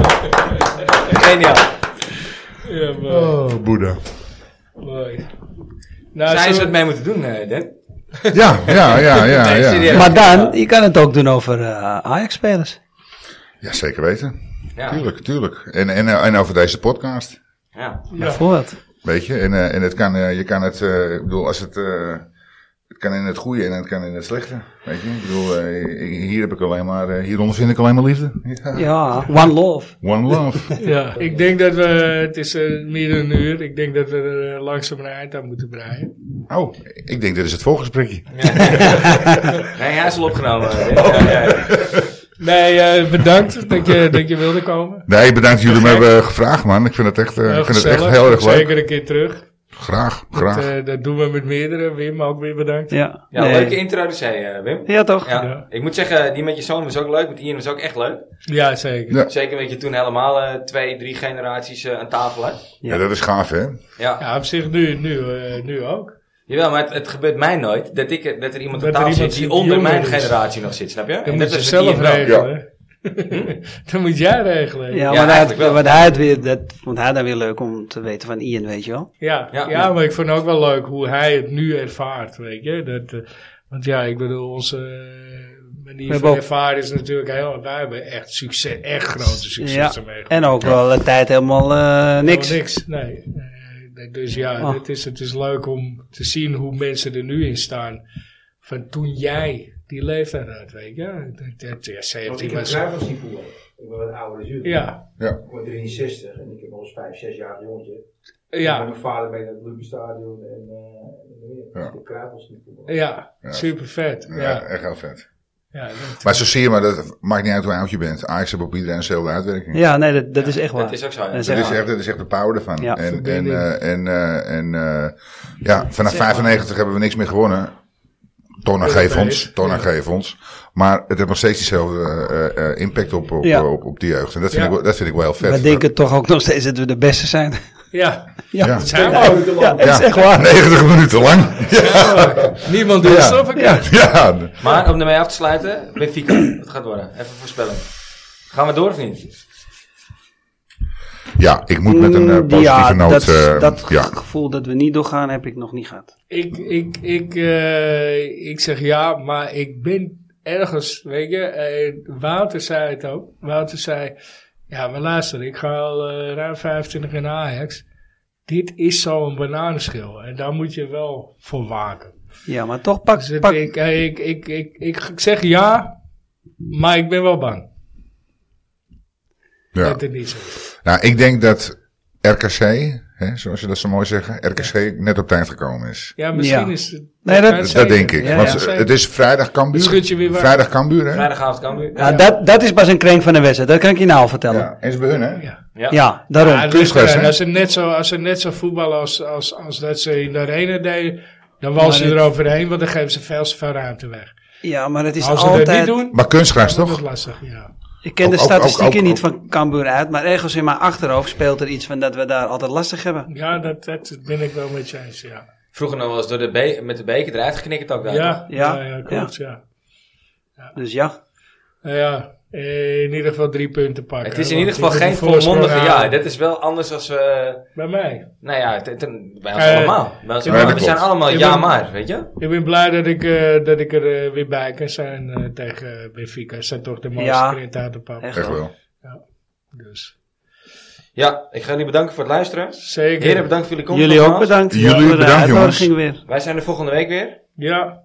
Speaker 1: Geniaal.
Speaker 2: Ja, mooi.
Speaker 4: Oh, Boeddha.
Speaker 2: mooi. Nou,
Speaker 1: Zij is
Speaker 2: zullen
Speaker 1: wat
Speaker 2: we-
Speaker 1: mee moeten doen, eh Den.
Speaker 4: Ja, ja, ja, ja.
Speaker 1: Nee,
Speaker 4: ja.
Speaker 1: serieus.
Speaker 3: Maar dan, je kan het ook doen over eh, Ajax-spelers.
Speaker 4: ja zeker weten.
Speaker 1: Ja.
Speaker 4: Tuurlijk, tuurlijk. En, en, eh, en over deze podcast.
Speaker 1: ja.
Speaker 2: Ja.
Speaker 3: Bijvoorbeeld.
Speaker 4: Weet je, en, eh, en het kan, eh, je kan het, eh, ik bedoel, als het eh, Het kan in het goede en het kan in het slechte. Weet je? Ik bedoel, eh, ik- hier heb ik alleen maar, eh, hieronder vind ik alleen maar liefde. Ja.
Speaker 3: Ja, One Love.
Speaker 4: One love.
Speaker 2: Ja, ik denk dat we, het is eh, meer dan een uur, ik denk dat we er eh, langzaam een eind aan moeten breien.
Speaker 4: Oh, ik denk dit is het voorgesprekje.
Speaker 1: Nee, hij is al opgenomen. Ja, ja, ja.
Speaker 2: Nee, eh, bedankt dat je, dat je wilde komen.
Speaker 4: Nee, bedankt dat jullie me hebben gevraagd, man. Ik vind het echt, eh, ik vind het echt
Speaker 2: gezellig.
Speaker 4: heel erg leuk.
Speaker 2: Zeker een keer terug.
Speaker 4: Graag,
Speaker 2: Dat,
Speaker 4: graag.
Speaker 2: eh, dat doen we met meerdere. Wim ook weer bedankt.
Speaker 3: Ja,
Speaker 1: Ja,
Speaker 3: nee.
Speaker 1: leuke intro dus, hé, eh, Wim.
Speaker 3: ja toch?
Speaker 1: Ja.
Speaker 2: Ja.
Speaker 1: Ik moet zeggen, die met je zoon was ook leuk, met Ian was ook echt leuk.
Speaker 2: Ja, zeker.
Speaker 4: Ja.
Speaker 1: Zeker omdat je toen helemaal eh, twee, drie generaties eh, aan tafel had.
Speaker 4: Ja, dat is gaaf, hè?
Speaker 1: Ja.
Speaker 2: Ja, op zich nu, nu, eh, nu ook.
Speaker 1: Jawel, maar het, het gebeurt mij nooit dat, ik, dat er iemand
Speaker 2: Dat
Speaker 1: aan
Speaker 2: er
Speaker 1: tafel
Speaker 2: iemand
Speaker 1: zit die
Speaker 2: zit die
Speaker 1: onder
Speaker 2: jonger
Speaker 1: mijn
Speaker 2: is.
Speaker 1: generatie nog zit, snap je?
Speaker 2: Dan
Speaker 1: En
Speaker 2: moet
Speaker 1: dat
Speaker 2: je
Speaker 1: is het
Speaker 2: zelf
Speaker 1: Ian wel.
Speaker 2: regelen. Dan moet jij regelen.
Speaker 3: Ja,
Speaker 2: Ja,
Speaker 3: maar hij,
Speaker 1: eigenlijk wel.
Speaker 3: wat hij het weer, dat vond hij dan weer leuk om te weten van Ian, weet je wel.
Speaker 2: ja,
Speaker 1: Ja.
Speaker 2: maar ik vond ook wel leuk hoe hij het nu ervaart, weet je. Dat, eh, want ja, ik bedoel, onze eh, manier
Speaker 3: hebben
Speaker 2: van
Speaker 3: ook-
Speaker 2: ervaren is natuurlijk heel... Wij hebben echt succes, echt grote
Speaker 3: Ja,
Speaker 2: successen meegemaakt.
Speaker 3: en ook wel de tijd helemaal eh, niks.
Speaker 2: Helemaal niks, nee. Eh, nee, Dus ja,
Speaker 3: Oh.
Speaker 2: het, is, het is leuk om te zien hoe mensen er nu in staan. Van toen jij die leeftijd had, weet je. Dat- dat-
Speaker 6: Want
Speaker 2: Ja,
Speaker 6: ik
Speaker 2: 17
Speaker 6: heb
Speaker 2: was...
Speaker 6: zelf als niet voetbal. Ik ben wat ouder dan jullie.
Speaker 2: Ja,
Speaker 4: Ja.
Speaker 6: Ik word 63 en ik heb nog eens 5, 6 jaar jongetje. En
Speaker 2: ja,
Speaker 6: Met mijn vader ben ik naar het Olympiastadion en eh, en meer.
Speaker 4: Ja.
Speaker 6: Ik heb kruipels niet voetbal.
Speaker 2: ja,
Speaker 4: Ja.
Speaker 2: super vet.
Speaker 4: Ja,
Speaker 2: Ja,
Speaker 4: echt heel vet.
Speaker 2: ja, dat-
Speaker 4: Maar zo zie je maar, dat maakt niet uit hoe oud je bent. Ajax heeft op iedereen dezelfde uitwerking.
Speaker 3: Ja, nee, dat, dat is echt waar.
Speaker 1: Dat is ook zo. ja.
Speaker 3: Dat is
Speaker 4: Dat
Speaker 3: echt
Speaker 4: is,
Speaker 3: waar.
Speaker 4: echt, dat is echt de power ervan.
Speaker 3: Ja,
Speaker 4: en en,
Speaker 2: verbinding.
Speaker 4: eh, en, eh, en eh, ja, vanaf 95 hebben we niks meer gewonnen. Tonna geef ons, tonna geef ons. Maar het heeft nog steeds diezelfde eh, eh, impact op, op,
Speaker 3: Ja.
Speaker 4: op, op die jeugd. En dat vind,
Speaker 2: Ja.
Speaker 4: ik, wel- dat vind ik wel heel vet.
Speaker 3: We denken toch ook nog steeds dat we de beste zijn.
Speaker 2: ja,
Speaker 3: Ja,
Speaker 4: Ja.
Speaker 2: dat zijn we ook.
Speaker 3: Ja, dat is
Speaker 4: Ja,
Speaker 3: echt waar.
Speaker 4: 90 minuten lang. Ja,
Speaker 2: Niemand doet
Speaker 4: Ja.
Speaker 2: alsof ik het.
Speaker 4: ja.
Speaker 1: Maar om ermee af te sluiten, Benfica, wat gaat worden? Even voorspellen. Gaan we door of niet?
Speaker 4: ja ik moet met een eh, positieve
Speaker 3: Mm, ja,
Speaker 4: noot.
Speaker 3: dat,
Speaker 4: eh,
Speaker 3: dat
Speaker 4: ja.
Speaker 3: gevoel dat we niet doorgaan heb ik nog niet gehad.
Speaker 2: Ik, ik, ik, eh, ik zeg ja, maar ik ben ergens, weet je, eh, Wouter zei het ook. Wouter zei, ja, maar luister, ik ga al eh, ruim 25 in Ajax. Dit is zo'n bananenschil en daar moet je wel voor waken.
Speaker 3: Ja, maar toch pak,
Speaker 2: Dus het-
Speaker 3: pak
Speaker 2: ik, eh, ik, ik, ik, ik, ik zeg ja, maar ik ben wel bang
Speaker 4: Ja.
Speaker 2: dat het niet zo is.
Speaker 4: Nou, ik denk dat RKC, hè, zoals je dat zo mooi zeggen, RKC net op tijd gekomen is.
Speaker 2: Ja, misschien
Speaker 3: Ja.
Speaker 2: is het...
Speaker 3: Nee, dat-
Speaker 4: Dat,
Speaker 2: zeker.
Speaker 4: denk ik.
Speaker 3: Ja,
Speaker 4: Want
Speaker 3: ja.
Speaker 4: ze- het is vrijdag Cambuur.
Speaker 2: Het schudt je weer waar.
Speaker 4: vrijdag Cambuur, hè?
Speaker 1: Vrijdagavond kan weer.
Speaker 3: Ja, Dat, dat is pas een krenk van de wedstrijd, dat kan ik je nou al vertellen. Ja,
Speaker 4: Ja, en ze bij hun, hè?
Speaker 2: Ja.
Speaker 3: daarom.
Speaker 2: Ja,
Speaker 4: kunstgras,
Speaker 2: luister,
Speaker 4: hè?
Speaker 2: als ze net zo, als ze net zo voetballen als, als, als dat ze in de arena deden, dan walsen ze
Speaker 3: Maar dit-
Speaker 2: eroverheen, want dan geven ze veel te veel ruimte weg.
Speaker 3: ja, maar het is
Speaker 2: Als ze
Speaker 3: altijd...
Speaker 2: dat niet doen,
Speaker 4: Maar kunstgras
Speaker 2: dan wordt het
Speaker 4: toch?
Speaker 2: lastig. Ja.
Speaker 3: Ik ken de
Speaker 4: Ook- ook- ook-
Speaker 3: statistieken
Speaker 4: ook-
Speaker 3: niet
Speaker 4: ook-
Speaker 3: van Cambuur uit, maar ergens in mijn achterhoofd speelt er iets van dat we daar altijd lastig hebben.
Speaker 2: Ja, dat, dat ben ik wel met je eens, ja.
Speaker 1: Vroeger nog wel eens door de be- met de beker eruit geknikkerd ook. daar.
Speaker 2: Ja,
Speaker 3: Ja,
Speaker 2: ja, ja, klopt, ja.
Speaker 3: Dus ja,
Speaker 2: Nou ja, eh, in ieder geval drie punten pakken.
Speaker 1: Het is in
Speaker 2: want
Speaker 1: ieder geval
Speaker 2: je moet
Speaker 1: geen
Speaker 2: een voorsprong eh,
Speaker 1: volmondige ja.
Speaker 2: halen.
Speaker 1: Dit is wel anders als we...
Speaker 2: Bij mij.
Speaker 1: Nou ja, het- het- bij ons
Speaker 2: Eh,
Speaker 1: allemaal. Bij ons
Speaker 2: ja,
Speaker 1: allemaal.
Speaker 4: dat
Speaker 1: We zijn
Speaker 4: klopt.
Speaker 1: allemaal
Speaker 2: Ik
Speaker 1: ja
Speaker 2: ben-
Speaker 1: maar, weet je?
Speaker 2: Ik ben blij dat ik, eh, dat ik er eh, weer bij kan zijn eh, tegen Benfica. Ze zijn toch de mooiste
Speaker 3: Ja.
Speaker 2: print uit de pap.
Speaker 3: echt
Speaker 4: Echt
Speaker 3: wel.
Speaker 4: wel.
Speaker 2: Dus.
Speaker 1: Ja, ik ga jullie bedanken voor het luisteren.
Speaker 2: Zeker.
Speaker 1: Heren, bedankt voor jullie komst.
Speaker 3: Jullie ook
Speaker 1: nogmaals.
Speaker 3: bedankt
Speaker 4: Jullie
Speaker 3: voor de
Speaker 4: bedankt,
Speaker 3: uitnodiging weer.
Speaker 1: Wij zijn er volgende week weer.
Speaker 2: Ja,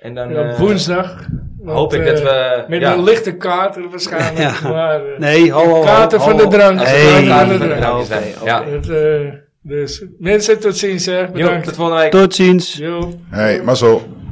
Speaker 1: En dan
Speaker 2: en op
Speaker 1: eh,
Speaker 2: woensdag. want,
Speaker 1: hoop ik dat
Speaker 2: eh,
Speaker 1: we...
Speaker 2: Met
Speaker 1: ja.
Speaker 2: een lichte kater waarschijnlijk.
Speaker 3: Ja.
Speaker 2: Maar, eh,
Speaker 3: Nee, ho, ho, ho.
Speaker 2: kater van de drank.
Speaker 1: Als
Speaker 3: Hey.
Speaker 1: het
Speaker 2: Kater
Speaker 1: een
Speaker 3: Nee.
Speaker 2: van
Speaker 1: kaartje van de
Speaker 2: de drank.
Speaker 1: drank is, nee.
Speaker 3: Oké, oké.
Speaker 1: Ja.
Speaker 2: Het, eh, dus mensen, tot ziens. Zeg.
Speaker 1: Jo,
Speaker 2: Bedankt.
Speaker 1: tot volgende week.
Speaker 3: Tot ziens.
Speaker 2: Jo.
Speaker 4: Hé, hey, mazzel.